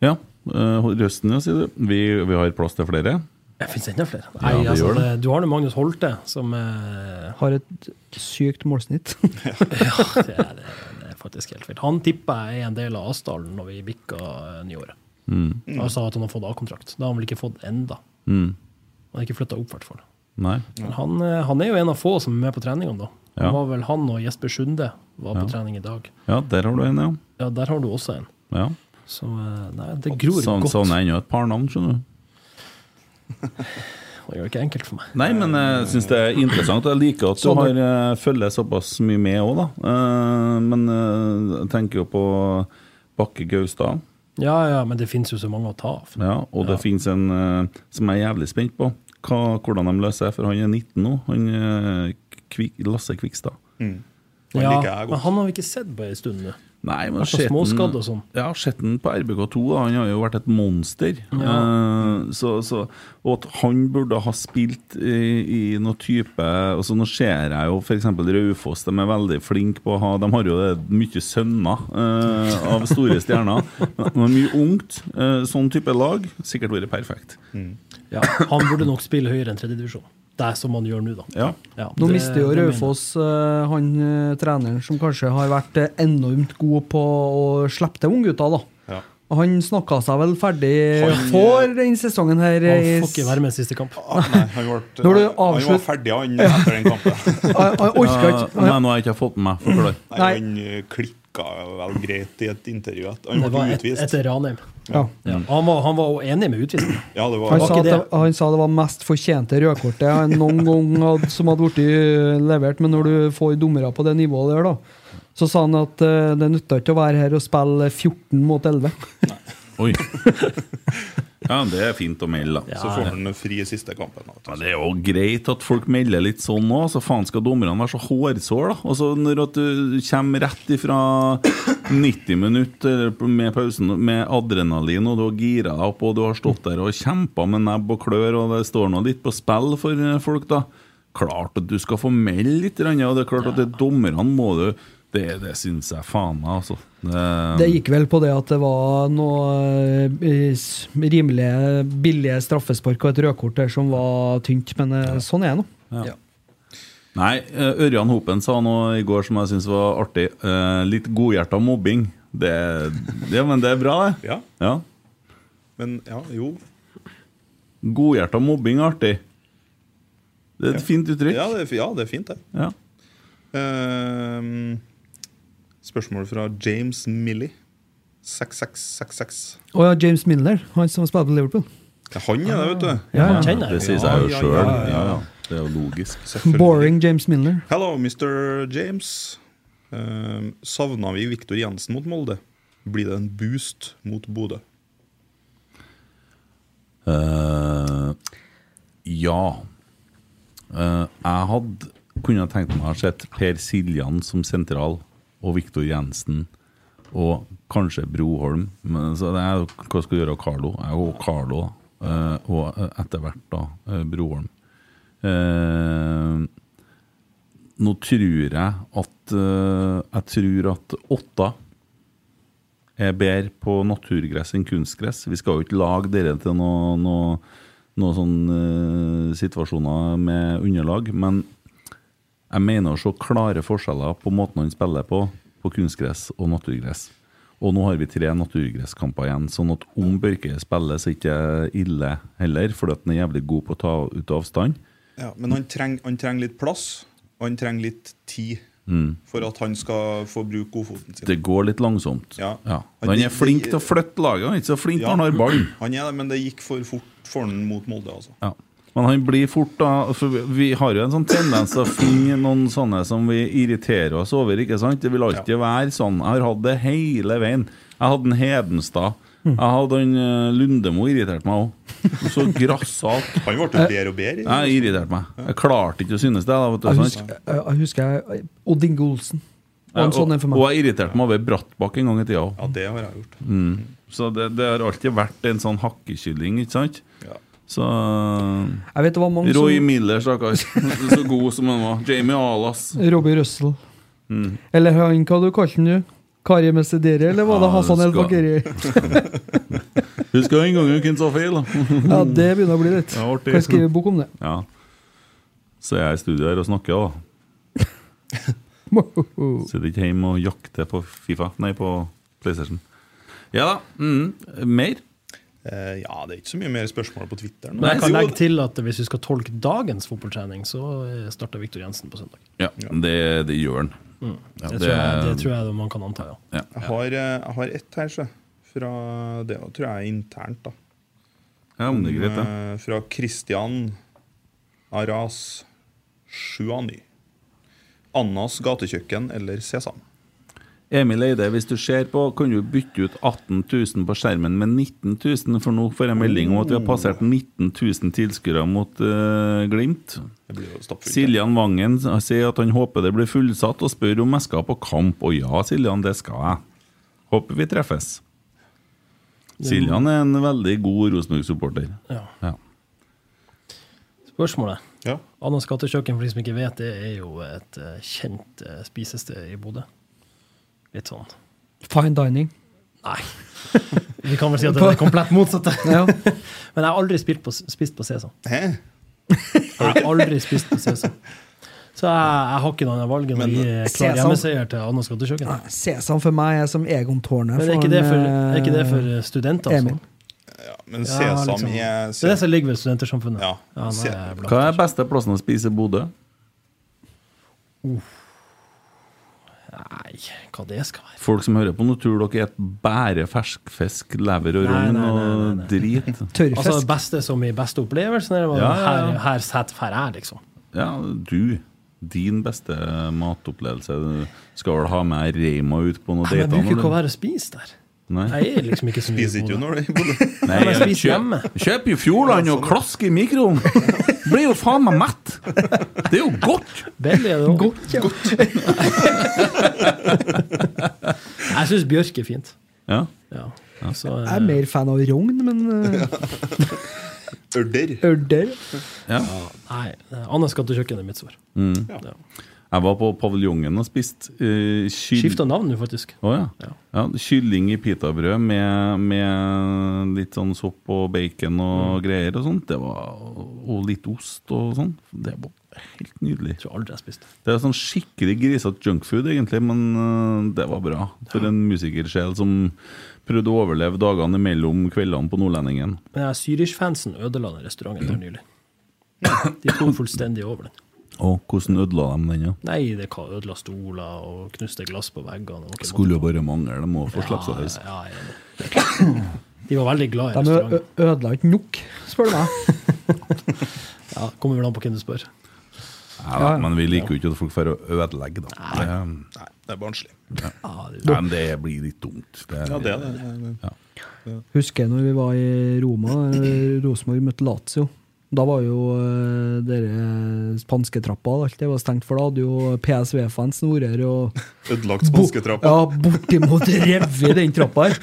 Ja, eh, Røsten, ja, sier du. Vi, vi har plass til flere.
Jeg finnes enda flere.
Ja,
Nei,
det
altså,
gjør det.
det- Du har nå Magnus Holte, som eh,
Har et sykt målsnitt.
ja, det er, det, det er faktisk helt vilt. Han tipper jeg er en del av Asdalen når vi bikker eh, nyåret.
Mm.
Han sa at han har fått A-kontrakt. Det har han vel ikke fått enda.
Mm.
Han har ikke flytta opp, i hvert fall.
Nei.
Men han, eh, han er jo en av få som er med på treningene, da.
Ja.
Han var vel han og Jesper Sunde var på
Ja.
trening i dag.
Ja, der har du en, ja.
Ja, der har du også en.
ja.
Så eh, nei, det gror
Sånn-
godt.
Sånn er ennå et par navn, skjønner du.
Det gjør det ikke enkelt for meg.
Nei, men
Eh,
jeg syns det er interessant. Jeg liker at du
Sånn.
har eh, følger såpass mye med òg, da. Eh, Men eh, jeg tenker jo på Bakke Gaustad.
Ja, ja, men det fins jo så mange å ta av.
Ja, og det finnes en eh, som jeg er jævlig spent på. Hva, hvordan de løser det, for han er 19 nå. Han eh, Kvik, Lasse Kvikstad. Mm. Han
Ja,
liker jeg godt.
men han har vi ikke sett på en stund nå.
Nei, men
Vært så
sett den-
småskadd og sånn.
Ja, sett den på RBK2. Da. Han har jo vært et monster. Eh, så, så, og at han burde ha spilt i, i noe type altså Nå ser jeg jo f.eks. Raufoss, de er veldig flinke på å ha De har jo det, mye sønner eh, av store stjerner. Men de er mye ungt. Eh, sånn type lag sikkert vært perfekt.
Ja, han burde nok spille høyere enn tredjedivisjon. Det er som han gjør nå, da.
Ja.
Nå
det-
mister jo
det mener jeg.
Raufoss eh, han eh, treneren som kanskje har vært eh, enormt god på å slippe til unggutta, da.
Ja.
Og Han snakka seg vel ferdig
Han-
for den sesongen her.
Han
i-
får ikke være med siste kamp.
Ah, Nei, han, ble,
Når du
han var
avslutt-
ferdig han etter den kampen.
Han- han orker ikke.
Eh, Nei, nå har jeg ikke fått med meg. Forklar.
Nei, han eh, klikka vel greit i et intervju. at- Han
Det
ble
var
ikke
et,
utvist. Mm.
etter Ranheim.
Ja.
Ja,
Mm.
han, var, han var jo enig med utvisningen.
Ja, det var,
Han sa,
ikke
at det, han sa det var mest fortjente rødkortet han noen gang hadde, som hadde blitt eh, levert, men når du får dommere på det nivået der, da, så sa han at eh, det nytta ikke å være her og spille 14 mot 11.
Oi. Ja, det er fint å melde, da.
Så får han fri i siste kampen. da.
Ja, det er jo greit at folk melder litt sånn òg, så faen skal dommerne være så hårsår da. Og så når at du kommer rett ifra 90 minutter med pausen med adrenalin, og du har gira deg opp, og du har stått der og kjempa med nebb og klør, og det står nå litt på spill for eh, folk, da. Klart at du skal få melde litt, grann, og det er klart at det dommerne må du Det, det syns jeg faen meg, altså.
Det gikk vel på det at det var noe eh, s- rimelige, billige straffespark og et rødkort der som var tynt, men eh, sånn er det nå.
Ja. Nei, eh, Ørjan Hopen sa noe i går som jeg syns var artig. Eh, litt godhjerta mobbing. Det, ja, men det er bra, det.
Ja. Men ja, jo.
Godhjerta mobbing er artig. Det er et fint uttrykk.
Ja, det er, fi- ja, det er fint, det.
Ja.
Ehm, spørsmål fra James Milley. 6666.
Og ja, James Milner, han som spiller på Liverpool.
Det er han, ja, det, vet du.
Ja, ja. Han kjenner
Det sier seg jo sjøl. Ja, ja. Det er jo logisk.
Boring James Milner.
Hello, Mr. James. Um, savna vi Viktor Jensen mot Molde? Blir det en boost mot Bodø?
Eh, ja. Eh, jeg hadde kunne tenkt meg å ha sett Per Siljan som sentral, og Viktor Jensen, og kanskje Broholm. Men, så det er, jo hva skal du gjøre av Carlo? Jeg er jo Carlo, da. Eh, og eh, etter hvert da eh, Broholm. Eh, nå tror jeg at eh, Jeg tror at åtta er bedre Eh, på naturgress enn kunstgress. Vi skal jo ikke lage dere til noen noe, noe sånne eh, situasjoner med underlag, men jeg mener å se klare forskjeller på måten han spiller på, på kunstgress og naturgress. Og nå har vi tre naturgresskamper igjen, sånn at om Børke spiller, så er ikke ille heller, fordi at han er jævlig god på å ta ut avstand.
Ja, men han trenger han trenger litt plass, og han trenger litt tid
Mm.
for at han skal få bruke godfoten sin.
Det går litt langsomt.
Ja.
Ja. Men han er flink til å flytte laget, han er ikke så flink når han har ballen.
Han er det, men det gikk for fort for han mot Molde, altså.
Ja. Men han blir fort da For vi- vi har jo en sånn tendens til å finne noen sånne som vi irriterer oss over. ikke sant? Det vil alltid være sånn. Jeg har hatt det hele veien. Jeg hadde en Hedenstad. Jeg hadde han eh, Lundemo irriterte meg òg. Så grassat.
Han ble jo bedre og bedre.
Jeg irriterte meg. Jeg klarte ikke å synes det. da, vet du,
Jeg
sant?
husker, jeg, jeg husker jeg- Odd Inge Olsen. Og en
Ja,
sånn en for meg.
Og jeg irriterte meg over Brattbakk en gang i tida.
Ja, det har jeg gjort.
Mm. Så det, det har alltid vært en sånn hakkekylling, ikke sant? Så
Jeg vet det var mange
Roy
som-
Miller, stakkar. Så god som han var. Jamie Alas.
Robbie Russell.
Mm.
Eller han, hva du kalte han nå? Kari Mesedere, eller var det
Ja,
Hassan El
skal-
Bakeri?
Husker en gang hvem som feil?
ja, det begynner å bli litt.
Ja, artig.
Kan jeg skrive bok om det?
Ja. Så jeg er i studio her og snakker, da. Sitter ikke hjemme og jakter på Fifa. Nei, på PlayStation. Ja da. Mm. Mer?
Eh, ja, det er ikke så mye mer spørsmål på Twitter. nå.
Men jeg kan
Jo,
legge til at hvis vi skal tolke dagens fotballtrening, så eh, starter Viktor Jensen på søndag.
Ja, det, det gjør han.
Mm.
Ja,
det, tror jeg,
Um.
det tror jeg man kan anta, ja.
Jeg har, eh, jeg har ett her, så. Fra, det tror jeg er internt, da.
Ja, men det er greit, det.
Eh, Fra Christian Aras Shuani. Annas gatekjøkken eller sesam?
Emil Eide, hvis du ser på, kan du bytte ut 18 000 på skjermen med 19 000, for nå får jeg melding om at vi har
Mm.
passert 19 000 tilskuere mot eh, Glimt. Siljan Vangen sier at han håper det blir fullsatt, og spør om jeg skal på kamp. Og ja, Siljan, det skal jeg. Håper vi treffes. Siljan er en veldig god Rosenborg-supporter.
Ja.
Ja.
Spørsmålet.
Ja.
Annas gatekjøkken, for de som ikke vet, det er jo et eh, kjent eh, spisested i Bodø. Litt sånn
Fine dining.
Nei. Vi kan vel si at det er det komplett motsatte.
Ja.
Men jeg har aldri spilt på, spist på sesam.
Hæ?
Jeg har aldri spist på sesam. Så jeg, jeg har ikke noe annet valg enn å gi
Sesam-
klar hjemmeseier til Annas gatekjøkken.
Sesam for meg er som Egon Tårnet.
Men er ikke
han,
det for, er ikke det
eh,
for studenter, altså?
Emil.
men sesam
liksom.
er-
Det er det som ligger ved Studentersamfunnet. Ja, nei,
se-
jeg er blant-
Hva er beste plassen å spise i Bodø?
Nei, hva det skal være
Folk som hører på nå, tror dere et bare ferskfisk, lever og
Nei,
rogn
nei, nei,
og drit.
Altså det beste som i beste opplevelsen? Eller?
Ja, ja, ja.
Her, her sett, her er, liksom.
Ja, du. Din beste matopplevelse. Du skal vel ha med reima ut på noen
Men jeg
dater?
bruker ikke å
når du-
være og spise der.
Nei.
Jeg er liksom ikke så mye
Spiser ikke du når du er i
Nei,
Nei, jeg
jeg
spiser
kjøp,
hjemme. sånn.
kjøper jo Fjordland og klask i mikroen. Blir jo faen meg mett. Det er jo godt.
Belly er det også. Jeg syns bjørk er fint.
Ja.
Så, eh,
Jeg er mer fan av rogn, men eh,
Ørder.
Ørder.
Ja.
Nei, eh, annet skattekjøkken er mitt svar.
Mm.
Ja.
Jeg var på paviljongen og spiste uh, kyll...
Skifta navn nå, faktisk.
Å, ja. Ja, kylling i pitabrød med, med litt sånn sopp og bacon og
Mm.
greier og sånt. Det var, og litt ost og sånn. Det var helt nydelig.
Jeg tror aldri jeg spiste
Det er sånn skikkelig grisete junkfood, egentlig, men øh, det var bra. For en musikersjel som prøvde å overleve dagene mellom kveldene på Nordlendingen.
Men jeg, Syrish-fansen ødela den restauranten der nylig. De tok fullstendig over den.
Og hvordan ødela de den? Ja?
Nei, det ka- ødela stoler og knuste glass på veggene. og-
Skulle jo bare mangle, de må få slappe seg løs.
Ja, jeg er enig. De var veldig glad i
De ø-
restauranten.
ø- ødela ikke nok, spør du meg.
Ja, kommer vel an på hvem du spør.
Ja, da, men vi liker jo ikke at folk får ødelegge, da. Det,
Nei, det er barnslig.
ja.
det-
Nei, men det blir litt dumt.
Ja, det er det.
Husker jeg når vi var i Roma, eh, Rosenborg møtte Lazio. Da var jo eh, dere spansketrappa og alt det var stengt, for da hadde jo PSV-fansen vært her og
Ødelagt spansketrappa.
Ja, bortimot revet den trappa her.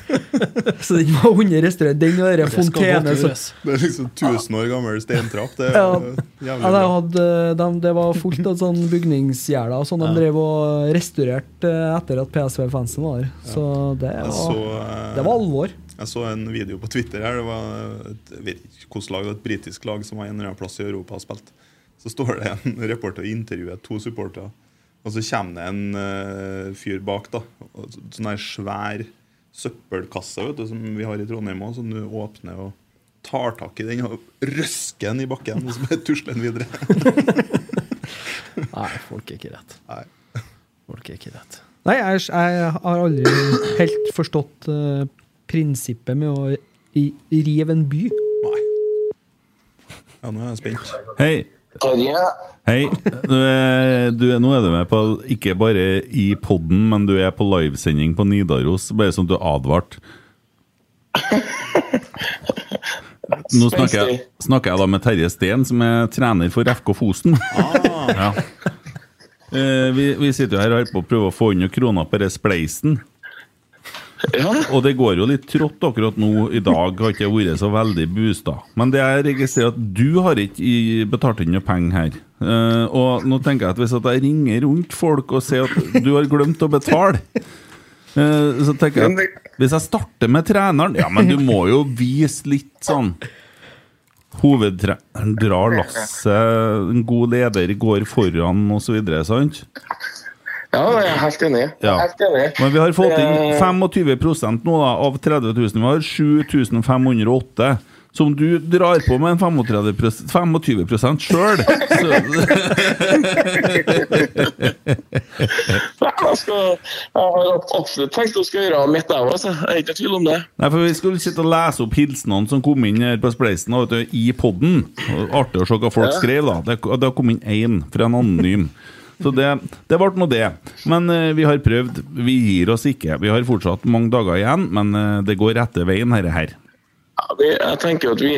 Så den var under restaurant. Den og dere
Det skal
fontene
godt gjøres. Det er liksom 1000 år gammel stentrapp. Det er
ja,
jo
ja,
jævlig
de
bra.
hadde, de, det var fullt av sånn bygningsgjerder og sånn. De drev og restaurerte eh, etter at PSV-fansen var her. Så det
Jeg
var,
så, eh,
det var alvor.
Jeg så en video på Twitter her. Det var et, jeg vet ikke hvilket lag, det var et britisk lag som var en eller annen plass i Europa og spilte. Så står det en reporter og intervjuer to supportere. Og så kommer det en eh, fyr bak. da og så- Sånn her svær søppelkasse vet du, som vi har i Trondheim òg, som du åpner og tar tak i den og røsker den i bakken. Og så bare tusler den videre.
Nei, folk er ikke rett. Folk er ikke rett.
Nei, jeg, jeg har aldri helt forstått eh, prinsippet med å i, rive en by.
Ja, nå er jeg spent.
Hei! Hei. Du er, du er, nå er du med på ikke bare i podden, men du er på livesending på Nidaros, bare sånn at du er advart. Nå snakker jeg, snakker jeg da med Terje Steen, som er trener for FK Fosen.
Ah.
Ja. Eh, Vi, vi sitter jo her og holder på å prøve å få under krona på det spleisen. Og det går jo litt trått akkurat nå. I dag har ikke jeg vært så veldig boosta. Men det jeg registrerer at du har ikke i- betalt inn noe penger her. Eh, og nå tenker jeg at hvis at jeg ringer rundt folk og sier at du har glemt å betale eh, Så tenker jeg at hvis jeg starter med treneren Ja, men du må jo vise litt sånn Hovedtreneren drar lasset, en god leder går foran osv., sant?
Ja, jeg er helt enig. Jeg er
Ja.
Helt enig.
Men vi har fått inn
Eh,
25 nå da, av 30 000. Vi har 7508. Som du drar på med en 35 25 sjøl!
ja, jeg, skal, altså, jeg har absolutt tenkt å skal gjøre mitt, jeg også, Jeg er ikke i tvil om det.
Nei, for Vi skulle sitte og lese opp hilsenene som kom inn her på Spleisen da, vet du, i poden. Artig å se hva folk
Ja.
skrev. da Det, det har kommet inn én fra en anonym. Så det, det ble nå det. Men eh, vi har prøvd. Vi gir oss ikke. Vi har fortsatt mange dager igjen, men eh, det går rette veien, herre her.
Ja, vi, jeg tenker at vi,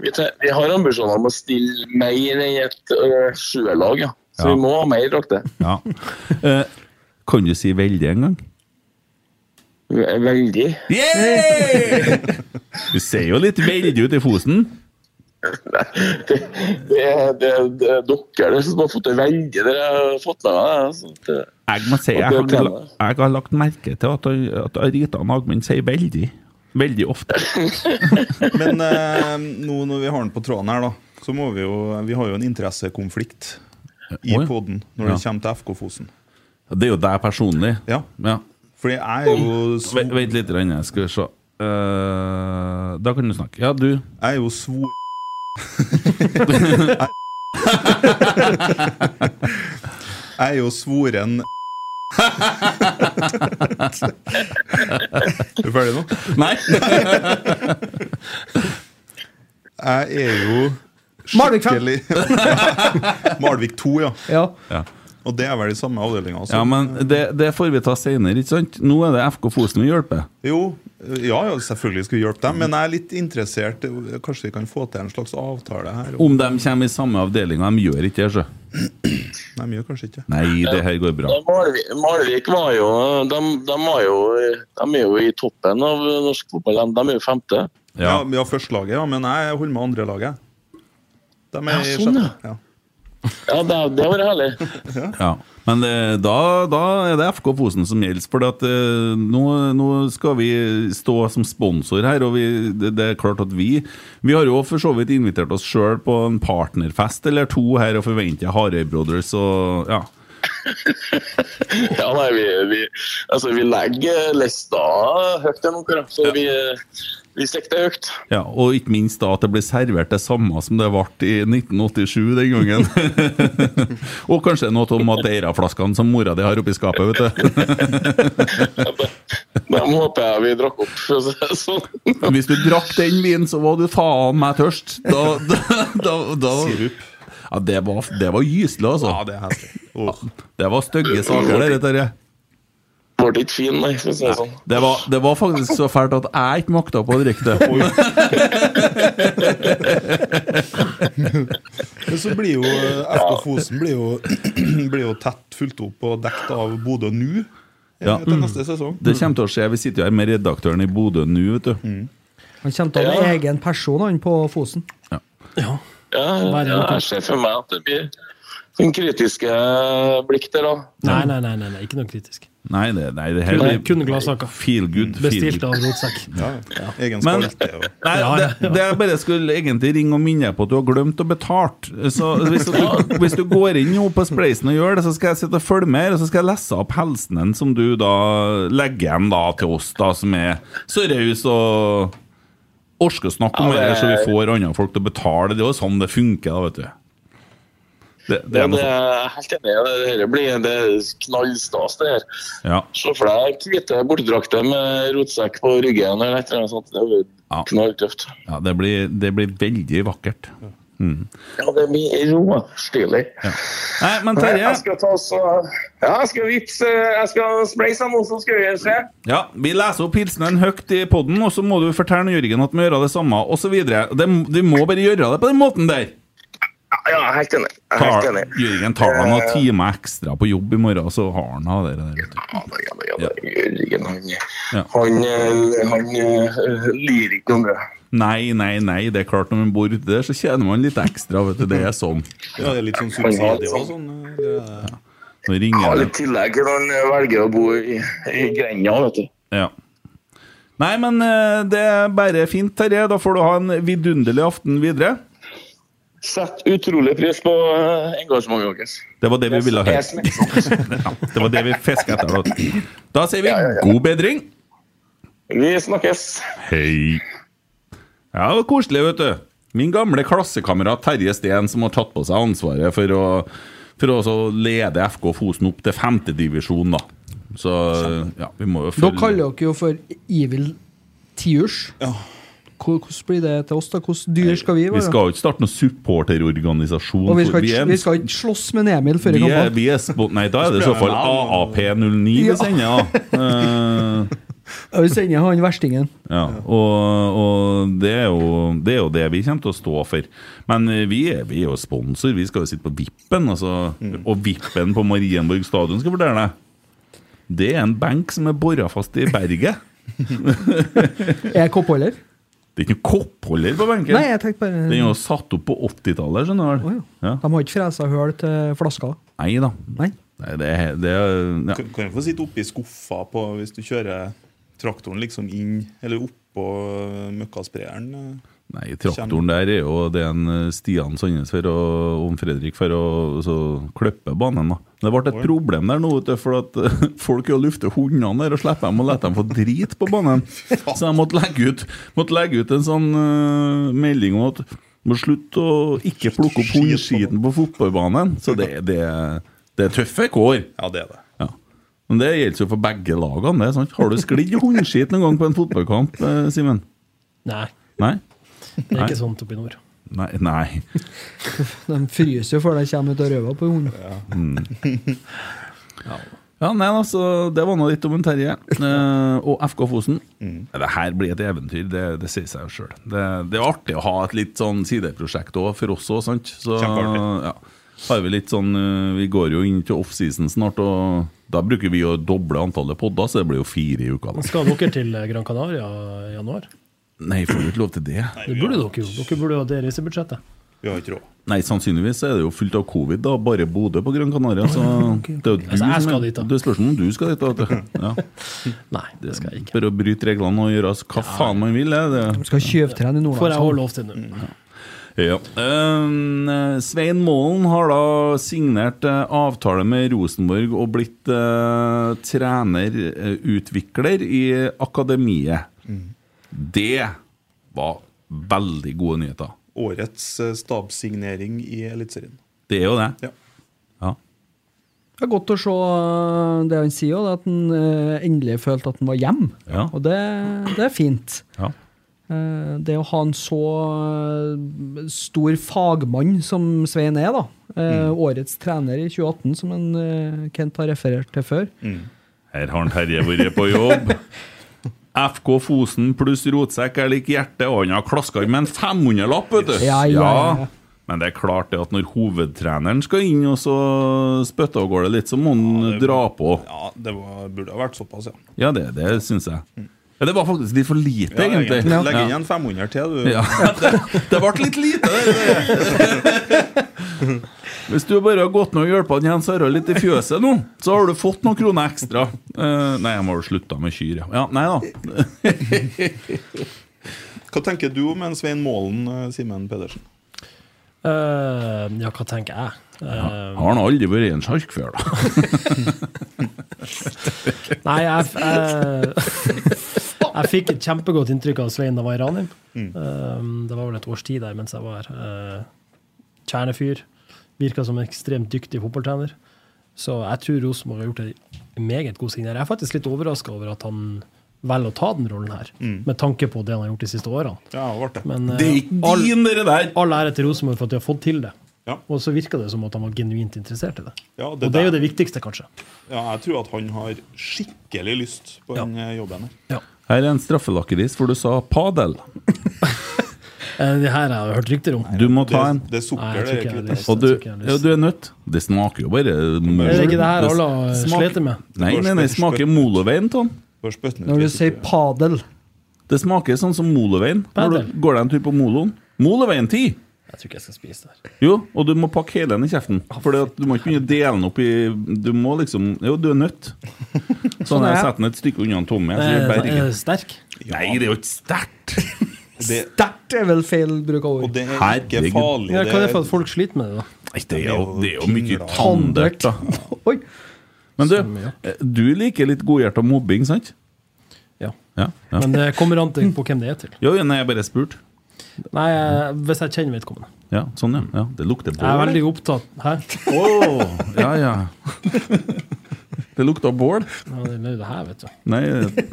vi, te- vi har ambisjoner om å stille mer enn et øh, sjuerlag, ja. Så
Ja.
vi må ha mer drakter.
Ja. Eh, kan du si veldig en gang?
Veldig.
Du ser jo litt veldig ut i fosen.
Det er det, er- det er dere det som har fått det veldig, dere har fått med meg det. så det-
Jeg må si,
Og
jeg
det
har,
trener.
jeg har lagt merke til at, at Rita Nagmen sier veldig. Veldig ofte.
Men eh, nå når vi har den på tråden her, da, så må vi jo Vi har jo en interessekonflikt i
Oi.
poden når det
Ja.
kommer til FK Fosen.
Det er jo deg personlig.
Ja. Fordi jeg er jo svo-
Vent, vent litt, Rønne, jeg skal vi se. Eh, da kan du snakke. Ja, du.
Jeg er jo svor... Jeg er jo svoren Er du ferdig nå?
Nei.
Jeg er jo
Malvik fem.
skikkelig Malvik 2, ja.
Ja.
Ja.
Og det er vel i samme altså. avdelinga?
Ja, men det, det får vi ta senere, ikke sant? Nå er det FK Fosen vi hjelper.
Jo, ja, ja, selvfølgelig skal vi hjelpe dem, men jeg er litt interessert. Kanskje vi kan få til en slags avtale her?
Om de kommer i samme avdelinga, de gjør ikke det, så.
Nei, vi gjør kanskje ikke
Nei, det her går bra.
Ja, Malvik, Malvik var jo de, de, var jo de er jo i toppen av norsk fotball. De- De er jo femte.
Ja, vi har førstelaget, ja, men jeg holder med andrelaget. De er
Ja, sånn,
ja. ja.
Ja, det, det var herlig.
Ja. Men eh, da, da er det FK Fosen som gjelder, for at, eh, nå, nå skal vi stå som sponsor her. Og vi, det, det er klart at vi Vi har jo for så vidt invitert oss sjøl på en partnerfest eller to her og forventer Harøy Brothers og ja.
Ja, nei, vi, vi, altså, vi legger lista høyt gjennom hverandre, så vi, vi sikter høyt.
Ja, Og ikke minst da at det blir servert det samme som det ble i 1987 den gangen. og kanskje noe av Madeira-flaskene som mora di har oppi skapet, vet du.
Dem håper jeg vi drakk opp. for å si det Sånn.
Hvis du drakk den vinen, så var du faen meg tørst. Da, da, da, da Sirup. Ja, det var, det var gyselig, altså. Ja, Det Det var stygge saker, det der. Terje.
Ble ikke fin, nei, for å si det sånn.
Det var, det var faktisk så fælt at jeg ikke makta på å drikke det.
Men så blir jo eh, FK Fosen blir jo, blir jo tett fulgt opp og dekt av Bodø nå eh,
Ja.
til neste sesong.
Det kommer til å skje. Vi sitter jo her med redaktøren i Bodø nå, vet du.
Mm.
Han kommer til å ha en egen person han på Fosen.
Ja, ja, jeg ser for meg at det blir sånn kritiske blikk der, da.
Nei,
Mm.
nei, nei, nei, nei ikke noe kritisk.
Nei, det, nei, det her
Kun- kun gladsaker.
Feel good. feel
Bestilt
good.
av Rotsekk.
Egen
Men-
spalte og-
Nei, det, det jeg bare skulle egentlig ringe og minne deg på at du har glemt å betale. Så hvis du, hvis du går inn nå på Spleisen og gjør det, så skal jeg sitte og følge med, og så skal jeg lese opp helsen din som du da legger igjen da til oss, da, som er så raus og orker å snakke
Ja,
om det,
det-
her, så vi får andre folk til å betale. Det er jo sånn det funker, da, vet du. Det, det
Ja,
er noe
det
sånt.
er eh, helt enig. Det, det blir det er knallstas, det her.
Ja.
Se for deg hvite bortedrakter med rotsekk på ryggen eller et eller annet sånt. Det blir knalltøft.
Ja, det blir, det blir veldig vakkert. Mm.
Ja, det blir råstilig.
Nei, men Terje
Jeg skal ta eh, så Ja, jeg skal vips, jeg skal spleise noen som skal gjøre seg.
Ja, Vi leser opp hilsenen høyt i podden, og så må du fortelle Jørgen at vi må gjøre det samme, osv. Vi må bare gjøre det på den måten der.
Ja, jeg er helt enig. Jeg er
Tar,
helt enig.
Jørgen tar deg noen
Eh,
timer ekstra på jobb i morgen, så har han av det der. vet du.
Jørgen, han,
Ja.
han, eh, han eh, lir ikke om det.
Nei, nei, nei, det er klart når man bor ute der, så tjener man litt ekstra, vet du. Det er sånn.
Ja, det er litt sånn
Han har litt
subsidier og sånn.
Nå ringer
har
det.
litt tillegg når han velger å bo i, i grenda, vet du.
Ja. Nei, men eh, det er bare fint, Terje. Da får du ha en vidunderlig aften videre.
Sett utrolig pris på eh, engasjementet deres.
Det var det vi ville
Det
høre.
er sånn smittsomt.
Ja, det var det vi fiska etter. Da. da sier vi god bedring.
Vi snakkes.
Hei. Ja, det var koselig, vet du. Min gamle klassekamerat Terje Steen, som har tatt på seg ansvaret for å, for å så lede FK Fosen opp til femtedivisjon, da. Så ja, vi må jo
Da
følge
kaller dere jo for Evil Tiurs. Hvor- Hvordan blir det til oss, da? Hvordan dyr skal vi
Vi
være?
skal jo ikke starte noen supporterorganisasjon.
Og vi
for
skal, ikke,
er-
vi skal ikke slåss med Emil før i
vi er,
kampen.
vi er spo Nei, da er det i så fall AAP09 vi
Ja.
sender, da. Eh,
Vi sender han verstingen.
Ja, og, og det, er jo, det er jo det vi kommer til å stå for. Men eh, vi er, vi er jo sponsor, vi skal jo sitte på Vippen. Altså,
Mm.
Og Vippen på Marienborg stadion skal jeg fortelle deg. Det er en benk som er bora fast i berget.
Er jeg koppholder?
Det er ikke noen koppholder på benken.
Nei, jeg tenkte bare-
Den er jo satt opp på 80-tallet, skjønner du. ja.
De har ikke fresa høl til flaska.
Nei da.
Nei.
det, er- det er- ja.
Kan, kan du få sitte oppi skuffa på, hvis du kjører traktoren liksom inn, eller oppå møkkasprayeren? eh.
Nei, traktoren der er jo det en eh, Stian Sandnes for og om Fredrik for å så klippe banen. da. Det ble et problem der nå, vet du, for at eh, folk jo lufter hundene der og slipper dem og lar dem få drit på banen. Så jeg måtte legge ut, måtte legge ut en sånn eh, melding om at må slutte å ikke plukke opp hundeskiten på fotballbanen. Så det, det, det er tøffe kår.
Ja, det er det.
Men det gjelder jo for begge lagene. det, sant? Har du sklidd i hundeskit noen gang på en fotballkamp, eh, Simen?
Nei,
Nei?
det er sånn.
Nei.
ikke sånt oppe i nord.
Nei. nei.
De fryser jo før de kommer ut av røva på hunden.
Mm. Ja, nei, altså, Det var nå litt om en Terje eh, og FK Fosen. Det her blir et eventyr, det, det sier seg jo sjøl. Det, det er artig å ha et litt sånn sideprosjekt òg, for oss òg, sant? Så
Kjempeartig.
ja, har vi litt sånn eh, Vi går jo inn til offseason snart, og da bruker vi å doble antallet podder, så det blir jo fire i uka. da.
Skal dere til Gran Canaria i januar?
Nei, får vi ikke lov til det?
Det burde dere jo. Dere burde jo ha det reisebudsjettet.
Vi har ikke råd.
Nei, sannsynligvis er det jo fullt av covid, da. Bare Bodø på Gran Canaria. Så det er jo du
Altså, jeg
som
skal
er-
dit, da.
Det er spørsmål om du skal dit, da. vet du. Ja.
Nei, det skal jeg ikke.
Bare å bryte reglene og gjøre oss hva faen man vil. er Det.
Skal tjuvtrene
Får jeg
i
også
Nordlandshallen.
lov til nå.
Mm. Ja. Ehm, Svein Målen har da signert eh, avtale med Rosenborg og blitt eh, trenerutvikler i akademiet.
Mm.
Det var veldig gode nyheter.
Årets eh, stabssignering i Eliteserien.
Det er jo det.
Ja.
Det er godt å se eh, det han sier, og det at han eh, endelig følte at han var hjemme.
Ja.
Og det, det er fint.
Ja.
Eh, Det å ha en så eh, stor fagmann som Svein er, da. eh,
Mm.
Årets trener i 2018, som en eh, Kent har referert til før.
Her har han Terje vært på jobb. FK Fosen pluss rotsekk er lik hjerte, og han har klaska med en 500-lapp, vet du!
Ja, ja, ja, ja.
Men det er klart det at når hovedtreneren skal inn og så spytte av gårde litt, så må han dra på.
Ja, det var, burde ha vært såpass, ja.
Ja, det, det syns jeg. Ja, det var faktisk litt for lite,
ja
egentlig.
egentlig. Legg inn
Ja.
en 500 til, du.
Ja, det, det ble litt lite, det. det. Hvis du bare har gått ned og hjulpet Jens Harald litt i fjøset nå, så har du fått noen kroner ekstra. Eh, nei, jeg må jo slutte med kyr, ja. ja. Nei da.
Hva tenker du om en Svein Målen, eh, Simen Pedersen?
Eh, ja, hva tenker jeg? Eh,
Har han aldri vært en sjark før, da?
Nei, jeg, jeg, jeg fikk et kjempegodt inntrykk av Svein da jeg var i Ranheim.
Mm.
Um, det var vel et års tid der mens jeg var her. Eh, kjernefyr. Virka som en ekstremt dyktig fotballtrener. Så jeg tror Rosenborg har gjort en meget god signering. Jeg er faktisk litt overraska over at han velger å ta den rollen her,
Mm.
med tanke på det han har gjort de siste årene. Men, eh,
Det er ikke
all-
din, dere der!
All ære til Rosenborg for at de har fått til det. Og så virka det som at han var genuint interessert i det.
Ja, det
og det er jo
der-
det viktigste, kanskje.
Ja, jeg tror at han har skikkelig lyst på den eh, jobben her.
Her er en straffelakkeris, for du sa padel.
Eh, Det her har jeg hørt rykter om.
Du må ta en.
Det er sukker,
Nei, jeg tror
det er
ikke jeg
ikke
har lyst.
Og du,
Jeg tror ikke jeg har
ja, du er nødt. Det smaker jo bare møl.
Er det ikke det her alle
smaker-
sliter med?
Nei, nei, nei, det smaker molovein, Tom.
Når du sier padel
Det smaker sånn som molovein. Når du går deg en tur på moloen. Molovein 10!
Jeg tror ikke jeg skal spise det her.
Jo, og du må pakke hele den i kjeften.
Ah,
For du må ikke begynne å dele den opp i Du må liksom Jo, du er nødt. Sånn
Sånn
har jeg
er jeg. Eh,
satt den et stykke unna en tomme. Jeg
Er,
tror jeg
er
berger.
det sterk?
Nei, det er jo ikke sterkt!
Sterkt er vel feil bruk av ord.
Og det er
ikke Herregud. farlig,
Ja, hva er det
det-
for at folk sliter med det, da?
Nei, Det er jo, det er jo mye tandert, da. Men du, eh, du liker litt godhjerta mobbing, sant?
Ja.
ja, ja.
Men eh, det kommer an til på hvem det er til.
Jo, jo, nei, jeg bare spurte.
Nei, jeg- hvis jeg kjenner vedkommende.
Ja, sånn, ja. ja. Det lukter
Jeg er
bål.
veldig opptatt Hæ?
Å, ja, ja. Det lukta bål.
Ja, det er jo det her, vet du.
Nei, eh,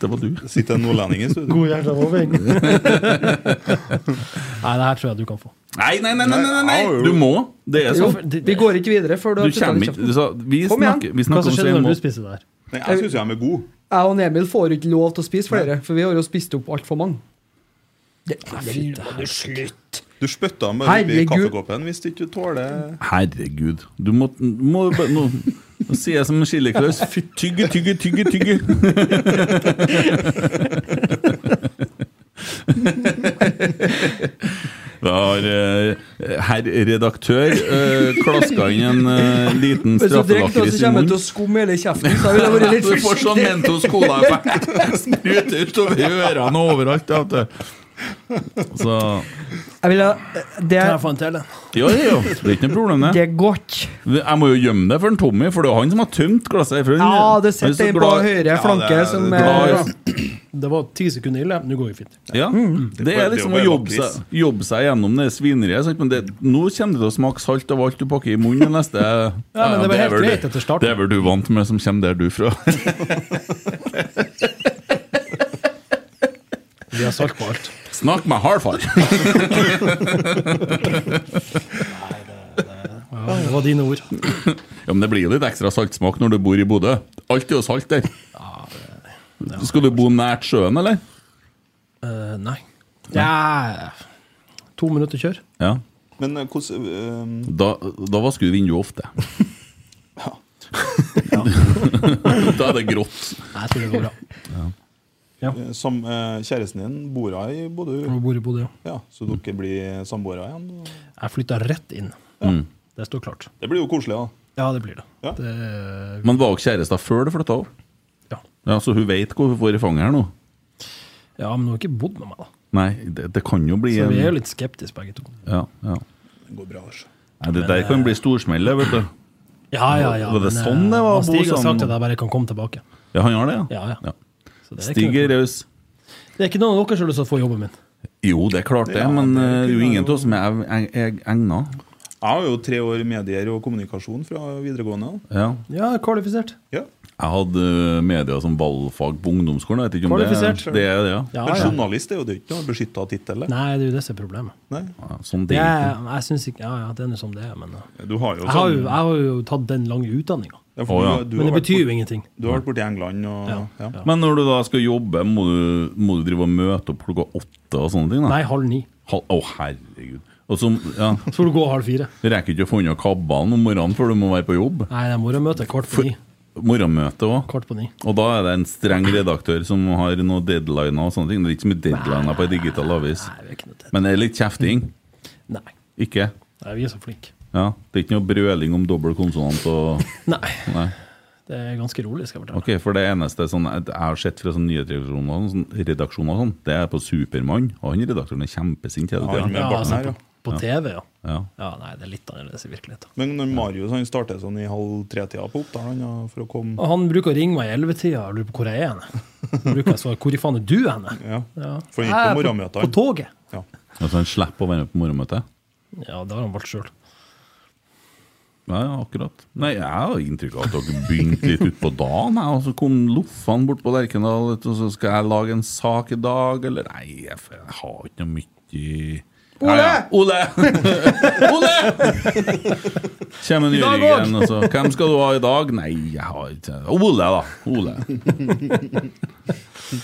det var du.
Sitter en nordlending i studio?
God hjertelig mobbing. Nei, det her tror jeg du kan få.
Nei, nei, nei, nei, nei, nei. Du må. Det er
Jo,
sånn.
vi går ikke videre før du
Du
har puttet den
kommer
i
ikke
kjeften.
du sa, Vi
Kom igjen.
snakker, vi snakker
Hva
om
som skjedde
Svein
når du
Mål.
spiser det her?
Nei, jeg syns de er gode.
Jeg og Emil får ikke lov til å spise flere, for vi har jo spist opp altfor mange. Det, slutt!
Du spytta ham bare oppi
Herregud.
kaffekoppen hvis du ikke tåler
Herregud. Du må, må bare- nå, nå sier jeg som en chiliklaus Fy, Tygge, tygge, tygge, tygge. Vi har eh, herr redaktør eh, klaska inn en eh, liten
Hvis du drikker nå,
straffelakkeris
så
i
kommer jeg
munnen.
til å skumme hele kjeften. Så jeg ville vært
Du
litt
får sånn
forsiktig.
Mentos Cola-effekt. Spruter utover ørene og overalt. vet du. Så
Jeg ville det,
Kan jeg få en til?
Jo, jo, jo. det er ikke noe problem, det.
det er godt.
Jeg må jo gjemme det for en Tommy, for det er jo han som har tømt glasset. herfra.
Ja,
Han
det
er så
sitter en på
glad-
høyre flanke som
glad-
eh,
Det var ti sekunder ille. Nå går vi fint.
Ja, Det er liksom å jobbe seg, jobbe seg gjennom det svineriet. sant? Men det, nå kommer det til å smake salt av alt du pakker i munnen neste Ja,
men det var helt
er vel
greit
du-
etter starten.
Det er vel du vant med, som kommer der du fra.
Vi har salt på alt.
Snakk med hardfar!
Ja, det var dine ord.
Ja, men det blir jo litt ekstra saltsmak når du bor i Bodø. Alt er jo salt der. Skal du bo nært sjøen, eller?
Eh, nei. Ja, to minutter kjør.
Ja.
Men eh, hvordan eh,
Da, da vasker du vinduet ofte. da er det grått.
Nei, jeg tror det går bra.
Eh, Som, eh, kjæresten din bor her i Bodø?
Hun bor i Bodø, ja.
Så dere blir samboere igjen?
Jeg flytta rett inn. Det står klart.
Det blir jo koselig, da.
Ja, det blir det. det
Men var dere kjærester før du flytta over?
Ja.
Så hun veit hvor hun får i fanget her nå?
ja, men hun har ikke bodd med meg, da.
Nei, det, det kan jo bli
Så vi
en-
er jo litt skeptiske begge to.
Ja, ja.
Det går bra, altså.
Nei, det der kan bli storsmell, det, vet du.
Ja, ja, ja.
Var det
men,
sånn det
eh,
var å bo
Stig har
sammen?
sagt at jeg bare kan komme tilbake.
Ja, han har det, ja?
Ja, ja. Så det er
Stig
ikke,
er raus.
det er ikke noen av dere som har lyst til å få jobben min.
Jo, det er klart det,
Ja,
men eh,
det kunne
det er jo ingen
jo-
av oss som er eg- eg- egna.
Jeg har jo tre år medier og kommunikasjon fra videregående. da.
Ja.
Ja, kvalifisert.
Jeg hadde eh, media som valgfag på ungdomsskolen. Jeg vet ikke om
Kvalifisert.
Det, det er det, ja.
Ja,
Men
ja.
journalist er jo det er ikke noe beskytta tittel. det.
Nei, det er jo det som er problemet.
Ja, sånn det
Jeg,
er
jeg synes ikke Ja, ja, det er nå som det er, men eh,
Du har jo
jeg har, jo,
sånn-
jeg har jo tatt den lange utdanninga.
Ja, for Å, ja. du- du
Men det
har vært
betyr jo
bort-
ingenting.
Du har vært borti England og ja.
ikke. Men når du da skal jobbe, må du, må du drive og møte opp klokka åtte og sånne ting? da?
Nei, halv ni.
Halv- Å, herregud. Og så, ja,
Så får du gå halv fire.
Du rekker ikke å få unna kabbalen om morgenen før du må være på jobb.
Nei, det er morgenmøte kvart på ni.
Morgenmøte òg.
Kvart på ni.
Og da er det en streng redaktør som har noen deadliner og sånne ting. Det er ikke så mye deadliner på en digital avis. Men det er litt kjefting.
Nei.
Ikke?
Nei, vi er så flinke.
Ja, Det er ikke noe brøling om dobbel konsonant og
Nei.
Nei.
Det er ganske rolig, skal jeg fortelle.
Ok, for det eneste sånn, jeg har sett fra sånne nyhetsredaksjoner og sånn, redaksjoner og sånn, det er på Supermann. Og han redaktøren er kjempesint hele tiden.
Ja, altså, på, på TV, ja.
Ja.
Nei, det er litt annerledes i virkeligheten.
Men når Marius han starter sånn i halv tre-tida på Oppdal han, ja, for å komme
Og han bruker å ringe meg i ellevetida og lurer på hvor jeg er henne. Så bruker jeg å svare 'hvor i faen er du henne'?
Ja.
For han gikk på
Jeg er
morgenmøtene.
På, på toget.
Altså, han slipper å være med på morgenmøtet.
Ja, det har han valgt sjøl.
Ja, ja, akkurat. Nei, jeg har inntrykk av at dere begynte litt utpå dagen, jeg, og så kom loffene bort på Lerkendal, vet du, og så skal jeg lage en sak i dag, eller Nei, jeg, f- jeg har ikke noe mye Ja, ja. Ole! Kjem en
I dag også.
Jørgen, og så Hvem skal du ha i dag? Nei, jeg har ikke Ole, da. Ole.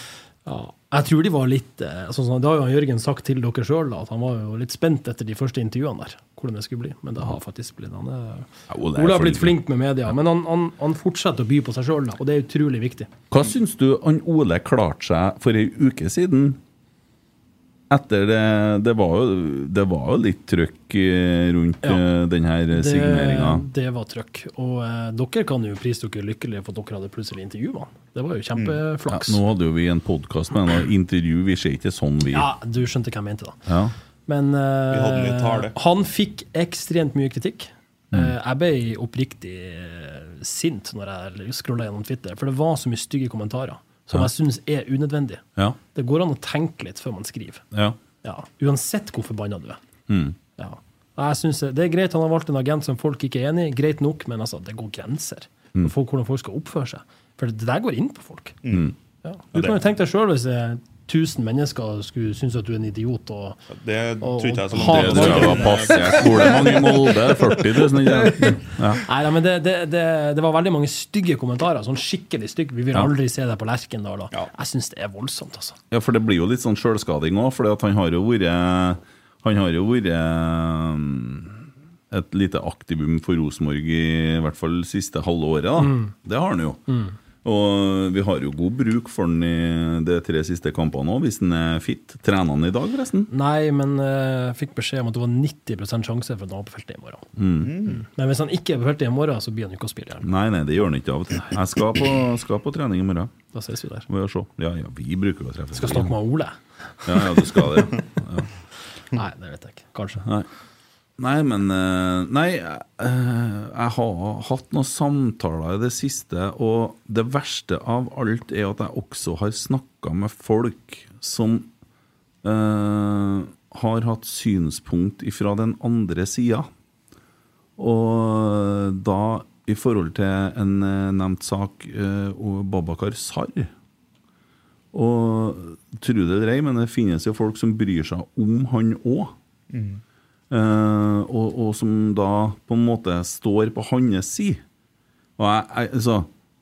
Jeg tror de var litt eh, sånn som Det har jo han Jørgen sagt til dere sjøl, at han var jo litt spent etter de første intervjuene der. Hvordan det skulle bli. Men det har faktisk blitt han. er-
Ole er
Ole har blitt
flink.
flink med media, men han, han, han fortsetter å by på seg sjøl, og det er utrolig viktig.
Hva syns du han Ole klarte seg for ei uke siden? Etter det Det var jo, det var jo litt trøkk eh, rundt eh, den her
Det,
signeringa.
det var trøkk. Og eh, dere kan jo prise dere lykkelige for at dere hadde plutselig intervjua han. Det var
Mm.
jo
Ja,
kjempeflaks.
nå hadde jo vi en podkast med en intervju, vi ser ikke sånn vi
Ja, du skjønte hva jeg mente, da.
Ja.
Men eh,
Vi hadde litt tale.
han fikk ekstremt mye kritikk.
Mm.
Eh, jeg ble oppriktig eh, sint når jeg scrolla gjennom Twitter, for det var så mye stygge kommentarer som
Ja.
jeg syns er unødvendige.
Ja.
Det går an å tenke litt før man skriver.
ja.
Ja, Uansett hvor forbanna du er.
Mm.
Ja. Jeg synes det- Det er greit han har valgt en agent som folk ikke er enig i, greit nok, men altså, det går grenser
Mm.
for hvordan folk skal oppføre seg. For det der går inn på folk.
Mm.
Ja.
Ja,
Du
det-
kan jo tenke deg sjøl hvis eh, 1000 mennesker skulle synes at du er en idiot. og...
Det
og-
tror ikke jeg er så
og-
langt.
Det tror jeg var pass. Jeg tror det er mange i Molde. 40 000, ikke Ja.
Nei, nei, men det, det, det, det var veldig mange stygge kommentarer. Sånn skikkelig stygge. Vi vil
Ja.
aldri se deg på Lerkendal. og Jeg syns det er voldsomt, altså.
Ja, for det blir jo litt sånn sjølskading òg, for han har jo vært Han har jo vært um, et lite aktivum for Rosenborg i, hvert fall siste halve året, da.
Mm.
Det har han jo.
Mm.
Og vi har jo god bruk for han i de tre siste kampene òg, hvis han er fit. Trener han i dag, forresten?
Nei, men eh, jeg fikk beskjed om at det var 90 sjanse for at han var på feltet i morgen.
Mm.
Men hvis han ikke er på feltet i morgen, så blir han jo ikke å spille igjen.
Nei, nei, det gjør han ikke av og til. Jeg skal på, skal på trening i morgen.
Da ses vi der.
Må vi se. Ja, ja, vi bruker jo å treffe
Skal snakke med Ole.
Ja, ja, du skal det. Ja.
Nei, det vet jeg ikke. Kanskje.
Nei. Nei, men eh, Nei, eh, jeg har hatt noen samtaler i det siste, og det verste av alt er at jeg også har snakka med folk som eh, har hatt synspunkt ifra den andre sida. Og da i forhold til en eh, nevnt sak eh, og Babakar Sarr. Og tro det eller ei, men det finnes jo folk som bryr seg om han òg.
Mm.
Eh, og, og som da på en måte står på hans side. Og jeg, jeg, altså,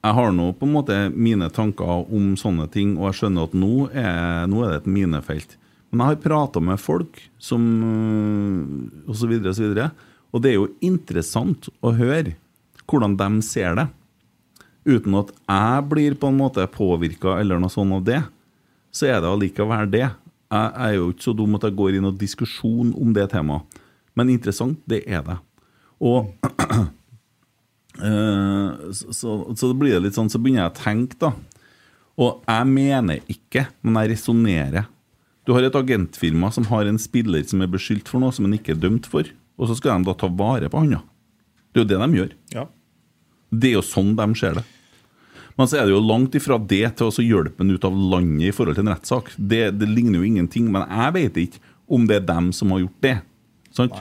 jeg har nå på en måte mine tanker om sånne ting, og jeg skjønner at nå er, nå er det et minefelt. Men jeg har prata med folk som øh, Og så videre og så videre. Og det er jo interessant å høre hvordan de ser det. Uten at jeg blir på en måte påvirka eller noe sånt av det, så er det allikevel det. Jeg er jo ikke så dum at jeg går i noen diskusjon om det temaet. Men interessant, det er det. Og eh, så, så, så det blir det litt sånn, så begynner jeg å tenke, da. Og jeg mener ikke, men jeg resonnerer. Du har et agentfirma som har en spiller som er beskyldt for noe som han ikke er dømt for, og så skal de da ta vare på han, ja. Det er jo det de gjør.
Ja.
Det er jo sånn de ser det. Men så er det jo langt ifra det til å så hjelpe han ut av landet i forhold til en rettssak. Det, det ligner jo ingenting, men jeg vet ikke om det er dem som har gjort det. Sant?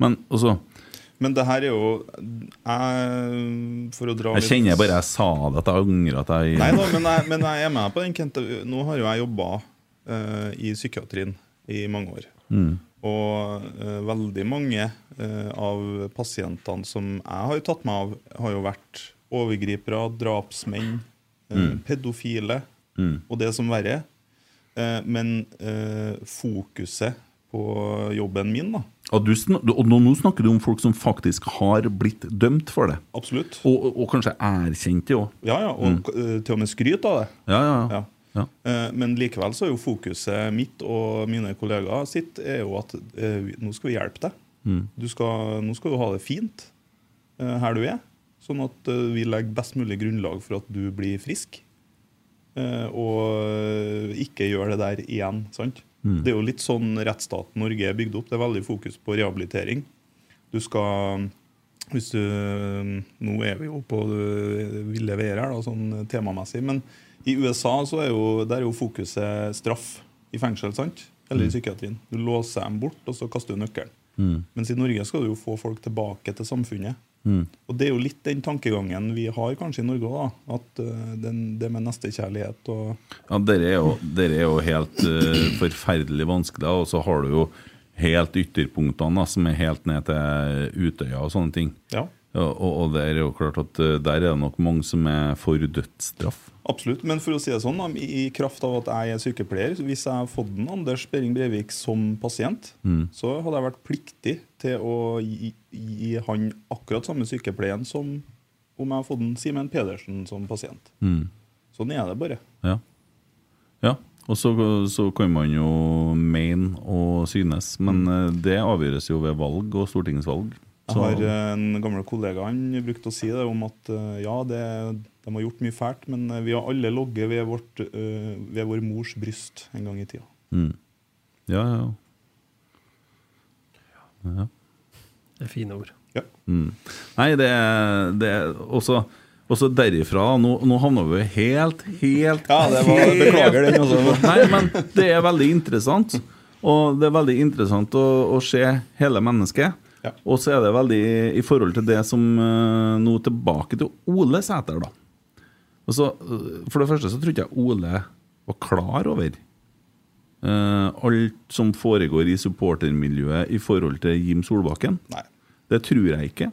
Men altså
Men det her er jo jeg, For å dra
Jeg kjenner bare jeg sa det, at jeg angrer at jeg
Nei da, men, jeg- men jeg er med på den, Kent. Nå har jo jeg jobba i psykiatrien i mange år.
Mm.
Og eh, veldig mange eh, av pasientene som jeg har tatt meg av, har jo vært overgripere, drapsmenn, eh,
Mm.
pedofile
Mm.
og det som verre er. Eh, men eh, fokuset på jobben min, da,
Og, du, sn- og nå, nå snakker du om folk som faktisk har blitt dømt for det.
Absolutt.
Og, og kanskje erkjent det òg.
Ja, ja,
Mm.
og eh, til og med skryt av det.
ja. ja.
Eh, Men likevel så er jo fokuset mitt og mine kollegaer sitt er jo at eh, vi- nå skal vi hjelpe deg.
Mm.
Du skal, nå skal du ha det fint eh, her du er, sånn at eh, vi legger best mulig grunnlag for at du blir frisk. eh, Og eh, ikke gjør det der igjen. sant?
Mm.
Det er jo litt sånn rettsstaten Norge er bygd opp. Det er veldig fokus på rehabilitering. Du skal hvis du, Nå er vi jo på øh, ville veier her, da, sånn temamessig. Men i USA så er jo, der er jo fokuset straff i fengsel. sant? Eller i
Mm.
psykiatrien. Du låser dem bort, og så kaster du nøkkelen.
Mm.
Mens i Norge skal du jo få folk tilbake til samfunnet.
Mm.
Og det er jo litt den tankegangen vi har kanskje i Norge òg, at øh, den, det med nestekjærlighet og
Ja, dere er, jo- dere er jo helt eh, forferdelig vanskelig, og så har du jo helt ytterpunktene, da, som er helt ned til Utøya og sånne ting.
Ja.
Og, og, og det er jo klart at eh, der er det nok mange som er for dødsstraff.
Absolutt. Men for å si det sånn, da, i i kraft av at jeg er sykepleier, så hvis jeg har fått den Anders Behring Breivik som pasient,
Mm.
så hadde jeg vært pliktig til å gi, gi han akkurat samme sykepleien som om jeg har fått den Simen Pedersen som pasient.
Mm.
Sånn er det bare.
Ja. ja. Og så, så kan man jo mene og synes, men eh, det avgjøres jo ved valg og stortingsvalg.
Mm. Jeg
Så-
har eh, en gammel kollega han brukte å si det om at eh, ja, det, de har gjort mye fælt, men eh, vi har alle logget ved, vårt, eh, ved vår mors bryst en gang i tida.
Mm. Ja, ja, ja. ja.
Det er fine ord.
Mm. Nei, det er- det er også også derifra Nå, nå havna vi helt, helt
Ja, det var- beklager den også.
Nei, men det er veldig interessant. Og det er veldig interessant å, å se hele mennesket. Og så er det veldig i forhold til det som eh, Nå tilbake til Ole Sæter, da. Og så, eh, for det første så tror ikke jeg Ole var klar over eh, alt som foregår i supportermiljøet i forhold til Jim Solbakken. Det tror jeg ikke.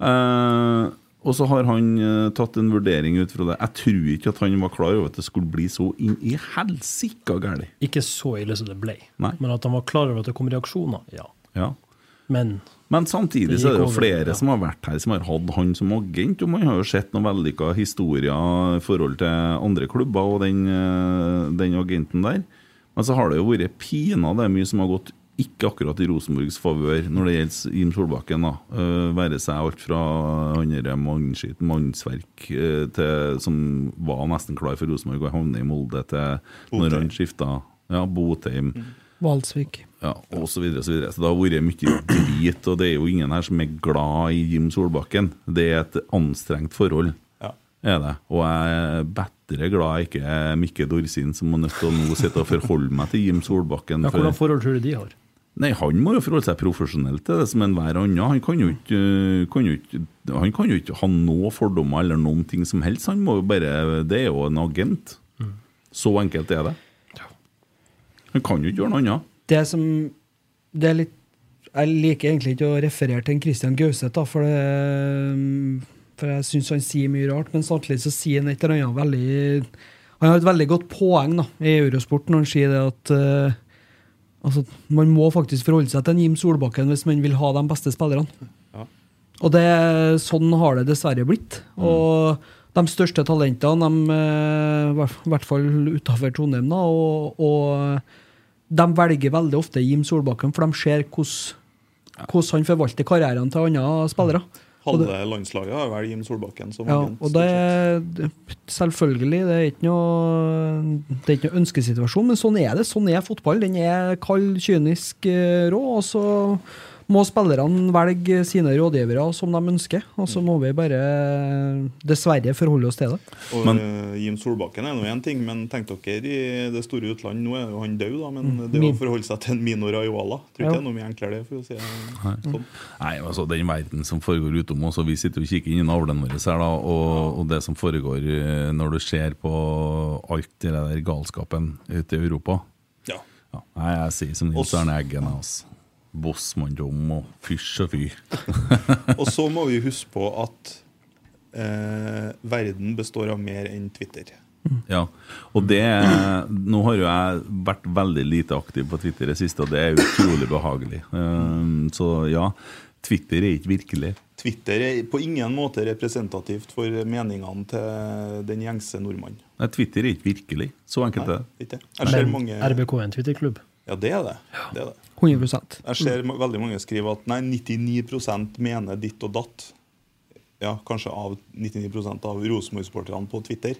Eh, og så har han eh, tatt en vurdering ut fra det. Jeg tror ikke at han var klar over at det skulle bli så inn i helsika galt.
Ikke så ille som det ble,
Nei.
men at han var klar over at det kom reaksjoner, ja.
Ja.
Men
Men samtidig
Det
så er det
gikk
jo
over,
flere
ja.
som har vært her, som har hatt han som agent. Og man har jo sett noen vellykka historier i forhold til andre klubber og den, eh, den agenten der. Men så har det jo vært pinadø mye som har gått ikke akkurat i Rosenborgs favør når det gjelder Jim Solbakken. da. Eh, Være seg alt fra andre mannskitt, mannsverk, eh, til, som var nesten klar for Rosenborg og havne i Molde, til når han skifta ja, Botheim.
Mm.
Valsvik.
Ja, og så videre og så videre. Så det har vært mye drit, og det er jo ingen her som er glad i Jim Solbakken. Det er et anstrengt forhold, er det. Og jeg er bedre glad jeg ikke er Mikke Dorsin, som er nødt til å nå sitte og forholde meg til Jim Solbakken.
ja,
for-
hvordan forhold tror du de har?
Nei, Han må jo forholde seg profesjonelt til det som enhver annen. Han kan jo ikke, øh, kan jo ikke, han kan jo
Mm.
ikke ha noe fordommer eller noen ting som helst. Han må jo bare, Det er jo en agent. Så enkelt er det. Han kan jo ikke gjøre noe annet.
Det som det er litt, Jeg liker egentlig ikke å referere til en Christian Gauseth, da, for, det, for jeg syns han sier mye rart. Men samtidig så sier han et eller annet veldig Han har et veldig godt poeng da, i Eurosport når han sier det at eh, altså, man må faktisk forholde seg til en Jim Solbakken hvis man vil ha de beste spillerne.
Ja.
Og det, sånn har det dessverre blitt. Og de største talentene, de, eh, hver- i hvert fall utenfor Trondheim, da, og, og de velger veldig ofte Jim Solbakken, for de ser hvordan hvordan han forvalter karrieren til andre spillere. Og det-
Halve landslaget har vel Jim Solbakken som
ja,
agent.
og det er selvfølgelig det er ikke noe det er ikke noe ønskesituasjon, men sånn er det. Sånn er fotball. Den er kald, kynisk, eh, rå, og så må spillerne velge sine rådgivere som de ønsker. Og så må vi bare dessverre forholde oss til det.
Og eh, Jim Solbakken er nå én ting, men tenk dere i det store utland Nå er jo han død, da, men
Mm,
det
min-
å forholde seg til en Mino Raiola Tror ikke
Ja.
det er noe mye enklere, det, for å si
Nei.
det sånn.
Nei, altså den verden som foregår utom oss, og vi sitter jo og kikker inn i navlene våre her, da, og, og det som foregår eh, når du ser på alt det der galskapen ute i Europa
Ja.
Nei, jeg sier som Nils Arne Eggen, jeg, altså. Bossmanndom og fysj og fy.
Og så må vi huske på at eh, verden består av mer enn Twitter.
Ja, og det Nå har jo jeg vært veldig lite aktiv på Twitter i det siste, og det er utrolig behagelig. Eh, så ja, Twitter er ikke virkelig.
Twitter er på ingen måte representativt for meningene til den gjengse nordmann.
Nei, Twitter er ikke virkelig. Så enkelt
Nei,
er det.
ikke. Jeg ser
Men
mange
RBK er en Twitter-klubb.
Ja, det er det. det, er det.
100
Jeg ser ma- veldig mange skrive at nei, 99 mener ditt og datt. Ja, kanskje av 99 av Rosenborg-sporterne på Twitter.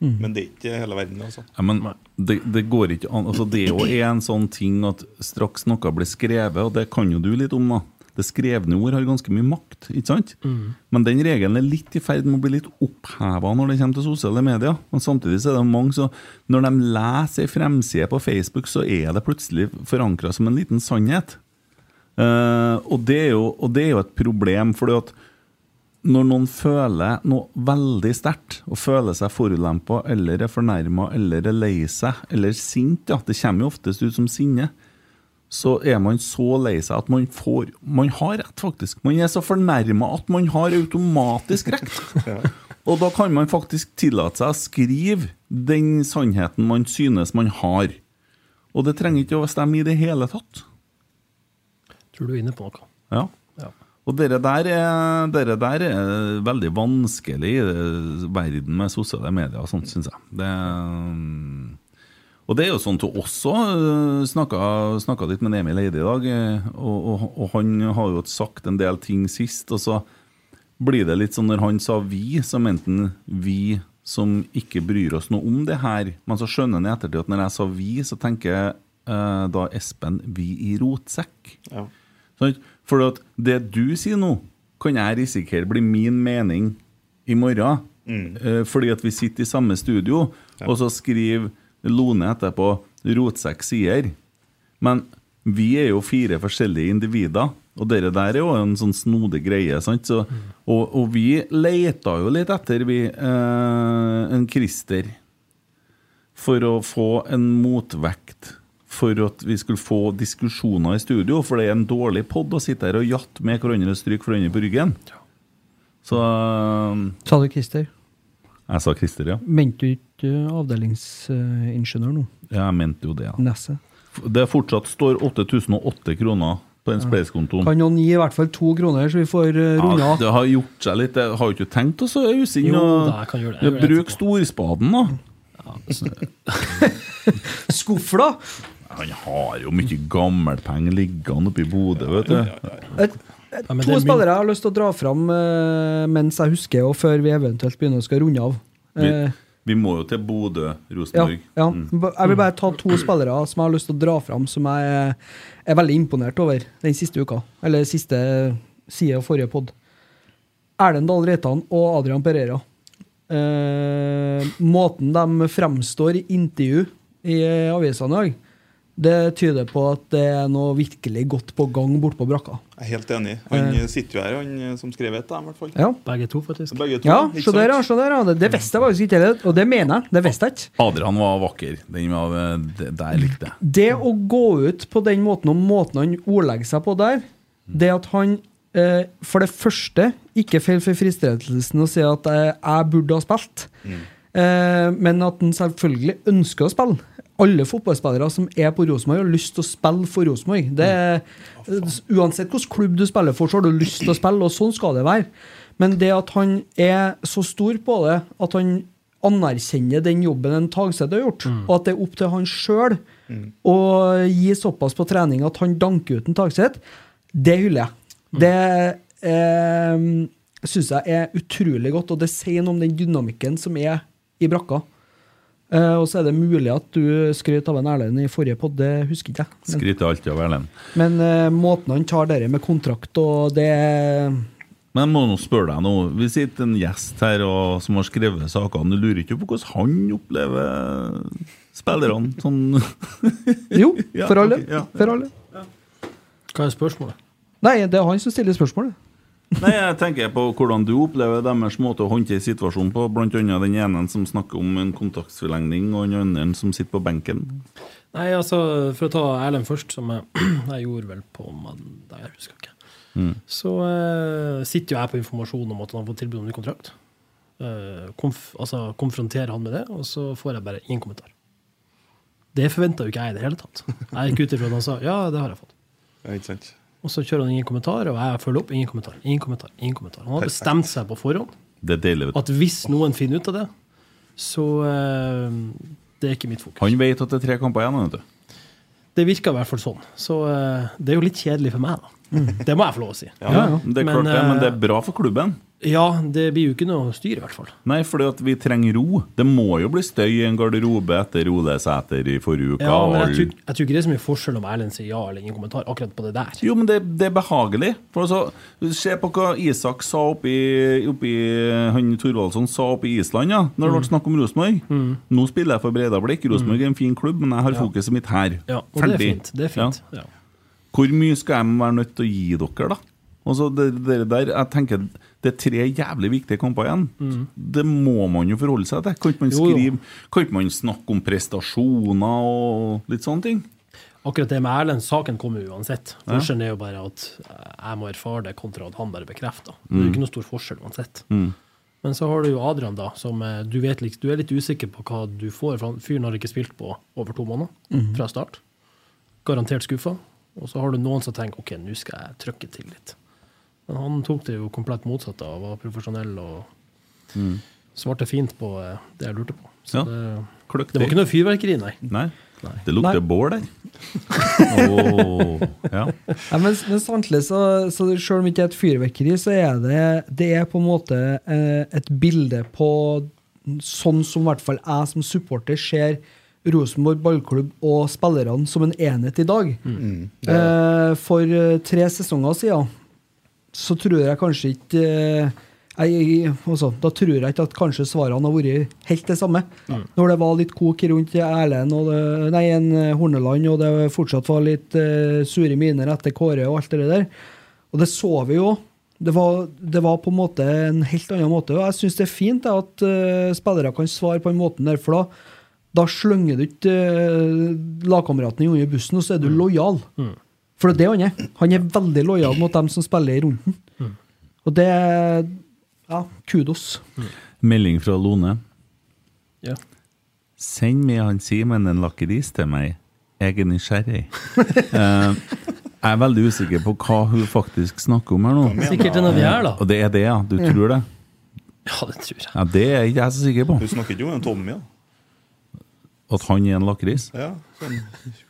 Mm.
Men det er ikke hele verden, altså.
Ja, men det, det går ikke an altså, Det er jo en sånn ting at straks noe blir skrevet, og det kan jo du litt om, da. Det skrevne ord har ganske mye makt, ikke sant?
Mm.
Men den regelen er litt i ferd med å bli litt oppheva når det kommer til sosiale medier. Men samtidig så er det mange som Når de leser ei fremside på Facebook, så er det plutselig forankra som en liten sannhet. Eh, og, det er jo, og det er jo et problem, fordi at når noen føler noe veldig sterkt, og føler seg forulempa eller er fornærma eller er lei seg eller sint ja, Det kommer jo oftest ut som sinne. Så er man så lei seg at man får Man har rett, faktisk. Man er så fornærma at man har automatisk rett. Og da kan man faktisk tillate seg å skrive den sannheten man synes man har. Og det trenger ikke å stemme i det hele tatt.
Tror du er inne på noe.
Ja.
Ja.
Og dere der, er, dere der er veldig vanskelig i det- verden med sosiale medier og sånt, syns jeg. Det, og det er jo sånn at du også snakka, snakka litt med Emil Eide i dag, eh, og, og, og han har jo sagt en del ting sist, og så blir det litt sånn når han sa vi, så mente han vi som ikke bryr oss noe om det her. Men så skjønner han i ettertid at når jeg sa vi, så tenker jeg eh, da Espen vi i rotsekk. Sant? For at det du sier nå, kan jeg risikere blir min mening i morgen. Eh, Fordi at vi sitter i samme studio, og så skriver Lone etterpå rotsekk sier. Men vi er jo fire forskjellige individer, og dere der er jo en sånn snodig greie. sant? Så, og, og vi leita jo litt etter vi, eh, en Christer for å få en motvekt. For at vi skulle få diskusjoner i studio, for det er en dårlig pod å sitte her og jatte med hverandre og stryke hverandre på ryggen. Så eh,
Sa du Christer?
Jeg sa Christer, ja.
Mente du ikke eh, avdelingsingeniør nå?
Ja, Jeg mente jo det. Ja.
Nesset?
Det fortsatt står 8008 kroner på den
Ja.
spleiskontoen.
Kan noen gi i hvert fall to kroner, så vi får eh, runde
Ja,
av?
det har gjort seg litt. Jeg har jo ikke tenkt å så ause inn
Jo,
og
da, jeg kan gjøre det. Jeg gjør det
Bruk storspaden, da.
altså, Skufla!
Han har jo mye gammelpenger liggende oppe i Bodø, vet du.
men
To
det er min-
spillere jeg har lyst til å dra fram eh, mens jeg husker, og før vi eventuelt begynner å skal runde av.
Vi,
Eh,
vi må jo til Bodø,
ja,
Rosenborg.
ja.
Mm.
Ba- Jeg vil bare ta to spillere som jeg har lyst til å dra fram, som jeg er- er veldig imponert over den siste uka. Eller siste side av forrige pod. Erlend Dahl Reitan og Adrian Pereira. Eh, måten de fremstår i intervju i eh, avisene i dag, Det tyder på at det er noe virkelig godt på gang borte på brakka.
Jeg er helt enig. Han
Eh.
sitter jo her, han eh, som skrev et, da, i hvert fall.
Ja.
Begge to, faktisk.
Begge to,
Ja,
ikke
se der,
sant?
ja. Se der, ja. Det, det visste jeg faktisk ikke heller, og det mener jeg. Det visste jeg ikke.
Adrian var vakker. Den var, det, der likte jeg.
Det å gå ut på den måten, og måten han ordlegger seg på der, det at han eh, for det første ikke faller for fristelsen å si at eh, jeg burde ha spilt, eh, men at han selvfølgelig ønsker å spille. Alle fotballspillere som er på Rosenborg, har lyst til å spille for Rosenborg. Det er- Uansett hvilken klubb du spiller for, så har du lyst til å spille, og sånn skal det være. Men det at han er så stor på det, at han anerkjenner den jobben en Tagseth har gjort, og at det er opp til han sjøl å gi såpass på trening at han danker ut en Tagseth, det hyller jeg. Det eh, syns jeg er utrolig godt, og det sier noe om den dynamikken som er i brakka. Eh, og så er det mulig at du skrøt av en Erlend i forrige pod, det husker ikke jeg. Men,
Skryter alltid av Erlend.
men eh, måten han tar det med kontrakt og det
Men jeg må nå spørre deg nå. Vi sitter en gjest her og, som har skrevet sakene. Du lurer ikke på hvordan han opplever spillerne? Sånn.
Jo,
Ja,
for alle.
ok, ja.
For alle.
Hva er spørsmålet?
Nei, det er han som stiller spørsmålet.
Nei, jeg tenker på hvordan du opplever deres måte å håndtere situasjonen på. Blant annet den ene som snakker om en kontraktsforlengning, og den andre som sitter på benken.
Nei, altså, for å ta Erlend først, som jeg, jeg gjorde vel på mandag, jeg husker ikke.
Mm.
Så eh, sitter jo jeg på informasjon om at han har fått tilbud om ny kontrakt. Eh, konf altså konfronterer han med det, og så får jeg bare ingen kommentar. Det forventa jo ikke jeg i det hele tatt. Jeg gikk ut ifra at han sa ja, det har jeg fått.
Ja, ikke sant.
Og så kjører han ingen kommentar, og jeg følger opp. Ingen kommentar. ingen kommentar, ingen kommentar. Han har
Perfekt.
bestemt seg på forhånd
Det er deilig. vet du.
at hvis noen finner ut av det, så eh, det er ikke mitt fokus.
Han vet at det er tre kamper igjen. vet du.
Det virker i hvert fall sånn. Så eh, det er jo litt kjedelig for meg, da. Det må jeg få lov å si.
Det er klart det, men det er bra for klubben.
eh, Ja, det blir jo ikke noe styr, i hvert fall.
Nei, fordi at vi trenger ro. Det må jo bli støy i en garderobe etter Ole Sæter i forrige uke.
Ja, men jeg
og-
tror, jeg tror ikke det er så mye forskjell om Erlend sier ja eller ingen kommentar akkurat på det der.
Jo, men det, det er behagelig. For altså, Se på hva Isak sa oppi, oppi Han Thorvaldsson sa oppe i Island, ja, når det
Mm.
ble snakk om Rosenborg.
Mm.
Nå spiller jeg for Breidablikk. Rosenborg er en fin klubb, men jeg har
Ja.
fokuset mitt her.
Ja, og det er fint. Det er fint. Ja.
Hvor mye skal jeg være nødt til å gi dere, da? Altså, det, det der, jeg tenker Det er tre jævlig viktige kamper igjen.
Mm.
Det må man jo forholde seg til. Kan ikke man,
Jo, jo.
skrive, kan ikke man snakke om prestasjoner og litt sånne ting?
Akkurat det med Erlend, saken kommer jo uansett.
Ja.
Forskjellen er jo bare at eh, jeg må erfare det, kontra at han bare bekrefter. Det er
Mm.
jo ikke noe stor forskjell uansett.
Mm.
Men så har du jo Adrian, da, som eh, du, vet, litt- du er litt usikker på hva du får. For han- fyren har ikke spilt på over to måneder
Mhm.
fra start. Garantert skuffa. Og så har du noen som tenker OK, nå skal jeg trykke til litt. Men han tok det jo komplett motsatt av, var profesjonell og
Mm.
svarte fint på eh, det jeg lurte på. Så
Ja.
det,
Kløktig.
det var ikke noe fyrverkeri, nei.
Nei. Det lukter bål der. Åh, ja.
Nei, men, men samtidig, så, så selv om det ikke er et fyrverkeri, så er det, det er på en måte eh, et bilde på sånn som i hvert fall jeg som supporter ser Rosenborg ballklubb og spillerne som en enhet i dag.
Mm.
Eh, for eh, tre sesonger siden så tror jeg kanskje ikke eh, jeg, altså, Da tror jeg ikke at kanskje svarene har vært helt det samme.
Mm.
Når det var litt kok rundt Erlend og det, nei, en eh, Horneland, og det fortsatt var litt eh, sure miner etter Kåre og alt det der. Og det så vi jo. Det var, det var på en måte en helt annen måte. Og jeg syns det er fint da, at eh, spillere kan svare på den måten der, for da, da slenger du ikke eh, lagkameraten din under bussen, og så er du lojal.
Mm.
For det er det han er. Han er veldig lojal mot dem som spiller i runden.
Mm.
Og det Ja, kudos.
Melding fra Lone.
Ja.
Send meg han Simen en lakris til meg. Jeg er nysgjerrig. Eh, jeg er veldig usikker på hva hun faktisk snakker om her nå.
mener Sikkert en av de her, da.
Og det er det, ja. Du
Ja.
tror det?
Ja, det tror jeg.
Ja, Det er ikke jeg så sikker på.
Du snakker ikke om en Tommy, da?
At han er en lakris?
Ja, sånn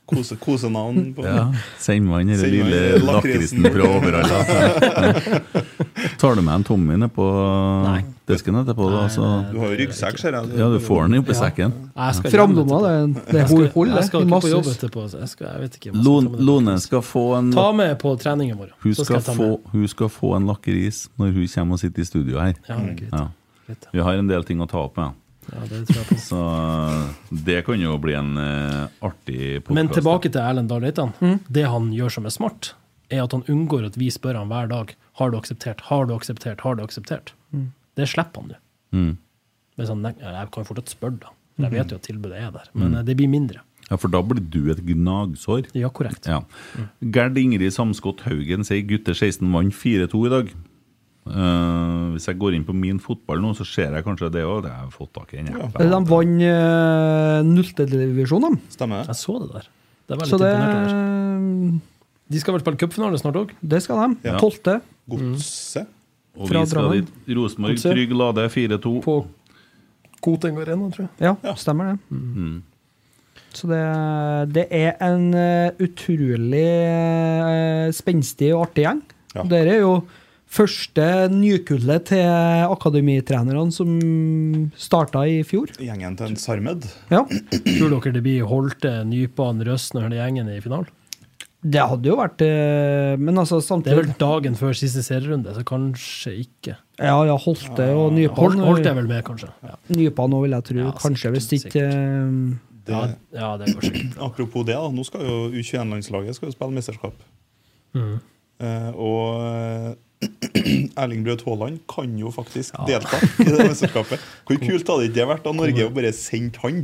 kose, kosenavn. på-
Ja. Send meg han den
Send meg
lille
lakrisen.
lakrisen fra Overhalla. Ja. Tar du med en Tommy ned på desken etterpå, da? Så
Du har jo ryggsekk, ser jeg.
Ja, du får den jo på sekken.
Jeg skal
Framlomma, Sånn det, er- det
Jeg
er
skal,
hol- hol,
jeg
det.
skal
I
ikke på
massevis.
jobb etterpå. så Jeg, skal, jeg vet ikke. om jeg skal
Lone, Lone skal få en
Ta med på treningen vår.
Hun
så
skal,
jeg ta med.
få, hun skal få en lakris når hun kommer og sitter i studio her.
Ja, greit.
Vi har en del ting å ta opp med. Så eh, det kan jo bli en eh, artig podcast.
Men tilbake til Erlend Dahl Reitan.
Mm.
Det han gjør som er smart, er at han unngår at vi spør han hver dag har du akseptert, har du akseptert, har du akseptert.
Mm.
Det slipper han nå.
Mm.
Det er Sånn, nei, jeg kan jo fortsatt spørre, da. Jeg
Mm.
Mhm.
vet jo at tilbudet er der, men
Mm.
eh, det blir mindre.
Ja, for da blir du et gnagsår.
Ja, korrekt.
Ja. Gerd Ingrid Samskott Haugen sier gutter 16 vant 4-2 i dag. Eh, hvis jeg går inn på min fotball nå, så ser jeg kanskje det òg. Det har jeg fått tak i. den appen.
De vant uh, nulltedivisjonen, de.
Stemmer
Jeg så det der. Det var jeg
Så
litt
det
imponert over. De skal vel spille cupfinale snart òg?
Det skal de.
Ja.
Tolvte.
Godset.
Mm.
Og
Fra
vi skal
Drammen.
dit. Rosenborg,
Godset.
Trygg Lade 4-2.
Koteng Arena, tror jeg.
Ja, stemmer det.
Mm.
Så det, det er en eh, utrolig eh, spenstig og artig gjeng.
Ja.
Dere er jo første nykullet til akademitrenerne som starta i fjor.
Gjengen til en Sarmed.
Ja.
Tror dere det blir Holte, Nypan, Røsne og hele gjengen i finalen?
Det hadde jo vært eh, Men altså,
Det er vel
samtidig
dagen før siste serierunde, så kanskje ikke.
Ja, ja, Holte og Nypan.
Holt, Holt er vel med, kanskje. Ja,
Nypan òg, vil jeg tro. Kanskje, hvis ikke eh,
Det,
ja, det går sikkert
Apropos det, da. Nå skal jo U21-landslaget skal jo spille mesterskap.
Mhm.
Eh, og eh, Erling Braut Haaland kan jo faktisk delta i det mesterskapet. Hvor kult hadde ikke det vært av Norge å bare sendt han?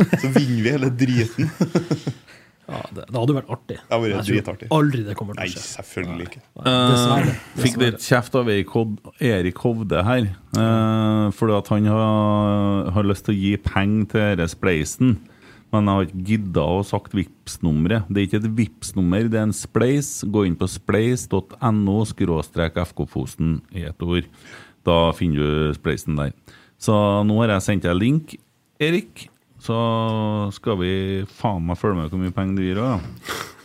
Så vinner vi hele driten.
ja det, det hadde vært artig.
Det hadde
Men
vært
jeg tror
dritartig.
Aldri det kommer til å
Nei,
skje.
selvfølgelig ikke.
Dessverre.
Eh, fikk litt kjeft av Erik Hov- Erik Hovde her, eh, fordi at han har, har lyst til å gi penger til denne spleisen. Men jeg har ikke gidda å sagt Vipps-nummeret. Det er ikke et Vipps-nummer, det er en spleis. Gå inn på spleis.no skråstrek FK-posen i ett ord. Da finner du spleisen der. Så nå har jeg sendt deg link, Erik. Så skal vi faen meg følge med hvor mye penger du gir òg,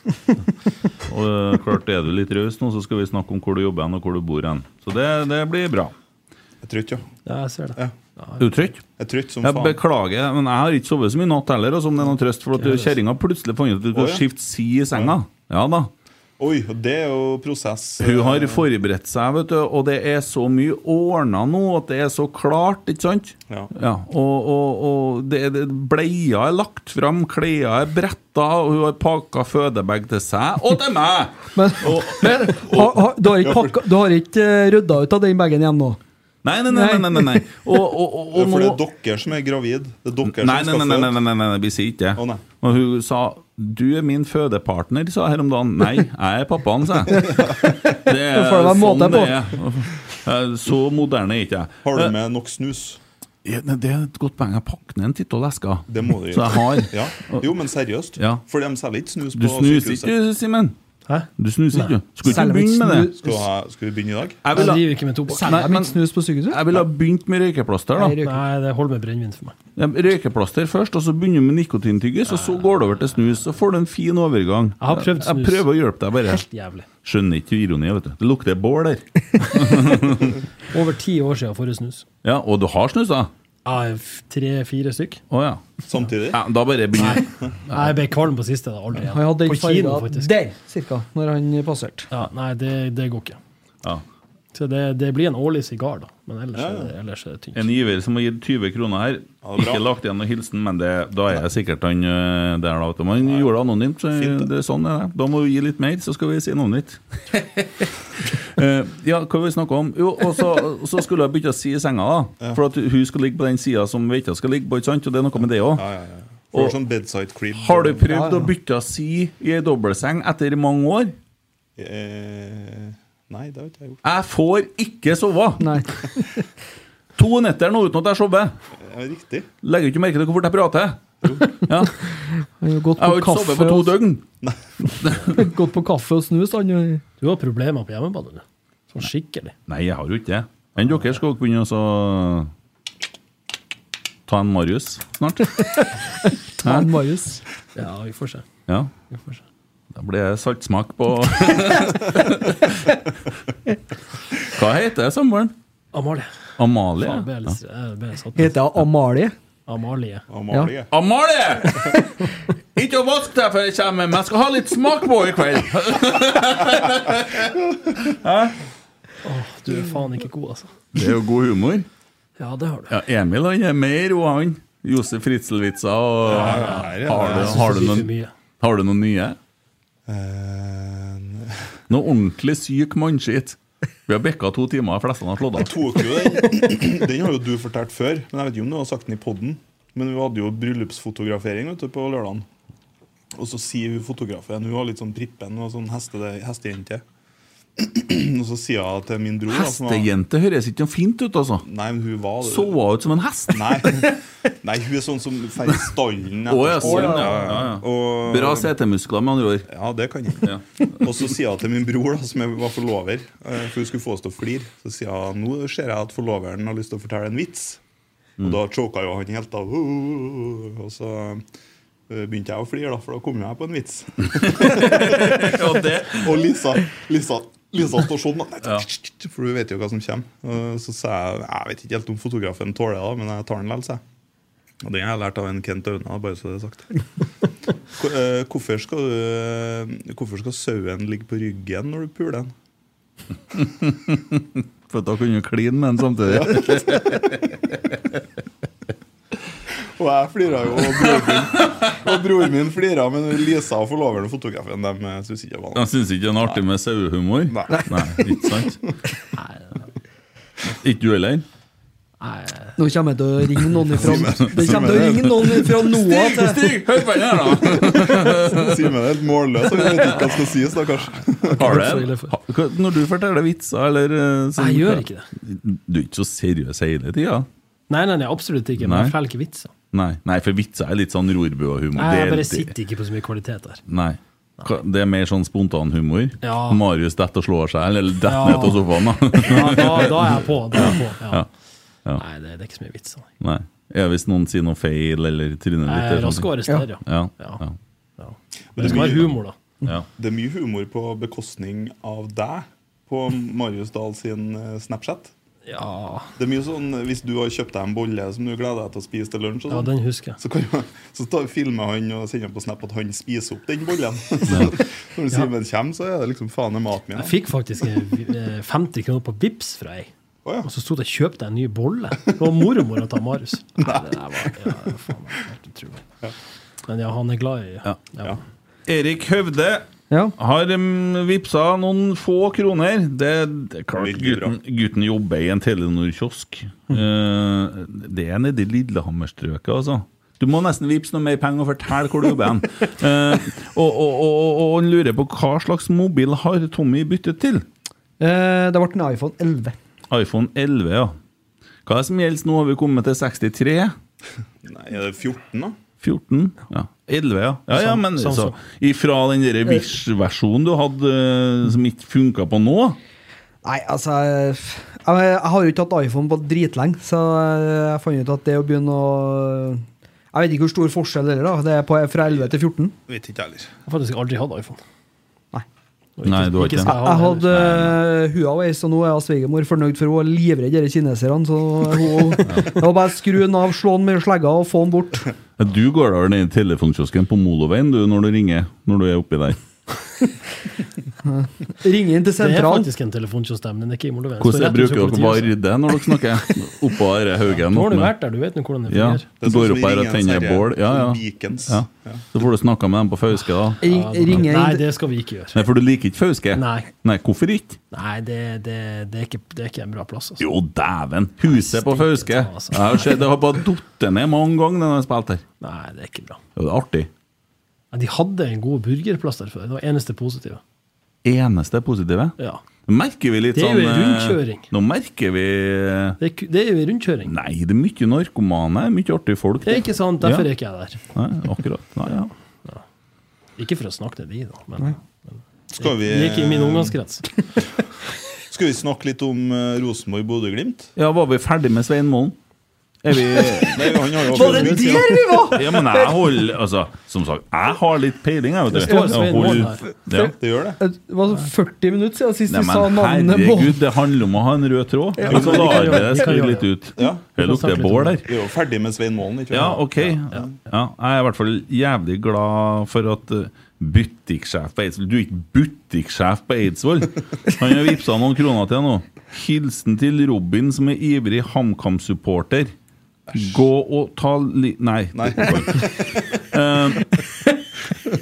da. Og eh, klart er du litt raus nå, så skal vi snakke om hvor du jobber hen og hvor du bor hen. Så det, det blir bra.
Jeg er trøtt, ja.
Ja, jeg ser det.
Er du trøtt?
Jeg er trøtt som
Jeg
faen.
beklager, men jeg har ikke sovet så mye i natt heller, altså, om det er noen trøst for at kjerringa plutselig fant ut at du
Å,
skulle
ja.
skifte side i senga. Ja da.
Oi, og det er jo prosess.
Hun har forberedt seg, vet du, og det er så mye ordna nå, at det er så klart, ikke sant?
Ja.
og og, og det, det, bleia er lagt fram, klærne er bretta, og hun har pakka fødebag til seg og til meg!
Men, men har, har, du har ikke, pakka, du har ikke eh, rydda ut av den bagen igjen nå?
Nei, nei, nei. nei, nei, nei. Og, og, og,
Ja,
og
for det
nå
er dere som er gravid. Det er dere
Nei, nei,
som
nei,
skal
nei,
føde.
nei, nei, nei, nei, vi sier ikke det. Og hun sa 'du er min fødepartner', sa jeg her om dagen. Nei, jeg er pappaen, sa jeg. Det er
Da får det være måte
sånn
på.
det er. Eh, Så moderne er ikke jeg.
Har
Eh,
du med nok snus?
ja, nei, Det er et godt poeng. Jeg pakker ned en titt og lesker.
Det må du
Så jeg har.
Ja. Jo, men seriøst.
Ja.
For de selger ikke snus
Du
på
snuser ikke, du, Simen? Du snuser ikke, du. Skulle ikke begynne med det.
Skal, ha- skal vi begynne i dag?
Jeg vil ha-
driver ikke med tobakk.
Nei, men-
snus på sykehuset?
Jeg ville ha begynt med røykeplaster, da.
Nei, det holder med brennevin for meg.
Ja, Røykeplaster først, og så begynner du med nikotintyggis, og så går det over til snus. Så får du en fin overgang.
Jeg har
Jeg
prøvd snus.
prøver å hjelpe deg, bare.
Helt jævlig.
Skjønner ikke ironi, vet du. Det lukter bål der.
Over ti år siden forrige snus.
Ja, og du har snus, da?
Ja, Tre-fire stykk.
Å ja.
Samtidig?
Ja, da bare begynner
Nei, Jeg ble kvalm på siste. da, Aldri
Han hadde
igjen.
den
På kino,
farga
faktisk.
der, cirka, når han passerte.
Ja, nei, det, det går ikke.
Ja.
Så det, det blir en årlig sigar, da. Men ellers, Er, det, ellers er det tynt.
En giver som har gitt 20 kroner her.
det er bra.
Ikke lagt igjen noen hilsen, men det, da er jeg sikkert han øh, der, da. vet du. Man gjorde det anonymt, så det er sånn er det. Da må vi gi litt mer, så skal vi si noe nytt. Eh, ja, hva vil vi snakke om? Jo, og så, så skulle jeg bytte side i senga, da.
Ja.
For at hun skal ligge på den sida som veita skal ligge på, ikke sant? Og det er noe med det òg.
For sånn bedside crib.
Har du prøvd
Ja, ja.
å bytte side i ei dobbeltseng etter mange år?
Eh, nei, det har ikke jeg gjort.
Jeg får ikke sove! to netter nå uten at jeg sover.
Ja, riktig.
Legger ikke merke til hvor fort jeg prater. Ja.
Han har gått
Jeg har
på
jo ikke
kaffe
sovet på to
og-
døgn.
Gått på kaffe og snus, han. og-
Du har problemer på hjemmebane, du. Sånn skikkelig.
Nei, jeg har jo ikke det. Men dere skal jo begynne å så ta en Marius snart.
Ta
Hæ?
en Marius. Ja, vi får se.
Ja.
Vi får se.
Da blir det saltsmak på Hva heter samboeren?
Amalie. eh,
Amalie?
Faen, jeg ble litt- jeg ble satt.
Heter hun Amalie?
Amalie.
Amalie.
Amalie! Ikke å vaske deg før jeg kommer, men jeg skal ha litt smak på i kveld. Hæ?
Du er faen ikke god, altså.
Det er jo god humor.
Ja, det har du.
Ja, Emil han er mer og han. Josef Fritzelwitza og
Ja, ja, ja, ja.
Har, du,
Jeg synes
har, du
det blir for
noen,
mye. Eh,
har du noen nye? Noe ordentlig syk mannskitt. Vi har bikka to timer, de fleste har slått av.
tok jo den. Den har jo du fortalt før, men jeg vet ikke om du har sagt den i podden. Men vi hadde jo bryllupsfotografering vet du, på lørdagen. Og så sier hun fotografen Hun var litt sånn prippen og sånn hestede, hestejente. Og så sier hun til min bror da, som var-
Hestejente høres ikke noe fint ut, altså.
Nei, men hun var
Så hun ut som en hest?
Nei, Nei hun er sånn som fer i stallen.
Å ja,
etterpå.
sånn, ja. ja, ja.
Og-
Bra setemuskler, med andre ord.
Ja, det kan jeg. Og så sier jeg til min bror, da, som jeg var forlover, eh, for hun skulle få oss til å flire, så sier jeg nå ser jeg at forloveren har lyst til å fortelle en vits. Og da choka jo han helt av. Og så eh, begynte jeg å flire, da, for da kom jeg på en vits.
og,
Lisa, Lisa, Lisa står sånn, da. for hun vet jo hva som kommer. Og så sa jeg jeg vet ikke helt om fotografen tåler det, men jeg tar den likevel. sa jeg. Og den har jeg lært av en Kent Auna, bare så det er sagt. Hvor- eh, Hvorfor skal, du, hvorfor skal sauen ligge på ryggen når du puler den?
For da kunne du kline med den samtidig.
Og jeg flira jo, og broren min, og broren min flira, men Lisa og forloveren og fotografen de syns ikke det var noe.
Jeg syns ikke det er artig med sauehumor. Nei. ikke sant? Ikke du heller?
Nå kommer jeg til å ringe noen ifra Det
Si
kommer
meg
til å
det.
ringe noen fra NOA
Stig, Stig, hør på den her, da!
Simen er helt målløs, og jeg vet ikke hva som skal sies, stakkars.
Har du en? Ha- hva- Når du forteller vitser, eller eh, sånn-
Nei, jeg gjør ikke
Du er ikke så seriøs hele tida?
Nei, nei, nei, absolutt ikke. Men
Nei.
jeg forteller ikke vitser.
Nei. Nei, for vitser er litt sånn rorbuehumor.
Nei, jeg
Det-
bare
det-
sitter ikke på så mye kvalitet der.
Nei. Hva- Det er mer sånn spontanhumor.
Ja.
Marius detter og slår seg, eller detter
Ja.
ned av sofaen.
Ja, da- da er jeg på, da er jeg på, ja.
Nei,
det, er ikke så mye vits.
Nei. Ja, hvis noen sier noe feil, eller trynet ditt
Nei,
eller
raske
sånne ting.
å arrestere,
ja.
ja.
ja.
Ja.
Men det
Det skal
er
være
mye-
humor, da.
Ja.
Det er mye humor på bekostning av deg på Marius Dahl sin eh, Snapchat.
Ja
Det er mye sånn eh, Hvis du har kjøpt deg en bolle som du gleder deg til å spise til lunsj, og
Ja,
sånn,
den husker jeg.
så, kan, jo- så ta, filmer han og sender på Snap at han spiser opp den bollen. Så Når Simen kommer, så er det liksom faen er maten min.
Jeg fikk faktisk eh, 50 kroner på Vips fra ei. Og så sto det 'kjøp deg en ny bolle'. Det var mormora til Marius. Nei, det der var, ja, det var faen meg helt utrolig. Men ja, han er glad i ja. Ja.
Erik Høvde har um, vippsa noen få kroner. Det, det er klart gutten, gutten jobber i en Telenor-kiosk. Eh, det er nede i Lillehammer-strøket, altså. Du må nesten vippse noe mer penger og fortelle hvor du jobber hen. Eh, og, og, og, og, og han lurer på hva slags mobil har Tommy byttet til?
Eh, Det ble en iPhone 11.
iPhone 11, ja. Hva er det som gjelder nå? Har vi kommet til 63?
Nei, er det 14, da?
14? Ja. 11, ja. ja, ja
Sånn-
Sam-
men så,
Samsung.
Ifra den der Wish-versjonen du hadde eh, som ikke funka på nå?
Nei, altså Jeg, jeg har jo ikke hatt iPhone på dritlenge, så eh, jeg fant ut at det å begynne å Jeg vet ikke hvor stor forskjell det er, da. Det er på, fra 11 til 14.
Vet ikke heller.
Jeg har faktisk aldri hatt iPhone.
Nei, du har
ikke
ikke
Jeg, jeg hadde eh, Huawei, så nå er jeg svigermor fornøyd, for hun er livredd disse kineserne. Så hun Det var bare å skru den av, slå den med slegga og få den bort.
Ja, Du går da ned i telefonkiosken på Moloveien du, når du ringer? Når du er oppi der?
Ring inn til
Det er
sentral.
faktisk en telefonkjøstem. Den er ikke i Moldoven.
Hvordan
Så rett
bruker
ut
dere
som politiet.
varde når dere snakker? Oppå her i haugen?
Nå har
opp
du
med-
vært der, du vet nå hvordan det
Ja,
fungerer.
du går opp
sånn
her og tenner bål. Ja, ja.
Beacons.
ja. Så får du snakka med dem på Fauske, da.
Ja, det-
ringer inn-
Nei, det skal vi ikke gjøre.
Nei, For du liker ikke Fauske?
Nei.
Nei, hvorfor ikke?
Nei, det, det, det, er, ikke, det er ikke en bra plass. Altså.
Jo, dæven! Huset på Fauske. Jeg har sett- Det har bare datt ned mange ganger når jeg har spilt her.
Nei, det er ikke bra.
Jo, det er artig.
Ja, De hadde en god burgerplass der før. Det var eneste positive.
Eneste positive.
Ja.
Nå merker vi litt
Det er
sånn
jo en
eh,
rundkjøring.
Nå merker vi
Det er, ku- det er jo en rundkjøring.
Nei, det er mye narkomane, mye artige folk.
Det er ikke sant, derfor
Ja.
er ikke jeg der.
Nei, akkurat. Nei, ja.
Ikke for å snakke til de, da, men,
Nei.
men
Skal vi-
Det er ikke i min omgangskrets.
Skal vi snakke litt om eh, Rosenborg-Bodø-Glimt?
ja, var vi ferdig med Svein Målen? Er vi
Nei, han har jo
Var det
avsluttet,
der
ja.
vi Ja, men jeg holder Altså, som sagt, jeg har litt peiling, jeg, vet du. Jeg holder- Ja.
Det gjør det.
Det var 40 minutter siden sist
Nei,
vi sa
men
navnet på
herregud, det handler om å ha en rød tråd.
Ja.
Og så lar vi det
Vi kan
skli
gjøre
litt
det.
ut.
Ja.
Det lukter bål her.
Vi er jo ferdig med Svein Målen, ikke
Ja, ok. Ja. Jeg er i hvert fall jævlig glad for at eh, butikksjef på Eidsvoll Du er ikke butikksjef på Eidsvoll! Han har vippsa noen kroner til nå. Hilsen til Robin, som er ivrig HamKam-supporter. Gå og ta li... Nei. Eh,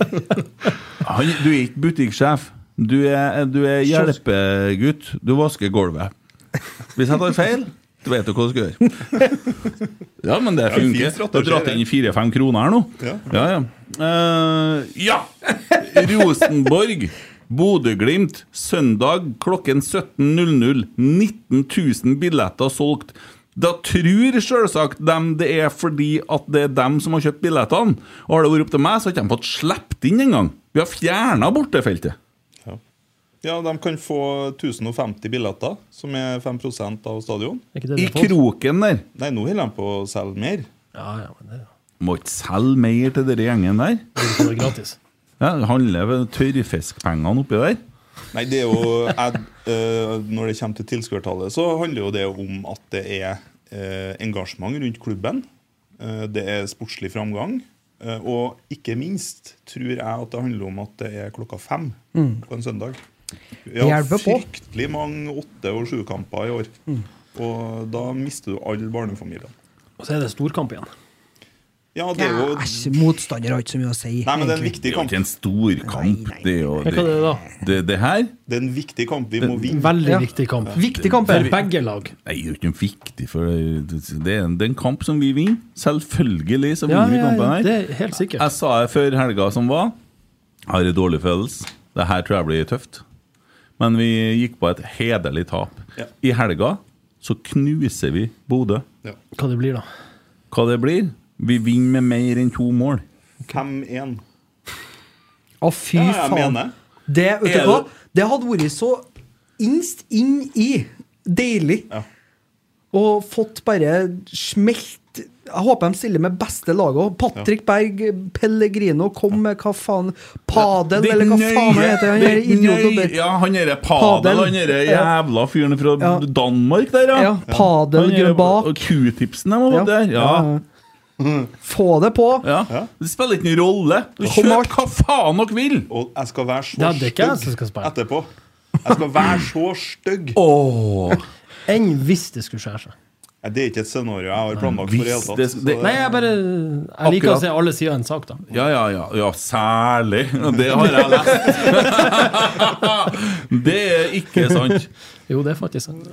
han, du er ikke butikksjef. Du er, du er hjelpegutt. Du vasker gulvet. Hvis jeg tar feil, så vet du hva du skal gjøre. Ja, men det
Det er en fin
funker. Du
strategi,
har dratt
det.
inn fire-fem kroner her nå.
Ja.
ja, ja. Eh, ja! Rosenborg. Bodø-Glimt. Søndag klokken 17.00. 19 000 billetter solgt. Da tror selvsagt dem det er fordi at det er dem som har kjøpt billettene. Og har det vært opp til meg, så har ikke de fått sluppet inn engang. Vi har fjerna bortefeltet.
Ja, De kan få 1050 billetter, som er 5 av stadion.
ikke det
I kroken der.
Nei, nå holder de på å selge mer.
Ja, ja, men det
Må ikke selge mer til denne gjengen der.
Det er gratis.
Ja, det handler vel tørrfiskpengene oppi der.
Nei, det er jo jeg, eh, Når det kommer til tilskuertallet, så handler jo det om at det er eh, engasjement rundt klubben. Eh, det er sportslig framgang. eh, og ikke minst tror jeg at det handler om at det er klokka fem
Mm.
på en søndag. Vi
Det
har
hjelper på. Mm.
fryktelig mange åtte- og sjukamper i år. Og da mister du alle barnefamiliene.
Og så er det storkamp igjen.
Ja, det er jo
Æsj, motstander har ikke så mye å si.
Nei, men det er en
egentlig.
viktig kamp.
Det er en stor kamp. Det er jo
Men hva er det da?
Det, det her
Det er en viktig kamp. Vi må vinne.
Veldig viktig kamp.
Viktig kamp,
For
Det-
begge lag.
Nei, det er jo ikke noe viktig, for det det er, en, det er en kamp som vi vinner. Selvfølgelig så
Ja,
vinner vi
ja,
kampen
ja,
her.
det er helt sikkert.
Jeg sa det før helga som var. Jeg har en dårlig følelse. Det her tror jeg blir tøft. Men vi gikk på et hederlig tap. I helga så knuser vi Bodø.
Hva det blir da?
Hva det blir? Vi vinner med mer enn to mål.
5-1.
Å, fy
Ja, jeg
faen.
mener.
Det, vet
Er
du hva? det hadde vært så innst inn i deilig. Og fått bare smelt Jeg håper de stiller med beste laget òg. Patrick Berg, Pellegrino, kom med hva faen Padel,
Det er
eller hva faen
nøye-
heter han
det er
der idioten
nøye-
der?
Ja, han derre Padel,
Padel.
han derre
Ja.
jævla fyren fra Danmark der, ja.
Padel,
Han derre-
Grøbak.
Og Q-tipsen de har vært der. Ja.
Få det på!
Ja. Det spiller ikke noen rolle. Du
Og
kjøper
Mark.
hva faen dere vil!
Og jeg skal være
Ja,
så
det er ikke jeg som skal
stygg
spille.
etterpå. Jeg skal være så stygg.
Enn hvis det skulle skjære seg.
Nei, Det er ikke et scenario jeg har planlagt for i hele tatt. så det-
Nei, jeg bare Jeg liker å se alle sider av en sak, da.
Ja, ja, ja. ja særlig. Og Det har jeg lest. det er ikke sant.
Jo, det er faktisk sant.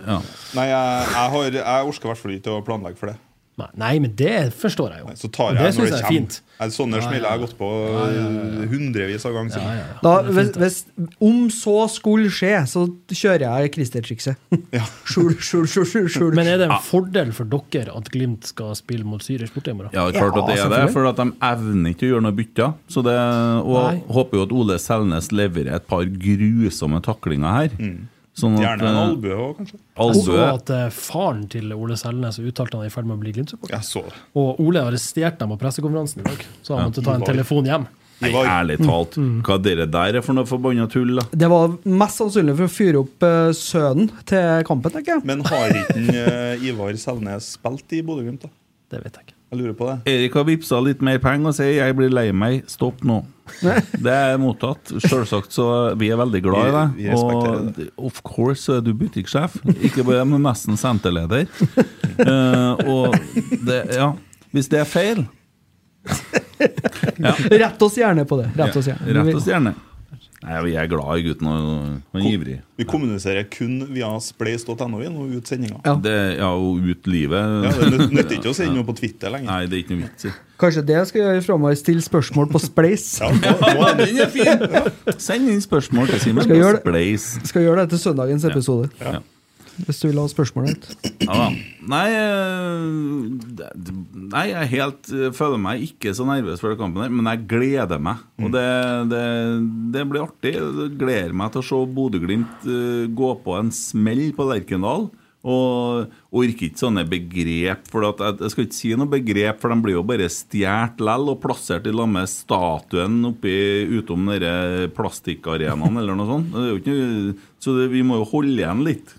Nei, jeg, jeg, har, jeg orker i hvert fall ikke å planlegge for det.
Nei, nei, men det forstår jeg jo.
Så tar
Og
jeg når
synes
det
jeg er
kommer.
fint.
Nei, Sånne
Ja,
smell
ja,
jeg har gått på hundrevis av ganger siden.
Da, hvis, hvis, om så skulle skje, så kjører jeg Christer-trikset. Skjul, skjul, skjul, skjul, skjul.
Men er det en fordel for dere at Glimt skal spille mot Syrisk borte i morgen?
Ja, det er klart at det er det, for at de evner ikke å gjøre noe bytte. Så det, og
Nei.
håper jo at Ole Selnes leverer et par grusomme taklinger her. Sånn at,
Mm. Gjerne en
eh,
albue òg, kanskje.
Jeg så
Albue.
at eh, faren til Ole Selnes uttalte han er i ferd med å bli Glimt-supporter.
Jeg så det.
Og Ole arresterte dem på pressekonferansen i dag, så han
Ja.
måtte ta en
Ivar.
telefon hjem.
Nei, ærlig talt,
Mm.
hva dere der er for noe forbanna tull, da?
Det var mest sannsynlig for å fyre opp eh, sønnen til kampen, tenker jeg.
Men har ikke en, eh, Ivar Selnes spilt i Bodø-Glimt, da?
Det vet jeg ikke.
Jeg lurer på det.
Erik har vippsa litt mer penger og sier 'jeg blir lei meg, stopp nå'. Det er mottatt. Selvsagt, så vi er veldig glad i
Vi- vi
deg. Og of course så er du butikksjef, ikke bare men nesten senterleder. Eh, og det, ja Hvis det er feil Ja.
Rett oss gjerne på det. Rett oss gjerne.
Ja, rett oss gjerne. Nei, vi er glad i gutten og han er ivrig.
Vi kommuniserer kun via spleis.no vi nå ut sendinga.
Ja.
Det, ja, og ut livet.
Ja, det nytt- nytter ikke å sende noe på Twitter lenger.
Nei, det er ikke noe vits i.
Kanskje det jeg skal gjøre framover? Stille spørsmål på Spleis.
Ja, den er fin! Send inn spørsmål til Simen.
Skal gjøre det.
Spleis.
Skal gjøre det til søndagens episode.
Ja.
Hvis du vil ha spørsmålet ditt.
Ja da. Nei, eh, det- nei, jeg er helt, eh, føler meg ikke så nervøs for den kampen, her, men jeg gleder meg. Og det, det, det blir artig. Jeg gleder meg til å se Bodø-Glimt eh, gå på en smell på Lerkendal. Og orker ikke sånne begrep. For at jeg, jeg skal ikke si noe begrep, for de blir jo bare stjålet lell og plassert i lag med statuen oppi, utom denne plastikkarenaen eller noe sånt. Det er jo ikke, noe- så det, vi må jo holde igjen litt.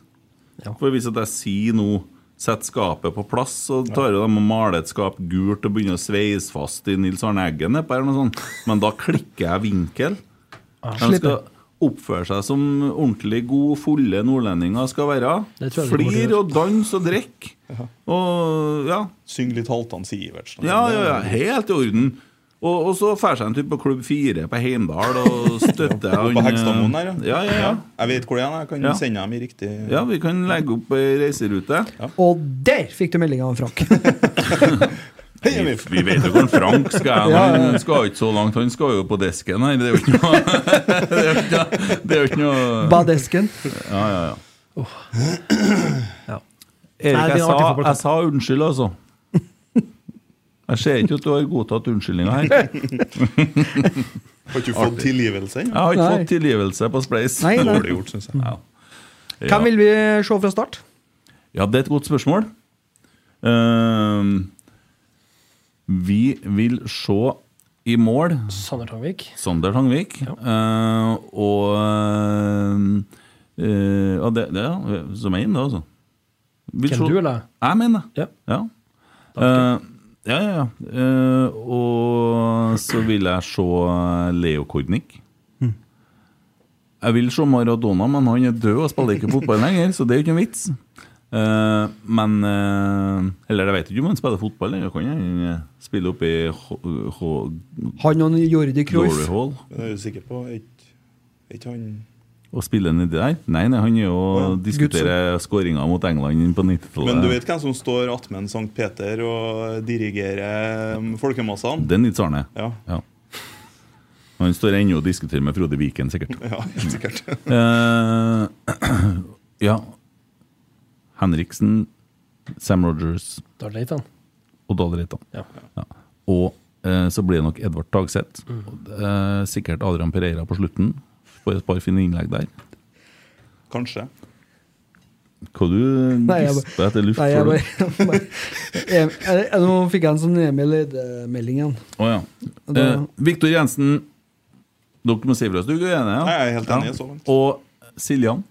For hvis at jeg sier nå Sett skapet på plass, så tar jo de og maler et skap gult og begynner å sveise fast i Nils Arne Eggen nedpå her, eller noe sånt. Men da klikker jeg vinkel. De
slipper.
skal, oppføre seg som ordentlig gode, fulle nordlendinger skal være.
Det tror jeg vi kommer til å
Flir
gjøre.
og danse og drikke. Og ja.
Synge litt Halvdan Sivertsen.
Ja, ja, ja, helt i orden. Og, og så drar seg en tur på Klubb 4 på Heimdal og støtter
Ja, oppe
han,
på
eh,
Hegstadmoen her,
ja. Ja, ja,
Jeg vet hvor det er, jeg kan
Ja.
sende dem i riktig
ja, vi kan legge opp ei reiserute.
Og der fikk du meldinga av Frank!
Vi, vi vet jo hvor Frank skal.
Ja, ja,
hen.
ja.
Han skal ikke så langt. Han skal jo på desken her. Det er jo ikke noe Det er jo ikke noe, det er jo ikke noe
Badesken.
Ja, ja, ja.
Ja. Nei,
Erik,
det
jeg
er en artig
sa,
fotballkamp.
jeg sa unnskyld, altså. Jeg ser ikke at du har godtatt unnskyldninga her.
Har ikke du fått
Artig.
tilgivelse ennå?
Jeg har ikke
Nei.
fått tilgivelse på Spleis.
Nei, nei.
Dårlig gjort, synes jeg.
Ja. Ja.
Hvem vil vi se fra start?
Ja, det er et godt spørsmål. Ehm, vi vil se i mål
Sander Tangvik.
Sander Tangvik. eh, og eh, ja, det, det, ja, som jeg er inne, altså. Vil
Hvem
se-
du eller jeg?
Jeg mener det. Ja. Eh, ja, ja, ja. Eh, og så vil jeg se Leo Kornic. Jeg vil se Maradona, men han er død og spiller ikke fotball lenger, så det er jo ikke en vits. Eh, men eh, Eller jeg vet ikke om han spiller fotball lenger. Kan han eh, spille opp i H... H
Han og Jordi
Glory
Cruyff.
Hall
Men er du sikker på Ikke ikke han
og spille nedi der? Nei, nei, han er jo
Ja.
diskuterer skåringa mot England på 90-tallet.
Men du vet hvem som står attmed Sankt Peter og dirigerer um, folkemassene?
Det er Nils Arne.
Ja.
Han står ennå og diskuterer med Frode Viken, sikkert.
Ja, helt sikkert.
Eh, ja Henriksen, Sam Rogers
Da er det Leitan.
og Dahl Reitan.
Ja.
Og eh, så blir det nok Edvard Tagseth.
Mm.
Og, eh, sikkert Adrian Pereira på slutten. Får et par fine innlegg der.
Kanskje.
Hva du
Nei, jeg
gisper etter luft
Nei, jeg
for?
bare,
du?
Em- eh, eh, Nå fikk jeg en sånn Emil Eide-melding igjen.
Å ja. Eh, Viktor Jensen, dere må si fra hvis du er enig? Ja?
Jeg er helt enig,
Ja.
så langt.
Og Siljan.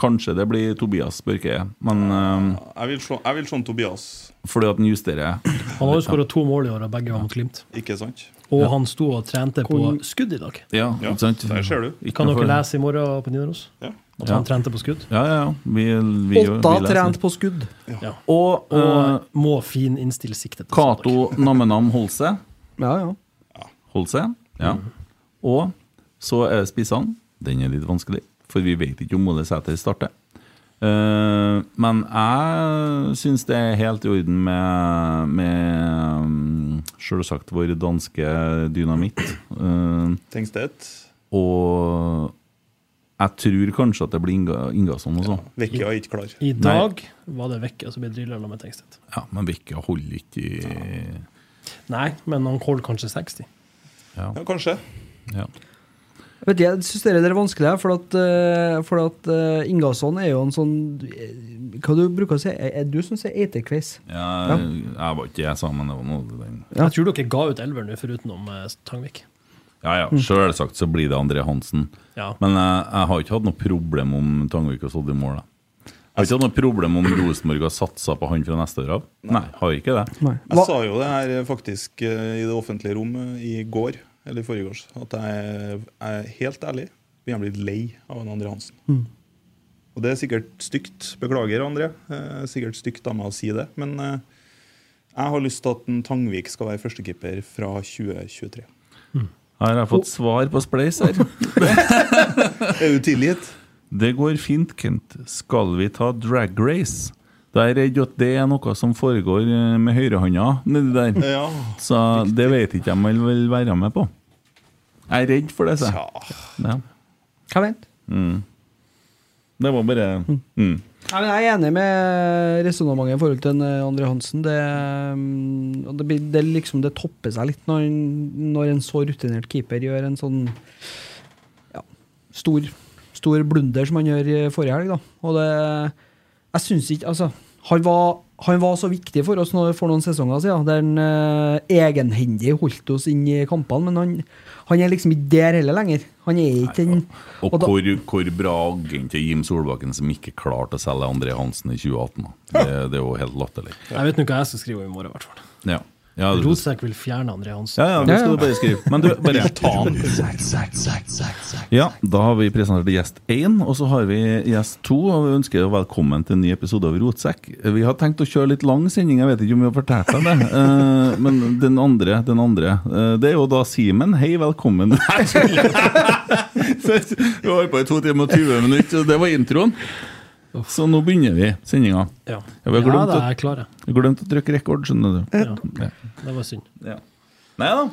Kanskje det blir Tobias Børke, men eh,
Jeg vil se- jeg vil se en Tobias,
fordi at han justerer
Han har jo skåra to mål i år, og begge var mot Glimt.
ikke sant?
Og
Ja.
han sto og trente på
Hvor-
skudd i dag.
Ja,
Ja,
ikke sant?
der ser du.
Kan
noe
dere
for-
lese i morgen på Nidaros? At han trente på skudd?
Ja, ja, ja. Vi, vi,
Åtta
vi leser
trent
det.
på skudd.
Ja.
Og, eh,
må fin innstill siktet.
Cato Namenam Holse.
Ja,
eh,
ja.
Holse. Ja. Og så er det spissene. Den er litt vanskelig, for vi vet ikke om Ole Sæter starter. Eh, men jeg syns det er helt i orden med, med um, selvsagt vår danske dynamitt. Eh,
Tengstedt.
og jeg tror kanskje at det blir Inga- Ingasson også.
Vekki er ikke klar.
I dag var det Vekka som ble drilla med Tengstedt.
Ja, men Vekka holder ikke i
Nei, men han holdt kanskje 60.
Ja.
Ja, kanskje.
Jeg Vet jeg syns dere er vanskelig, for at, eh, for at eh, Ingasson er jo en sånn eh, Hva du bruker å si? Er er du som sier eterkveis?
Ja, Jeg var ikke jeg sa, men det var noe den.
Jeg tror dere ga ut elveren nå, forutenom eh, Tangvik.
Ja, ja, Selvsagt så blir det André Hansen.
Ja.
Men jeg, jeg har ikke hatt noe problem om Tangvik har stått i mål. da. Jeg har ikke hatt noe problem om Rosenborg har satsa på han fra neste år av. Nei, har ikke det.
Jeg sa jo det her eh, faktisk eh, i det offentlige rom eh, i går, eller i forgårs, at jeg jeg er helt ærlig. Begynner å bli lei av en André Hansen.
Mm.
Og det er sikkert stygt. Beklager, André. Eh, Sikkert stygt av meg å si det. Men eh, jeg har lyst til at en Tangvik skal være førstekeeper fra 2023.
Her har jeg fått svar på Spleis her.
er du tilgitt?
Det går fint, Kent. Skal vi ta drag race? Da er jeg redd at det er noe som foregår eh, med høyrehånda nedi der.
Ja.
Så det vet ikke jeg om jeg vil være med på. Jeg er redd for det, sa
jeg.
Ja.
Hva vent?
Mm. Det var bare mm.
Nei, men Jeg er enig med resonnementet i forhold til en, eh, André Hansen. Det, mm, og det, blir- det, liksom, det topper seg litt når, en- når en så rutinert keeper gjør en sånn ja, stor, stor blunder som han gjør i forrige helg. Da. Og det, jeg syns ikke altså, han, var, han var så viktig for oss nå for noen sesonger siden, der han eh, egenhendig holdt oss inn i kampene, men han, han er liksom ikke der heller lenger. Han er ikke den
Og
og da-
hvor, hvor bra agent er Jim Solbakken som ikke klarte å selge André Hansen i 2018? da? Det, det er jo helt latterlig.
Jeg vet nå hva jeg skal skrive om i morgen, i hvert fall.
Ja. Ja, du-
Rotsekk vil fjerne André Hansen.
Ja, ja, det skal du bare skrive. Men du, bare ta den. Ja, da har vi presentert gjest 1, og så har vi gjest 2, og vi ønsker deg velkommen til en ny episode av Rotsekk. Vi har tenkt å kjøre litt lang sending, jeg vet ikke om vi har fortalt deg det, eh, men den andre, den andre, eh, det er jo da Simen. Hei, velkommen. Nei, så- Vi holdt på i 2 timer og 20 minutter, og det var introen. Så nå begynner vi sendinga.
Ja.
vi har
Ja,
glemt,
da er
å-
jeg klar, jeg.
vi har glemt å trykke rekord, skjønner du. Ja.
Det var synd.
Nei da.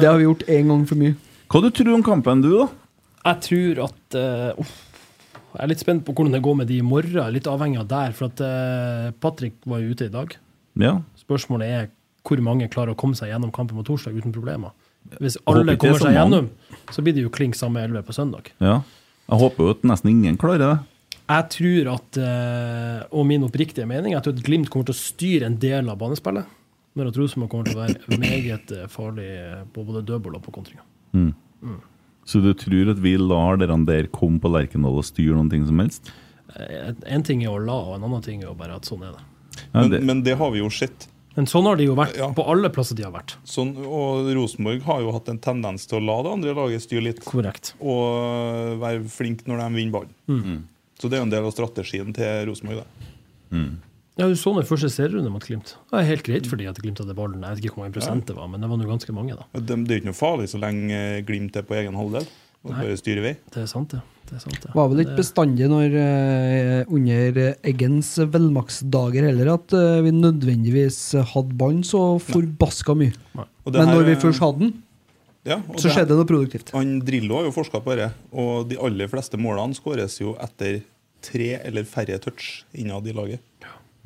Det har vi gjort én gang for mye.
Hva du tror om kampen, du, da?
Jeg tror at eh, uff, Jeg er litt spent på hvordan det går med de i morgen. Jeg er Litt avhengig av der. For at eh, Patrick var jo ute i dag.
Ja.
Spørsmålet er hvor mange klarer å komme seg gjennom kampen på torsdag uten problemer. Hvis
Håper
alle
ikke det er
kommer
så
seg gjennom,
mange.
så blir det jo klink samme elleve på søndag.
Ja. Jeg håper jo at nesten ingen klarer det.
Jeg tror at, eh, og min oppriktige mening, er at Glimt kommer til å styre en del av banespillet. Men at Rosenborg kommer til å være meget eh, farlig eh, på både dødball og på kontringer.
Mm.
Mm.
Så du tror at vi lar dere der komme på Lerkendal og styre noen ting som helst?
Eh, En ting er å la, og en annen ting er jo bare at sånn er det.
Ja,
Men, men det har vi jo sett.
Men sånn har det jo vært på alle plasser de har vært.
Sånn, og Rosenborg har jo hatt en tendens til å la det andre laget styre litt.
Korrekt.
Og være flink når de vinner ballen.
Mm.
Så det er jo en del av strategien til Rosenborg. det.
Ja, Du så nå i første serierunde mot Glimt. Det er helt greit fordi at Glimt hadde ballen. Jeg vet ikke hvor mange prosent det var, men det var nå ganske mange, da.
Og dem- Det er jo ikke noe farlig så lenge eh, Glimt er på egen halvdel og
Nei.
bare styrer vei.
Det er sant, det. det, er sant, det.
Var vel ikke
Det-
bestandig når, eh, under Eggens velmaksdager heller at eh, vi nødvendigvis hadde ballen så forbaska mye.
Og det
Men
her
når vi
er-
først hadde den,
Ja, og
så
det-
skjedde det noe produktivt.
Han Drillo har jo forska på det, og de aller fleste målene skåres jo etter tre eller færre touch innad i laget.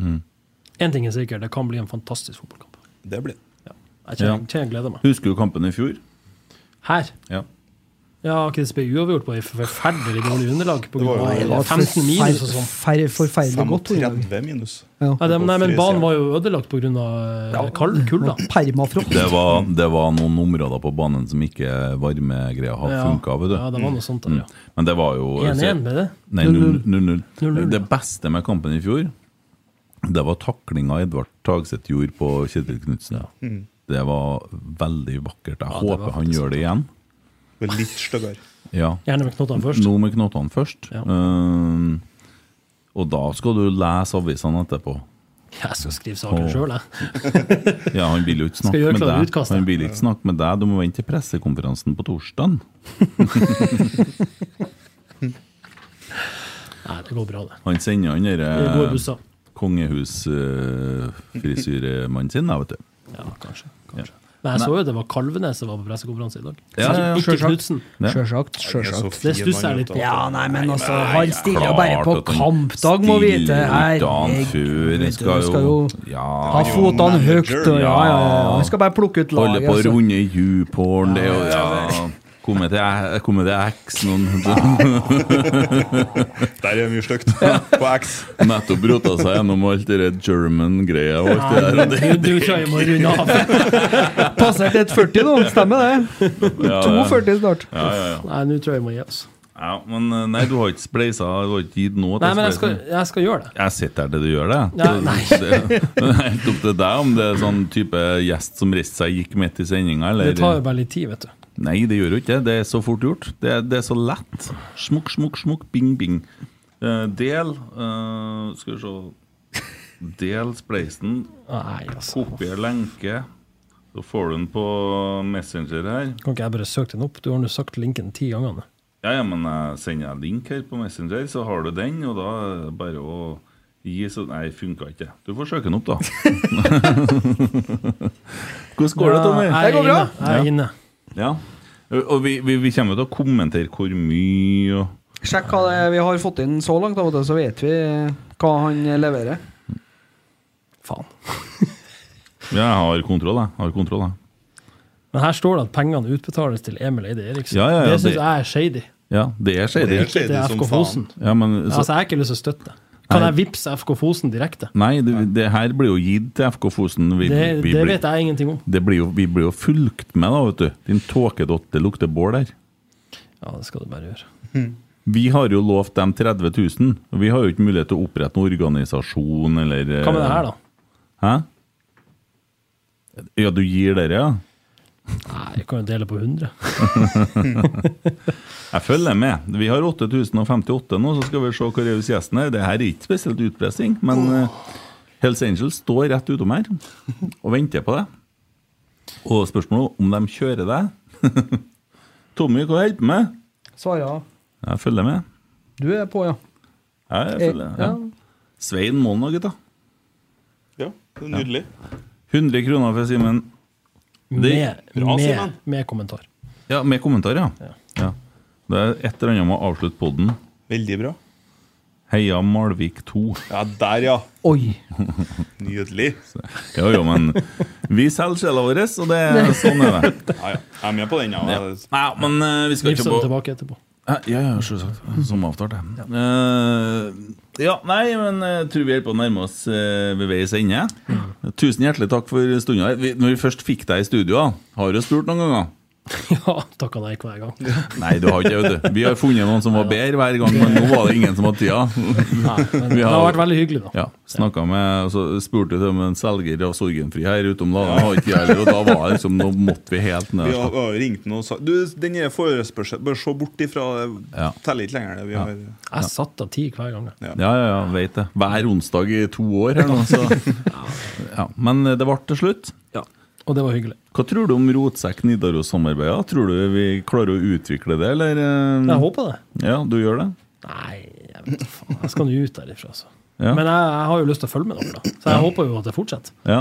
En ting er sikkert, det kan bli en fantastisk fotballkamp.
Det blir
ja. Jeg kjenner, kjenner gleder meg.
Husker du kampen i fjor?
Her?
Ja.
Ja, har ikke det spilt uavgjort på et forferdelig dårlig underlag? På
Det var
grunn av
jo- Det var
15 minus og sånn.
forfer- forferdelig godt. Tore.
35 minus.
Ja.
Nei, det- nei, men banen var jo ødelagt pga. eh, kald kulda.
Permafrost.
Det var, det var noen områder på banen som ikke varmegreia har
Ja.
funka. vet du.
Ja, det var noe sånt der, ja.
Mm. Men det var jo
1-1 ble det?
Nei,
0-0.
0-0.
0-0,
Det beste med kampen i fjor, det var taklinga Edvard Tagseth gjorde på Kjetil Knutsen.
Mm.
Det var veldig vakkert. Jeg
Ja, det var
håper han
faktisk
gjør det igjen.
Vel litt styggere.
Ja.
Gjerne med knottene først.
Nå med knottene først. Ehm, og da skal du lese avisene etterpå.
Jeg skal skrive saken
Åh.
sjøl, jeg.
Ja, han vil jo ikke
Skal
snakke
gjøre
med
klare
deg.
utkast,
Han
jeg.
vil ikke snakke med deg. Du må vente til pressekonferansen på torsdag.
Nei, det går bra, det.
Han sender han eh,
Det går i bussa.
derre kongehusfrisyremannen sin, da, vet du.
Ja, kanskje. Men jeg så jo det var Kalvenes som var på pressekonferanse i dag.
Ja, ja, ja.
Ikke
Sjølsagt.
Knutsen.
Ja.
Sjølsagt. Sjølsagt.
Det stusser jeg litt på.
Ja, nei, men altså, han stiller jo bare på kampdag, må vite.
Dagen
Herregud.
før han skal,
skal
jo
jo
ja.
Ha fotene Sånn høyt. Og, ja, ja, ja. Han skal bare plukke ut
Holde
laget.
på å
altså.
runde djuphorn, det er jo ja. Komme til, komme til X noen
Der er mye stygt. På X.
Nettopp rota seg gjennom alt det der German-greia og alt det der. og
Du,
det-
du tror jeg må runde av.
Passerte et 40 nå, stemmer det?
Ja, ja.
2,40 snart.
Ja, ja, ja.
Nei, nå tror jeg jeg må gi oss.
ja, men eh, nei, du har ikke spleisa, du har ikke gitt noe til
Nei, men jeg skal,
spleisen.
jeg skal gjøre det.
Jeg sitter her til du gjør det.
Ja, nei.
Det det er helt opp til deg om det er sånn type gjest som reiste seg gikk midt i sendinga, eller
Det tar jo bare litt tid, vet du.
Nei, det gjør jo ikke det. Det er så fort gjort. Det, er- det er så lett. Smukk, smukk, smukk, bing, bing. Eh, del eh, Skal vi se Del spleisen.
altså.
Kopier lenke. Så får du den på Messenger her.
Kan ikke jeg bare søke den opp? Du har nå sagt linken ti ganger. nå.
Ja, ja, men jeg sender jeg link her på Messenger, så har du den, og da er det bare å gi så Nei, funka ikke. Du får søke den opp, da. Hvordan går det,
Ja,
Tommy?
jeg er Det går bra. inne, jeg
Ja.
er inne.
Ja. Og vi, vi, vi kommer jo til å kommentere hvor mye og
Sjekk hva det er vi har fått inn så langt, da, vet du, så vet vi hva han leverer.
Ja, jeg har kontroll, jeg. jeg. Har kontroll, jeg.
Men her står det at pengene utbetales til Emil Eide Eriksen.
Ja, ja, ja,
det syns
det-
jeg er shady.
Ja, det er shady.
Det er shady Det er som FK Fosen. faen.
Ja, men, så,
altså, jeg har ikke lyst til å støtte. Kan
Nei.
jeg vippse FK Fosen direkte?
Nei, det, det her blir jo gitt til FK Fosen. Vi,
det
vi
det
blir,
vet jeg ingenting om.
det blir jo, vi blir jo fulgt med, da, vet du. Din tåkedotte lukter bål her.
Ja, det skal du bare gjøre.
Vi har jo lovt dem 30 000. og Vi har jo ikke mulighet eh, til å opprette noen organisasjon eller
Hva med det her, da?
Hæ? Ja, du gir dere, ja?
Nei, jeg kan jo dele på 100.
Jeg følger med. Vi har 8058 nå, så skal vi se hvor raus gjesten er. Det her er ikke spesielt utpressing, men eh, Hells Angels står rett utom her og venter på deg. Og spørsmålet er om de kjører deg. Tommy, hva hjelper du med?
Svarer
Jeg følger med.
Du er på, ja.
Jeg følger,
Eh,
ja.
ja.
Svein må nå, gutta.
Ja, det er nydelig.
100 kroner for Simen.
Med,
Det-
med, med kommentar.
Ja, med kommentar, ja. ja. Det er et eller annet med å avslutte poden.
Veldig bra.
Heia Malvik 2.
Ja, der, ja.
Oi.
Nydelig.
Jo, jo, men vi selger sjela vår, og det er sånn er det.
Ja, ja. Jeg er med på den, ja.
Ja. Nei, men eh, vi skal
Vips
ikke
dem
på
tilbake etterpå.
Ja, ja, ja, selvsagt. Som avtalt, ja. Eh, ja, nei, men jeg tror vi er på å nærme oss eh, ved veis ende. Tusen hjertelig takk for stunda. Vi- Når vi først fikk deg i studio, da, har du spurt noen ganger?
Ja, takka nei Ah, hver gang.
Nei, du har ikke, vet du. Vi har funnet noen som var bedre hver gang, men nå var det ingen som hadde tida.
men det har vært veldig hyggelig, da.
Ja, snakket med, og så spurte jeg om en selger av Sorgenfri her utom landet, han har ikke tida heller, og da var det liksom, nå måtte vi helt
Vi
ned. altså.
har, vi har jo ringt noen og sagt Du, den er forespørsel, bør se bort ifra det.
Ja.
Teller ikke lenger det vi har.
Jeg satt av ti hver gang. jeg.
Ja, ja, ja, vet det. Hver onsdag i to år her nå, så. Ja, men eh, det ble til slutt.
Og det var hyggelig.
Hva tror du om Rotsekk Nidaros-samarbeidet? Tror du vi klarer å utvikle det, eller? eh?
Jeg håper det.
Ja, du gjør det?
Nei, jeg vet da faen. Jeg skal nå ut derifra, altså.
Ja.
Men jeg, jeg har jo lyst til å følge med dere, da. Så jeg håper jo at det fortsetter.
Ja.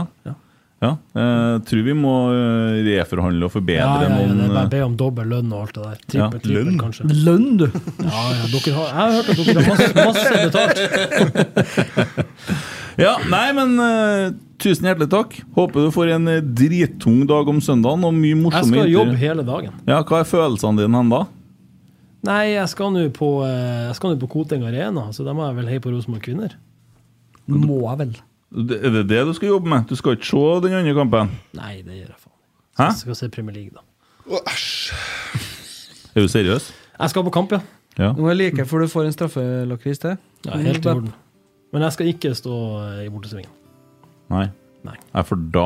Ja, eh, tror vi må eh, reforhandle og forbedre
Ja, ja, ja,
noen
det er bare
eh,
be om dobbel lønn og alt det der.
Ja.
Trippel, trippel,
Lønn?
kanskje.
Lønn, du!
Ja, ja, dere har, jeg har hørt at dere har masse, masse betalt.
eh, Ja, nei, men eh, tusen hjertelig takk. Håper du får en eh, drittung dag om søndagen og mye
Jeg
morsomme
skal
intervju-
jobbe hele dagen.
Ja, hva er følelsene dine hen da?
Nei, jeg skal nå på, eh, jeg skal nå på Koteng Arena, så da må jeg vel heie på Rosenborg Kvinner.
Må jeg vel?
Det- Er det det du skal jobbe med? Du skal ikke se den andre kampen?
Nei, det gjør jeg faen ikke.
Hæ?
Jeg skal se Premier League, da.
Er du seriøs?
Jeg skal på kamp, ja.
Ja.
Nå er jeg like før du får en straffelakris til.
Ja, helt i orden. Men jeg skal ikke stå eh, i bortesvingen.
Nei.
Nei.
Nei, for da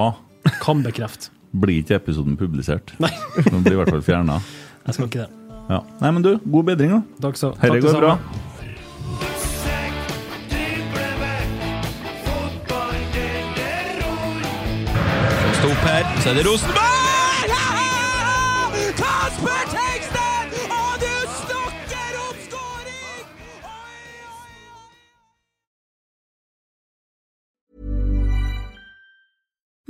Kan bekrefte.
blir ikke episoden publisert.
Nei.
Den blir i hvert fall fjerna.
Jeg skal ikke det.
Ja. Nei, men du, god bedring, da.
Takk så- takk
Herre
det
går bra.
samme.
Stå opp her, så er det Rosenborg! Kasper Tengstedt! Og du snakker om skåring!